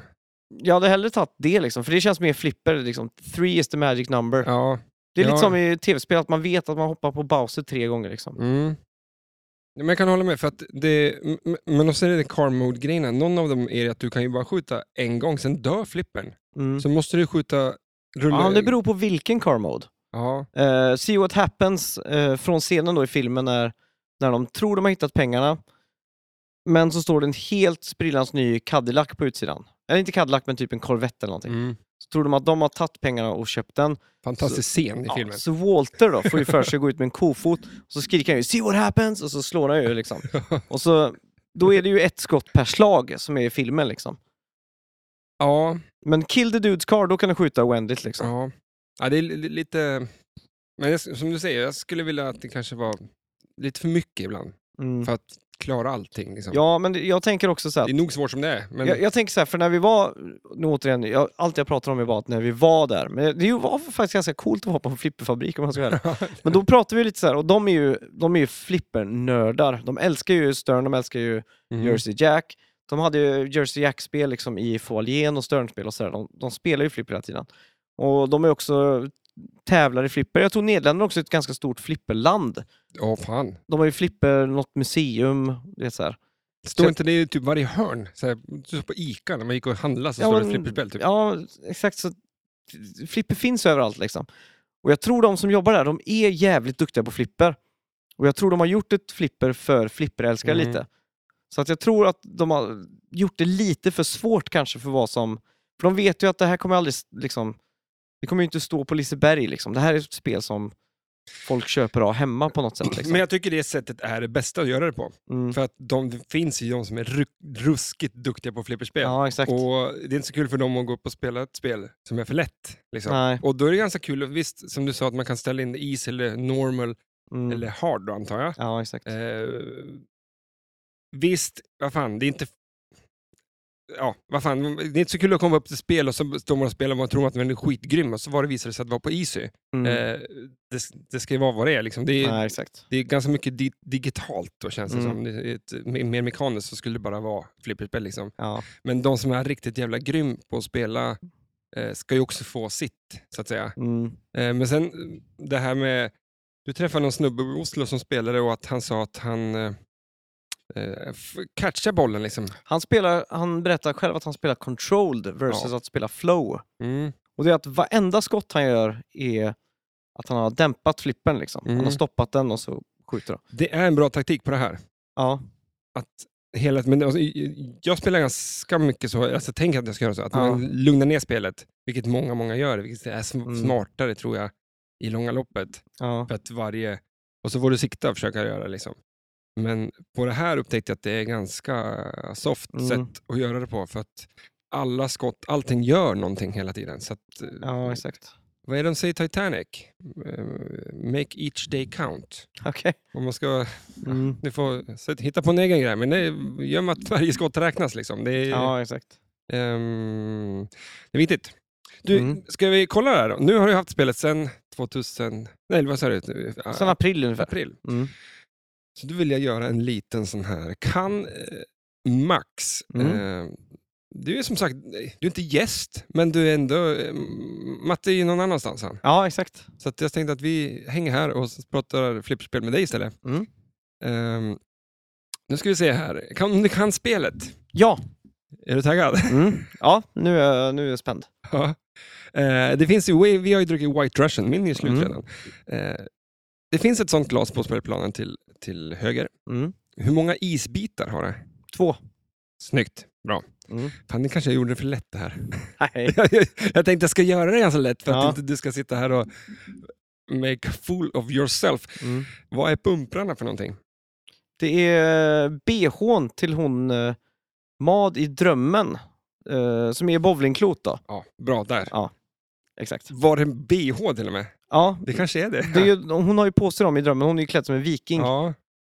Speaker 2: Jag hade hellre tagit det, liksom, för det känns mer flipper. Liksom. Three is the magic number.
Speaker 1: Ja,
Speaker 2: Det är
Speaker 1: Ja.
Speaker 2: lite som i tv-spel, att man vet att man hoppar på Bowser tre gånger. Liksom.
Speaker 1: Mm. Ja, Men jag kan hålla med, för att det, m- m- men också är det car mode-grejen. Någon av dem är att du kan ju bara skjuta en gång, sen dör flippern.
Speaker 2: Mm.
Speaker 1: Så måste du skjuta... Rulla...
Speaker 2: Ja, det beror på vilken car mode.
Speaker 1: Ja.
Speaker 2: Eh, see what happens eh, från scenen då i filmen är när de tror de har hittat pengarna. Men så står det en helt sprillans ny Cadillac på utsidan. Eller inte Cadillac, men typ en Corvette eller någonting.
Speaker 1: Mm.
Speaker 2: Så tror de att de har tagit pengarna och köpt den.
Speaker 1: Fantastisk scen i
Speaker 2: Ja,
Speaker 1: filmen.
Speaker 2: så Walter då får ju för sig att gå ut med en kofot och så skriker han ju “See what happens” och så slår han
Speaker 1: [LAUGHS]
Speaker 2: ju liksom. Och så, då är det ju ett skott per slag som är i filmen liksom.
Speaker 1: Ja,
Speaker 2: Men kill the dudes car, då kan du skjuta oändligt liksom.
Speaker 1: ja. ja, det är li- li- lite... Men jag, som du säger, jag skulle vilja att det kanske var lite för mycket ibland.
Speaker 2: Mm.
Speaker 1: För att klara allting. Liksom.
Speaker 2: Ja, men det- jag tänker också så här,
Speaker 1: Det är nog svårt som det är. Men...
Speaker 2: Jag, jag tänker så här, för när vi var, nu återigen, jag, allt jag pratar om är bara att när vi var där, men det var faktiskt ganska coolt att vara på en flipperfabrik om man ska vara ärlig.
Speaker 1: [LAUGHS]
Speaker 2: Men då pratar vi lite så här, och de är ju, de är ju flippernördar. De älskar ju Stern, de älskar ju
Speaker 1: Mm.
Speaker 2: Jersey Jack. De hade ju Jersey Jack-spel liksom i foajén och Sternspel och sådär. De, de spelar ju flipper hela tiden. Och de är också tävlar i flipper. Jag tror Nederländerna också är ett ganska stort flipperland.
Speaker 1: Ja, fan.
Speaker 2: De har ju flipper, något museum, det är så här.
Speaker 1: Står inte det i typ varje hörn? Så här, så på Ica när man gick och handlade så
Speaker 2: Ja,
Speaker 1: står det ett
Speaker 2: men-
Speaker 1: flipperspel. Typ.
Speaker 2: Ja, exakt. Så flipper finns överallt liksom. Och jag tror de som jobbar där, de är jävligt duktiga på flipper. Och jag tror de har gjort ett flipper för flipperälskare
Speaker 1: Mm.
Speaker 2: lite. Så att jag tror att de har gjort det lite för svårt kanske för vad som... För de vet ju att det här kommer aldrig s- liksom... Det kommer ju inte stå på Liseberg liksom. Det här är ett spel som folk köper av hemma på något sätt.
Speaker 1: [CLEARS THROAT]
Speaker 2: Liksom.
Speaker 1: Men jag tycker det sättet är det bästa att göra det på.
Speaker 2: Mm.
Speaker 1: För att de, det finns ju de som är ru- ruskigt duktiga på flipperspel.
Speaker 2: Ja, exakt.
Speaker 1: Och det är inte så kul för dem att gå upp och spela ett spel som är för lätt. Liksom.
Speaker 2: Nej.
Speaker 1: Och då är det ganska kul, och visst som du sa, att man kan ställa in easy eller normal
Speaker 2: Mm.
Speaker 1: eller hard då antar jag.
Speaker 2: Ja, exakt.
Speaker 1: Eh, visst, vad fan, det är inte... Ja, vad fan, det är inte så kul att komma upp till spel och så står man och spelar och man tror att man är skitgrym och så var det visade sig att det var på easy.
Speaker 2: Mm.
Speaker 1: Eh, det, det ska ju vara vad det är liksom. Det är,
Speaker 2: Nej, exakt.
Speaker 1: det är ganska mycket di- digitalt då känns det
Speaker 2: Mm.
Speaker 1: som. Det är ett, me- mer mekaniskt så skulle det bara vara flipperspel liksom.
Speaker 2: Ja.
Speaker 1: Men de som är riktigt jävla grym på att spela eh, ska ju också få sitt, så att säga.
Speaker 2: Mm.
Speaker 1: Eh, men sen eh, det här med... Du träffade någon snubbe i Oslo som spelade och att han sa att han eh, eh, f- catchar bollen liksom.
Speaker 2: Han, spelar, han berättar själv att han spelar controlled versus att spela flow.
Speaker 1: Mm.
Speaker 2: Och det är att varenda skott han gör är att han har dämpat flippen liksom. Han
Speaker 1: Mm.
Speaker 2: har stoppat den och så skjuter han.
Speaker 1: Det är en bra taktik på det här.
Speaker 2: Ja,
Speaker 1: Hela, men, alltså, i- i- jag spelar ganska mycket så, alltså, tänk att jag ska göra så, att
Speaker 2: Ja.
Speaker 1: man lugnar ner spelet, vilket många, många gör, vilket är sm-
Speaker 2: Mm.
Speaker 1: smartare tror jag i långa loppet.
Speaker 2: ja.
Speaker 1: För att varje, och så får du sikta och försöka göra liksom. Men på det här upptäckte jag att det är ganska soft
Speaker 2: Mm.
Speaker 1: sätt att göra det på, för att alla skott, allting gör någonting hela tiden. Så att, eh,
Speaker 2: ja exakt. [LAUGHS]
Speaker 1: vad är det de säger i Titanic? Eh, Make each day count.
Speaker 2: Okej.
Speaker 1: Om man ska
Speaker 2: Mm.
Speaker 1: du får sätt- hitta på en egen grej, men det gör man att varje skott räknas. Liksom. Det, är,
Speaker 2: Ja, exakt.
Speaker 1: ehm, det är viktigt. Du,
Speaker 2: Mm.
Speaker 1: ska vi kolla det här då? Nu har du haft spelet sedan 2000... Nej, vad sa du? Ah,
Speaker 2: Sen april ungefär.
Speaker 1: april.
Speaker 2: Mm.
Speaker 1: Så då vill jag göra en liten sån här. Kan eh, Max...
Speaker 2: Mm.
Speaker 1: Eh, du är som sagt du är inte gäst, men du är ändå... Eh, Matte är ju någon annanstans han.
Speaker 2: Ja, exakt.
Speaker 1: Så att jag tänkte att vi hänger här och s- pratar flipperspel med dig istället.
Speaker 2: Mm.
Speaker 1: Ehm, nu ska vi se här. Kan, om du kan spelet.
Speaker 2: Ja,
Speaker 1: Är du taggad? [LAUGHS]
Speaker 2: mm. ja nu, är, jag- nu är jag spänd.
Speaker 1: ja. Eh, det finns ju, vi vi har ju druckit White Russian, min är ju slut
Speaker 2: Mm.
Speaker 1: redan. Eh, det finns ett sånt glas på spelplanen till, till höger.
Speaker 2: Mm.
Speaker 1: Hur många isbitar har det?
Speaker 2: [LAUGHS] Två.
Speaker 1: Snyggt, bra.
Speaker 2: Mm.
Speaker 1: Fan, nu kanske jag gjorde det för lätt det här. [LAUGHS]
Speaker 2: Nej.
Speaker 1: jag tänkte jag ska göra det ganska lätt för att
Speaker 2: Ja.
Speaker 1: inte du ska sitta här och make a fool of yourself.
Speaker 2: Mm.
Speaker 1: Vad är pumprarna för någonting?
Speaker 2: Det är bhn till hon eh, Mad i drömmen, eh, som är bowlingklot då.
Speaker 1: Ja, bra där.
Speaker 2: Exakt.
Speaker 1: Var det en bh till och med?
Speaker 2: Ja,
Speaker 1: Det kanske är det.
Speaker 2: Det är ju, hon har ju på sig dem i drömmen, hon är ju klädd som en viking.
Speaker 1: Ja,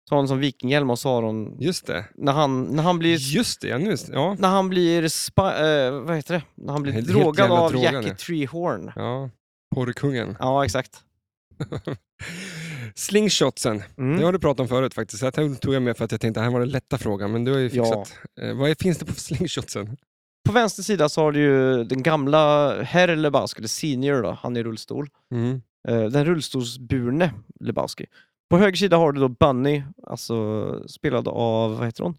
Speaker 2: Så har hon som vikinghjälm och så har hon...
Speaker 1: just det.
Speaker 2: När han, när han blir...
Speaker 1: Just det, ja, nu, ja.
Speaker 2: När han blir... Spa, eh, vad heter det? När han blir
Speaker 1: Helt- helt
Speaker 2: drogad
Speaker 1: jävla
Speaker 2: av
Speaker 1: drogad,
Speaker 2: Jackie
Speaker 1: ja.
Speaker 2: Treehorn.
Speaker 1: ja. Porrkungen.
Speaker 2: Ja, exakt.
Speaker 1: Slingshotsen, det
Speaker 2: Mm.
Speaker 1: har du pratat om förut faktiskt. Så här tog jag med för att jag tänkte att här var den lätta frågan, men du har ju
Speaker 2: Ja.
Speaker 1: fixat. Eh, vad är, finns det på slingshotsen?
Speaker 2: På vänster sida så har du ju den gamla Herr Lebowski, eller Senior då, han i rullstol.
Speaker 1: Mm.
Speaker 2: eh, den rullstolsburne Lebowski. På höger sida har du då Bunny, alltså spelad av, vad heter hon?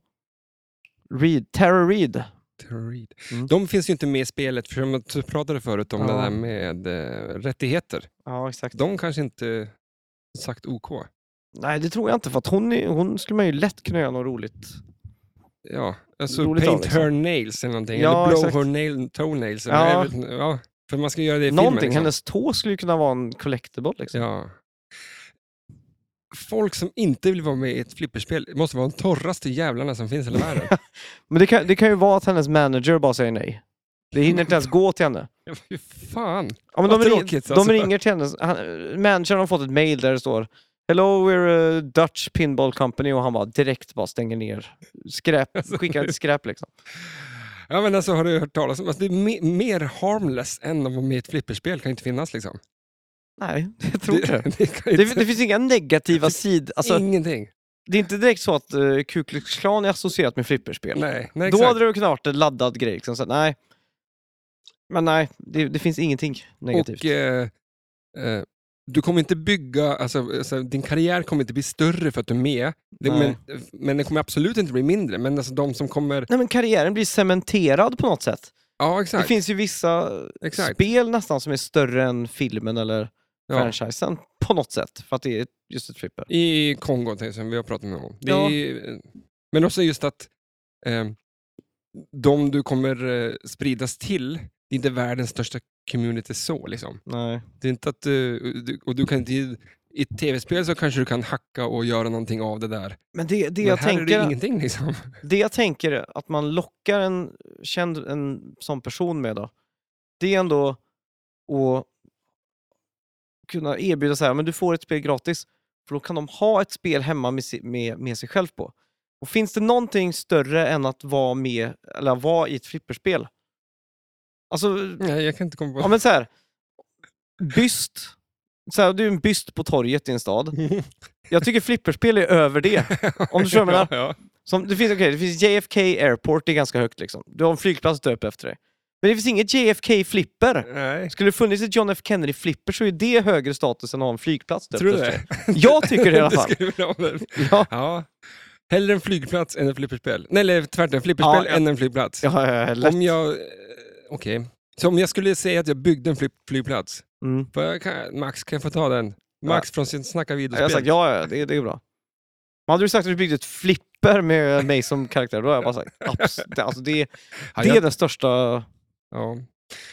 Speaker 2: Reed, Tara Reid.
Speaker 1: Terrorid.
Speaker 2: Mm.
Speaker 1: De finns ju inte med i spelet, för som jag pratade förut om
Speaker 2: Ja.
Speaker 1: det där med eh, rättigheter.
Speaker 2: Ja, exakt.
Speaker 1: De kanske inte sagt OK.
Speaker 2: Nej, det tror jag inte, för att hon, är, hon skulle man ju lätt kunna göra något roligt.
Speaker 1: Ja, alltså
Speaker 2: Roligt
Speaker 1: paint
Speaker 2: av, liksom.
Speaker 1: her nails eller någonting.
Speaker 2: Ja,
Speaker 1: eller blow
Speaker 2: exakt.
Speaker 1: her nail, toenails.
Speaker 2: Ja.
Speaker 1: Eller, jag vet inte. ja, för man ska göra det i
Speaker 2: Någonting,
Speaker 1: filmen. Liksom.
Speaker 2: hennes tå skulle ju kunna vara en collectible liksom.
Speaker 1: Ja. Folk som inte vill vara med i ett flipperspel måste vara de torraste jävlarna som finns i hela
Speaker 2: [LAUGHS]
Speaker 1: världen.
Speaker 2: Men det kan, det kan ju vara att hennes manager bara säger nej. Det hinner inte ens gå till henne.
Speaker 1: Ja, Fy fan.
Speaker 2: Ja, men
Speaker 1: Vad
Speaker 2: de, ring,
Speaker 1: tråkigt,
Speaker 2: de
Speaker 1: alltså.
Speaker 2: ringer till hennes... Han, managern har fått ett mail där det står Hello, we're a Dutch pinball company och han bara direkt bara stänger ner. Skräp,
Speaker 1: Alltså,
Speaker 2: skickar ett skräp liksom.
Speaker 1: Ja, men alltså, har du hört talas om... Alltså, det är me- mer harmless än att vara med i ett flipperspel kan inte finnas. Liksom.
Speaker 2: Nej, [LAUGHS] jag tror inte
Speaker 1: [LAUGHS]
Speaker 2: det.
Speaker 1: det, det kan
Speaker 2: Det,
Speaker 1: inte,
Speaker 2: det finns inga negativa sidor. Alltså,
Speaker 1: Ingenting.
Speaker 2: det är inte direkt så att uh, Ku Klux Klan är associerat med flipperspel.
Speaker 1: Nej, nej
Speaker 2: Då
Speaker 1: exakt.
Speaker 2: hade det kunnat varit en laddad grej. Liksom. Så, att, nej. Men nej, det, det finns ingenting negativt.
Speaker 1: Och eh, eh, du kommer inte bygga, alltså, alltså, din karriär kommer inte bli större för att du är med. Det, men, eh,
Speaker 2: Nej.
Speaker 1: men den kommer absolut inte bli mindre. Men alltså, de som kommer...
Speaker 2: Nej, men karriären blir cementerad på något sätt.
Speaker 1: Ja, exakt.
Speaker 2: Det finns ju vissa
Speaker 1: Exakt.
Speaker 2: spel nästan som är större än filmen eller
Speaker 1: ja.
Speaker 2: franchisen på något sätt. För att det är just ett flipper.
Speaker 1: I Kongo, till exempel, vi har pratat med honom. Det
Speaker 2: Ja.
Speaker 1: är, eh, men också just att eh, de du kommer eh, spridas till, det är inte världens största community så. Liksom.
Speaker 2: Nej.
Speaker 1: Det är inte att, eh, du, och du kan inte, i ett tv-spel så kanske du kan hacka och göra någonting av det där.
Speaker 2: Men det, det,
Speaker 1: men
Speaker 2: jag
Speaker 1: här är
Speaker 2: tänker,
Speaker 1: det
Speaker 2: det,
Speaker 1: ingenting liksom.
Speaker 2: jag tänker är att man lockar en känd en sån person med då, det är ändå att kunna erbjuda så här, men du får ett spel gratis. För då kan de ha ett spel hemma med, si- med, med sig själv på. Och finns det någonting större än att vara med, eller vara i ett flipperspel? Alltså,
Speaker 1: Nej, jag kan inte komma på
Speaker 2: Ja men så här. Byst. Så här, du är en byst på torget i en stad. Jag tycker flipperspel är över det. Om du kör
Speaker 1: [LAUGHS]
Speaker 2: med
Speaker 1: ja,
Speaker 2: det.
Speaker 1: ja.
Speaker 2: Som, det, finns, okay, det finns JFK Airport, det är ganska högt liksom. Du har en flygplats döpt efter dig. Men det finns inget JFK Flipper.
Speaker 1: Nej.
Speaker 2: Skulle det funnits ett John F Kennedy Flipper så är det högre status än att ha en flygplats döpt
Speaker 1: Tror du
Speaker 2: efter
Speaker 1: det?
Speaker 2: sig. [LAUGHS] Jag
Speaker 1: [LAUGHS]
Speaker 2: tycker det i alla
Speaker 1: Du
Speaker 2: fall.
Speaker 1: skulle vilja ha det.
Speaker 2: Ja,
Speaker 1: Ja. Hellre en flygplats än ett flipperspel. Nej, eller tvärtom, flipperspel
Speaker 2: Ja, ja.
Speaker 1: än en flygplats.
Speaker 2: ja, ja, ja, lätt.
Speaker 1: Om jag... eh, Okej. Så om jag skulle säga att jag byggde en flyg, flygplats.
Speaker 2: Mm.
Speaker 1: Får jag, kan, Max, kan jag få ta den? Max från sin Snacka
Speaker 2: Jag har
Speaker 1: videospel.
Speaker 2: sagt ja, ja det, det är bra. Men hade du sagt att du byggde ett flipper med mig som karaktär, då hade jag bara sagt absolut. Alltså, det,
Speaker 1: Ja,
Speaker 2: det
Speaker 1: jag-
Speaker 2: är den största...
Speaker 1: Ja.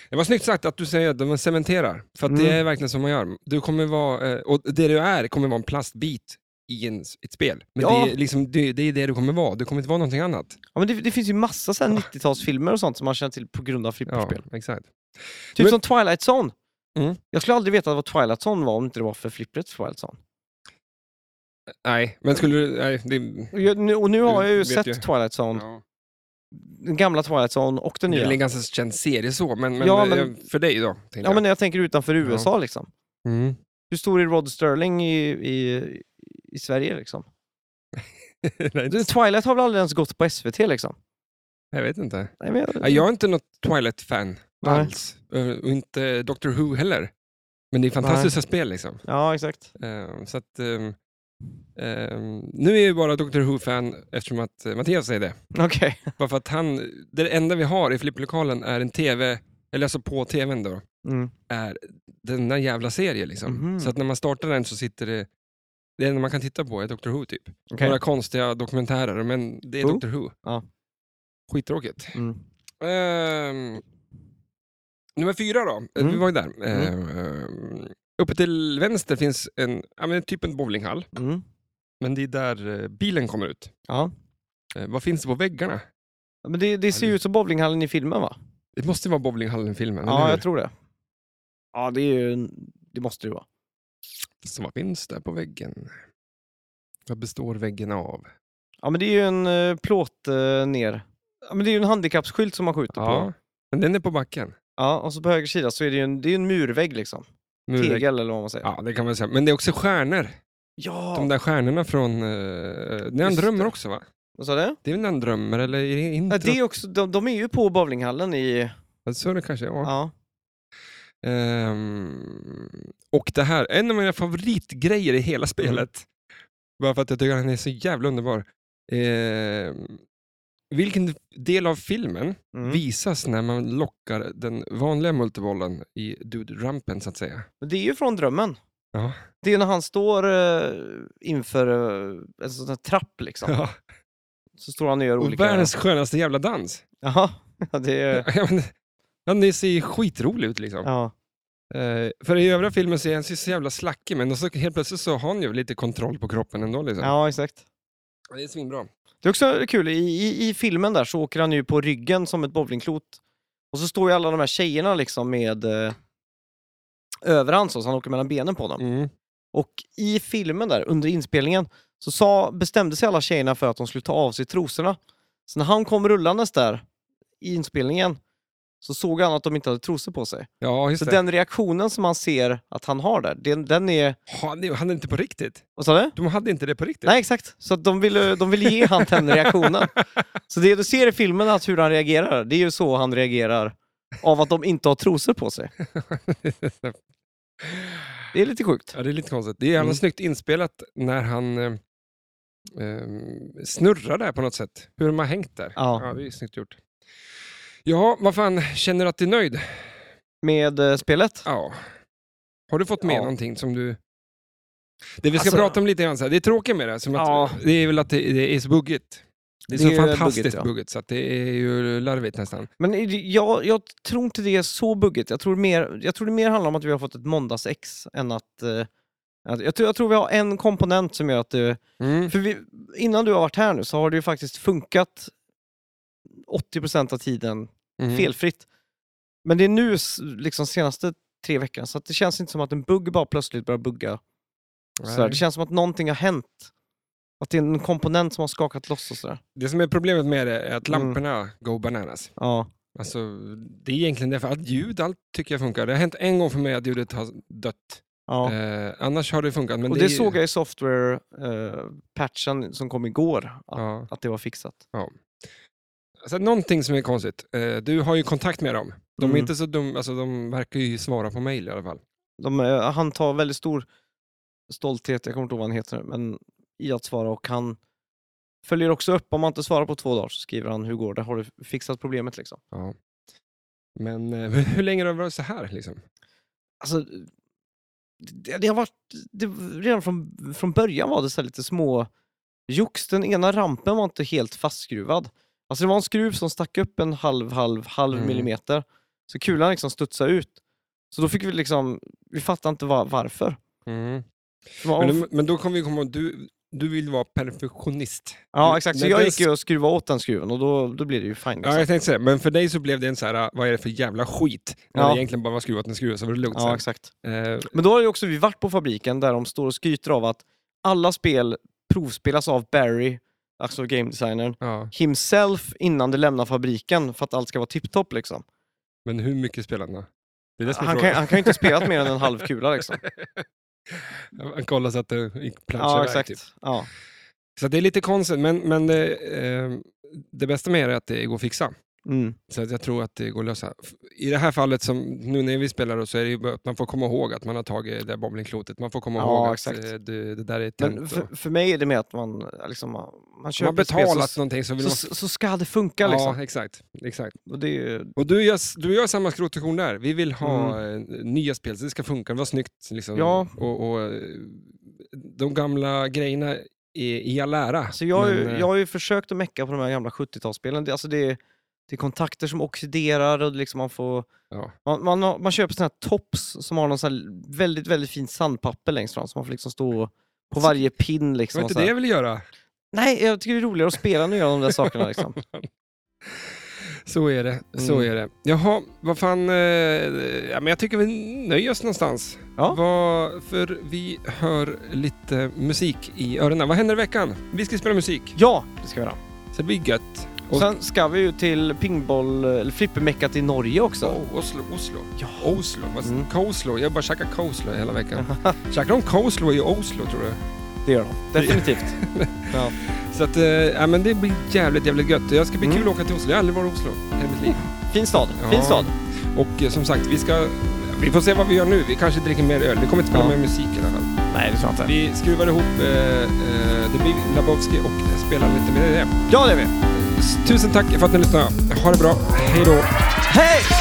Speaker 1: Det var snyggt sagt att du säger att de cementerar. För att det
Speaker 2: Mm.
Speaker 1: är verkligen som man gör. Du kommer vara, eh, och det du är kommer vara en plastbit i en, ett spel. Men
Speaker 2: Ja.
Speaker 1: det, är liksom, det, det är det du kommer vara. Du kommer inte vara någonting annat.
Speaker 2: Ja, men det, det finns ju massa så här 90-talsfilmer och sånt som man känner till på grund av flipperspel.
Speaker 1: Ja, exakt.
Speaker 2: Typ
Speaker 1: Men-
Speaker 2: som Twilight Zone.
Speaker 1: Mm.
Speaker 2: Jag skulle aldrig veta vad Twilight Zone var om inte det var för flippret Twilight Zone.
Speaker 1: Nej, men skulle du... Nej, det,
Speaker 2: Och, jag, nu, och nu har
Speaker 1: Du
Speaker 2: jag ju
Speaker 1: vet
Speaker 2: sett
Speaker 1: ju.
Speaker 2: Twilight Zone,
Speaker 1: ja.
Speaker 2: den gamla Twilight Zone och den
Speaker 1: det är
Speaker 2: nya.
Speaker 1: väl en ganska känd serie så, men, men,
Speaker 2: Ja, men-
Speaker 1: eh, för dig då? tänkte
Speaker 2: Ja, men när jag tänker utanför USA liksom.
Speaker 1: jag.
Speaker 2: [LAUGHS]
Speaker 1: Mm.
Speaker 2: Hur stor är Rod Sterling i, i, i Sverige liksom?
Speaker 1: nej,
Speaker 2: Du, Twilight har väl aldrig ens gått på SVT liksom?
Speaker 1: jag vet inte.
Speaker 2: Nej, men jag,
Speaker 1: Nej, Jag är inte något Twilight-fan
Speaker 2: Nej.
Speaker 1: alls. Eh, Och inte Doctor Who heller. Men det är fantastiska spel liksom.
Speaker 2: Ja, exakt. [LAUGHS]
Speaker 1: Ehm, Så att, ehm, ehm, nu är jag ju bara Dr. Who-fan eftersom att eh, Mattias
Speaker 2: [LAUGHS]
Speaker 1: är det.
Speaker 2: Okej.
Speaker 1: Bara för att han, det enda vi har i flipplokalen är en tv, eller alltså på tvn då,
Speaker 2: Mm.
Speaker 1: är den där jävla serien liksom.
Speaker 2: Mhm.
Speaker 1: Så att när man startar den så sitter det, det enda man kan titta på är Dr. Who typ.
Speaker 2: Okej.
Speaker 1: Några konstiga dokumentärer, men det är
Speaker 2: Who?
Speaker 1: Dr. Who.
Speaker 2: Ja.
Speaker 1: Skittråkigt.
Speaker 2: Mm.
Speaker 1: Ehm, nummer fyra då, Eh,
Speaker 2: Mm.
Speaker 1: vi var ju där. Ehm, uppe till vänster finns en, ja, men typ en bowlinghall.
Speaker 2: Mm.
Speaker 1: Men det är där eh, bilen kommer ut.
Speaker 2: Ja.
Speaker 1: Eh, Vad finns det på väggarna?
Speaker 2: Men det, det ser ju ut som bowlinghallen i filmen va?
Speaker 1: Det måste ju vara bowlinghallen-filmen, eller
Speaker 2: Ja,
Speaker 1: hur?
Speaker 2: jag tror det. Ja, det är ju... en- Det måste det ju vara.
Speaker 1: Så vad finns där på väggen? Vad består väggen av? Typ
Speaker 2: Ja, men det är ju en eh, plåt eh, ner. Ja, men det är ju en handikappsskylt som man skjuter på.
Speaker 1: Ja. Men den är på backen.
Speaker 2: Ja, och så på höger sida så är det ju en, det är ju en murvägg liksom.
Speaker 1: Murvägg.
Speaker 2: Tegel eller vad man säger.
Speaker 1: Ja, det kan man säga. Men det är också stjärnor.
Speaker 2: Ja!
Speaker 1: De där stjärnorna från... Uh, när han
Speaker 2: Just
Speaker 1: drömmer
Speaker 2: det.
Speaker 1: också va?
Speaker 2: Vad sa du?
Speaker 1: Det är väl när han drömmer, eller är det inte?
Speaker 2: Ja, det är också, de, de är ju på bowlinghallen i...
Speaker 1: Så är det kanske, ja.
Speaker 2: Ja.
Speaker 1: Ehm, och det här, en av mina favoritgrejer i
Speaker 2: Mm.
Speaker 1: hela spelet, bara för att jag tycker att den är så jävla underbar. Ehm, vilken del av filmen
Speaker 2: Mm.
Speaker 1: visas när man lockar den vanliga multibollen i Dude-rampen så att säga?
Speaker 2: Men det är ju från drömmen.
Speaker 1: Ja.
Speaker 2: Det är när han står eh, inför eh, en sån här trapp liksom.
Speaker 1: Ja.
Speaker 2: Så står han och gör
Speaker 1: Och
Speaker 2: olika...
Speaker 1: världens skönaste jävla dans.
Speaker 2: Jaha, ja, det är...
Speaker 1: [LAUGHS] Ja, men, han det ser ju skitrolig ut liksom.
Speaker 2: Ja.
Speaker 1: Eh, för i övriga filmen så är han så så jävla slackig, men så helt plötsligt så har han ju lite kontroll på kroppen ändå. Liksom.
Speaker 2: ja, exakt.
Speaker 1: Det är svinbra.
Speaker 2: Det är också kul, i, i, i filmen där så åker han ju på ryggen som ett bowlingklot. Och så står ju alla de här tjejerna liksom med eh, överhand så, så han åker mellan benen på dem.
Speaker 1: Mm.
Speaker 2: Och i filmen där, under inspelningen, så sa, bestämde sig alla tjejerna för att de skulle ta av sig trosorna. Så när han kom rullandes där i inspelningen så såg han att de inte hade trosor på sig.
Speaker 1: Ja, just
Speaker 2: Så
Speaker 1: det.
Speaker 2: den reaktionen som man ser att han har där, den, den är...
Speaker 1: Han, är- han är inte på riktigt.
Speaker 2: Vad sa du?
Speaker 1: De hade inte det på riktigt.
Speaker 2: Nej, exakt. Så att de ville, de ville ge han
Speaker 1: [LAUGHS]
Speaker 2: den reaktionen. Så det du ser i filmen, att hur han reagerar, det är ju så han reagerar av att de inte har trosor
Speaker 1: [LAUGHS]
Speaker 2: på sig. Det är lite sjukt.
Speaker 1: ja, det är lite konstigt. Det är jävla
Speaker 2: Mm.
Speaker 1: snyggt inspelat när han eh, eh, snurrar där på något sätt. Hur de har hängt där.
Speaker 2: Ja.
Speaker 1: det är snyggt gjort. Ja, vad fan, känner du att du är nöjd?
Speaker 2: Med eh, spelet?
Speaker 1: Ja. Har du fått med
Speaker 2: Ja.
Speaker 1: någonting som du... Det vi ska
Speaker 2: Alltså-
Speaker 1: prata om lite grann, så här, det är tråkigt med det, som att,
Speaker 2: Ja.
Speaker 1: det är väl att det, det är så buggigt. Det är
Speaker 2: Det
Speaker 1: så
Speaker 2: är
Speaker 1: fantastiskt
Speaker 2: buggigt,
Speaker 1: buggigt,
Speaker 2: ja.
Speaker 1: så att det är ju larvigt nästan.
Speaker 2: Men är det- jag, jag tror inte det är så buggigt. Jag tror, mer, jag tror det mer handlar om att vi har fått ett måndags-ex än att... Eh, att jag, tror, jag tror vi har en komponent som gör att det...
Speaker 1: Mm.
Speaker 2: För vi, innan du har varit här nu så har det ju faktiskt funkat 80% av tiden
Speaker 1: Mm.
Speaker 2: felfritt. Men det är nu, s- liksom senaste tre veckorna, så att det känns inte som att en bugg bara plötsligt börjar bugga.
Speaker 1: Nej.
Speaker 2: Sådär. Det känns som att någonting har hänt. Att det är en komponent som har skakat loss och sådär.
Speaker 1: Det som är problemet med det är att
Speaker 2: Mm.
Speaker 1: lamporna go bananas.
Speaker 2: Ja.
Speaker 1: Alltså, det är egentligen därför att ljud, allt tycker jag funkar. Det har hänt en gång för mig att ljudet har dött.
Speaker 2: ja.
Speaker 1: Eh, annars har det funkat. Men
Speaker 2: och
Speaker 1: det,
Speaker 2: det,
Speaker 1: är ju-
Speaker 2: såg jag i software-patchen som kom igår, att,
Speaker 1: Ja.
Speaker 2: att det var fixat.
Speaker 1: Alltså, någonting som är konstigt. Eh, du har ju kontakt med dem. De är
Speaker 2: Mm.
Speaker 1: inte så dumma, alltså, de verkar ju svara på mejl i alla fall.
Speaker 2: De, eh, han tar väldigt stor stolthet, jag kommer inte ihåg vad han heter, men i att svara och han följer också upp, om man inte svarar på två dagar så skriver han hur går det, har du fixat problemet liksom?
Speaker 1: Ja. Men eh, [LAUGHS] hur länge har det varit så här? Liksom?
Speaker 2: Alltså, det, det har varit, det, redan från, från början var det så här lite små jox. Den ena rampen var inte helt fastskruvad. Alltså det var en skruv som stack upp en halv, halv, halv
Speaker 1: Mm.
Speaker 2: millimeter. Så kulan liksom studsade ut. Så då fick vi liksom, vi fattade inte var, varför.
Speaker 1: Mm.
Speaker 2: Det var-
Speaker 1: Men, men då kommer vi komma ihåg, du, du vill vara perfektionist.
Speaker 2: Ja, exakt. Så
Speaker 1: Men
Speaker 2: jag
Speaker 1: den
Speaker 2: gick ju och skruvade åt den skruven och då, då blir det ju fine. Liksom.
Speaker 1: Ja, jag tänkte säga, men för dig så blev det en så här, "Ah, vad är det för jävla skit? När
Speaker 2: Ja.
Speaker 1: det egentligen bara var skruvat en skruv så var det lugnt.
Speaker 2: ja,
Speaker 1: sen.
Speaker 2: exakt.
Speaker 1: Eh,
Speaker 2: Men då har ju också vi varit på fabriken där de står och skryter av att alla spel provspelas av Barry, alltså game designern,
Speaker 1: ja.
Speaker 2: himself innan det lämnar fabriken för att allt ska vara tipptopp liksom.
Speaker 1: Men hur mycket spelade han? Det är det som är
Speaker 2: Han kan,
Speaker 1: frågan.
Speaker 2: han kan ju inte ha spelat mer än en halv kula
Speaker 1: [LAUGHS]
Speaker 2: liksom.
Speaker 1: Han kollade så att det gick planschar
Speaker 2: Ja,
Speaker 1: iväg,
Speaker 2: exakt.
Speaker 1: Typ.
Speaker 2: Ja.
Speaker 1: Så det är lite konstigt, men, men det, eh, det bästa med det är att det går att fixa.
Speaker 2: Mm.
Speaker 1: Så att jag tror att det går att lösa. F- I det här fallet, som nu när vi spelar, då, så är det ju bara att man får komma ihåg att man har tagit det där bowlingklotet. Man får komma
Speaker 2: Ja,
Speaker 1: ihåg
Speaker 2: exakt.
Speaker 1: att eh, det, det där är
Speaker 2: Men
Speaker 1: tänt. och-
Speaker 2: för, för mig är det med att man eh, liksom, man- man
Speaker 1: Om
Speaker 2: köper
Speaker 1: man betalat
Speaker 2: ett spel
Speaker 1: någonting så vill
Speaker 2: så,
Speaker 1: man...
Speaker 2: så, så ska det funka liksom.
Speaker 1: Ja, exakt. exakt.
Speaker 2: Och det är ju,
Speaker 1: Och du gör, du gör samma skrotation där. Vi vill ha eh, nya spel, så det ska funka. Det var snyggt. Liksom.
Speaker 2: Ja.
Speaker 1: Och, och, eh, de gamla grejerna i, i all ära.
Speaker 2: Så alltså, jag, har ju-
Speaker 1: men, eh,
Speaker 2: jag har ju försökt att mecka på de här gamla 70-talsspelen. Det, alltså det, är- det är kontakter som oxiderar och liksom man får...
Speaker 1: ja.
Speaker 2: Man, man, har, man köper såna här tops som har någon sån här väldigt, väldigt fin sandpapper längst fram så man får liksom stå på
Speaker 1: Så-
Speaker 2: varje pin.
Speaker 1: Det var
Speaker 2: Liksom, och
Speaker 1: inte
Speaker 2: så
Speaker 1: det
Speaker 2: här.
Speaker 1: jag ville göra.
Speaker 2: Nej, jag tycker det är roligare att spela nu de där sakerna. Liksom.
Speaker 1: Så är det. Så
Speaker 2: Mm.
Speaker 1: är det. Jaha, vad fan. Eh, ja, men jag tycker vi nöjer oss någonstans.
Speaker 2: Ja.
Speaker 1: Vad, för vi hör lite musik i öronen. Vad händer i veckan? Vi ska spela musik.
Speaker 2: [LAUGHS] Ja, det ska vi göra.
Speaker 1: Så det blir gött.
Speaker 2: Och sen ska vi ju till pingboll, eller flippermeckat i Norge också.
Speaker 1: Oh, Oslo, Oslo.
Speaker 2: Ja.
Speaker 1: Oslo, vad
Speaker 2: Mm.
Speaker 1: Coleslaw. Jag har bara käkat coleslaw hela
Speaker 2: [LAUGHS]
Speaker 1: veckan. Käkar de coleslaw i Oslo tror du?
Speaker 2: Det gör de. [LAUGHS] Definitivt. ja.
Speaker 1: Så att, eh, ja men det blir jävligt, jävligt gött. Jag ska bli
Speaker 2: Mm. [LAUGHS]
Speaker 1: kul att åka till Oslo. Jag har aldrig varit i Oslo i hela mitt liv.
Speaker 2: Fin stad.
Speaker 1: Ja.
Speaker 2: Fin stad.
Speaker 1: Och eh, som sagt, vi ska Vi får se vad vi gör nu. Vi kanske dricker mer öl. Vi kommer inte spela
Speaker 2: Ja.
Speaker 1: mer musik i alla fall.
Speaker 2: Nej, det tror jag inte.
Speaker 1: Vi skruvar ihop eh, eh, The Big Lebowski och spelar lite mer i det.
Speaker 2: Ja, det är vi.
Speaker 1: Tusen tack för att ni lyssnade. Ha det bra. Hej då.
Speaker 2: Hej!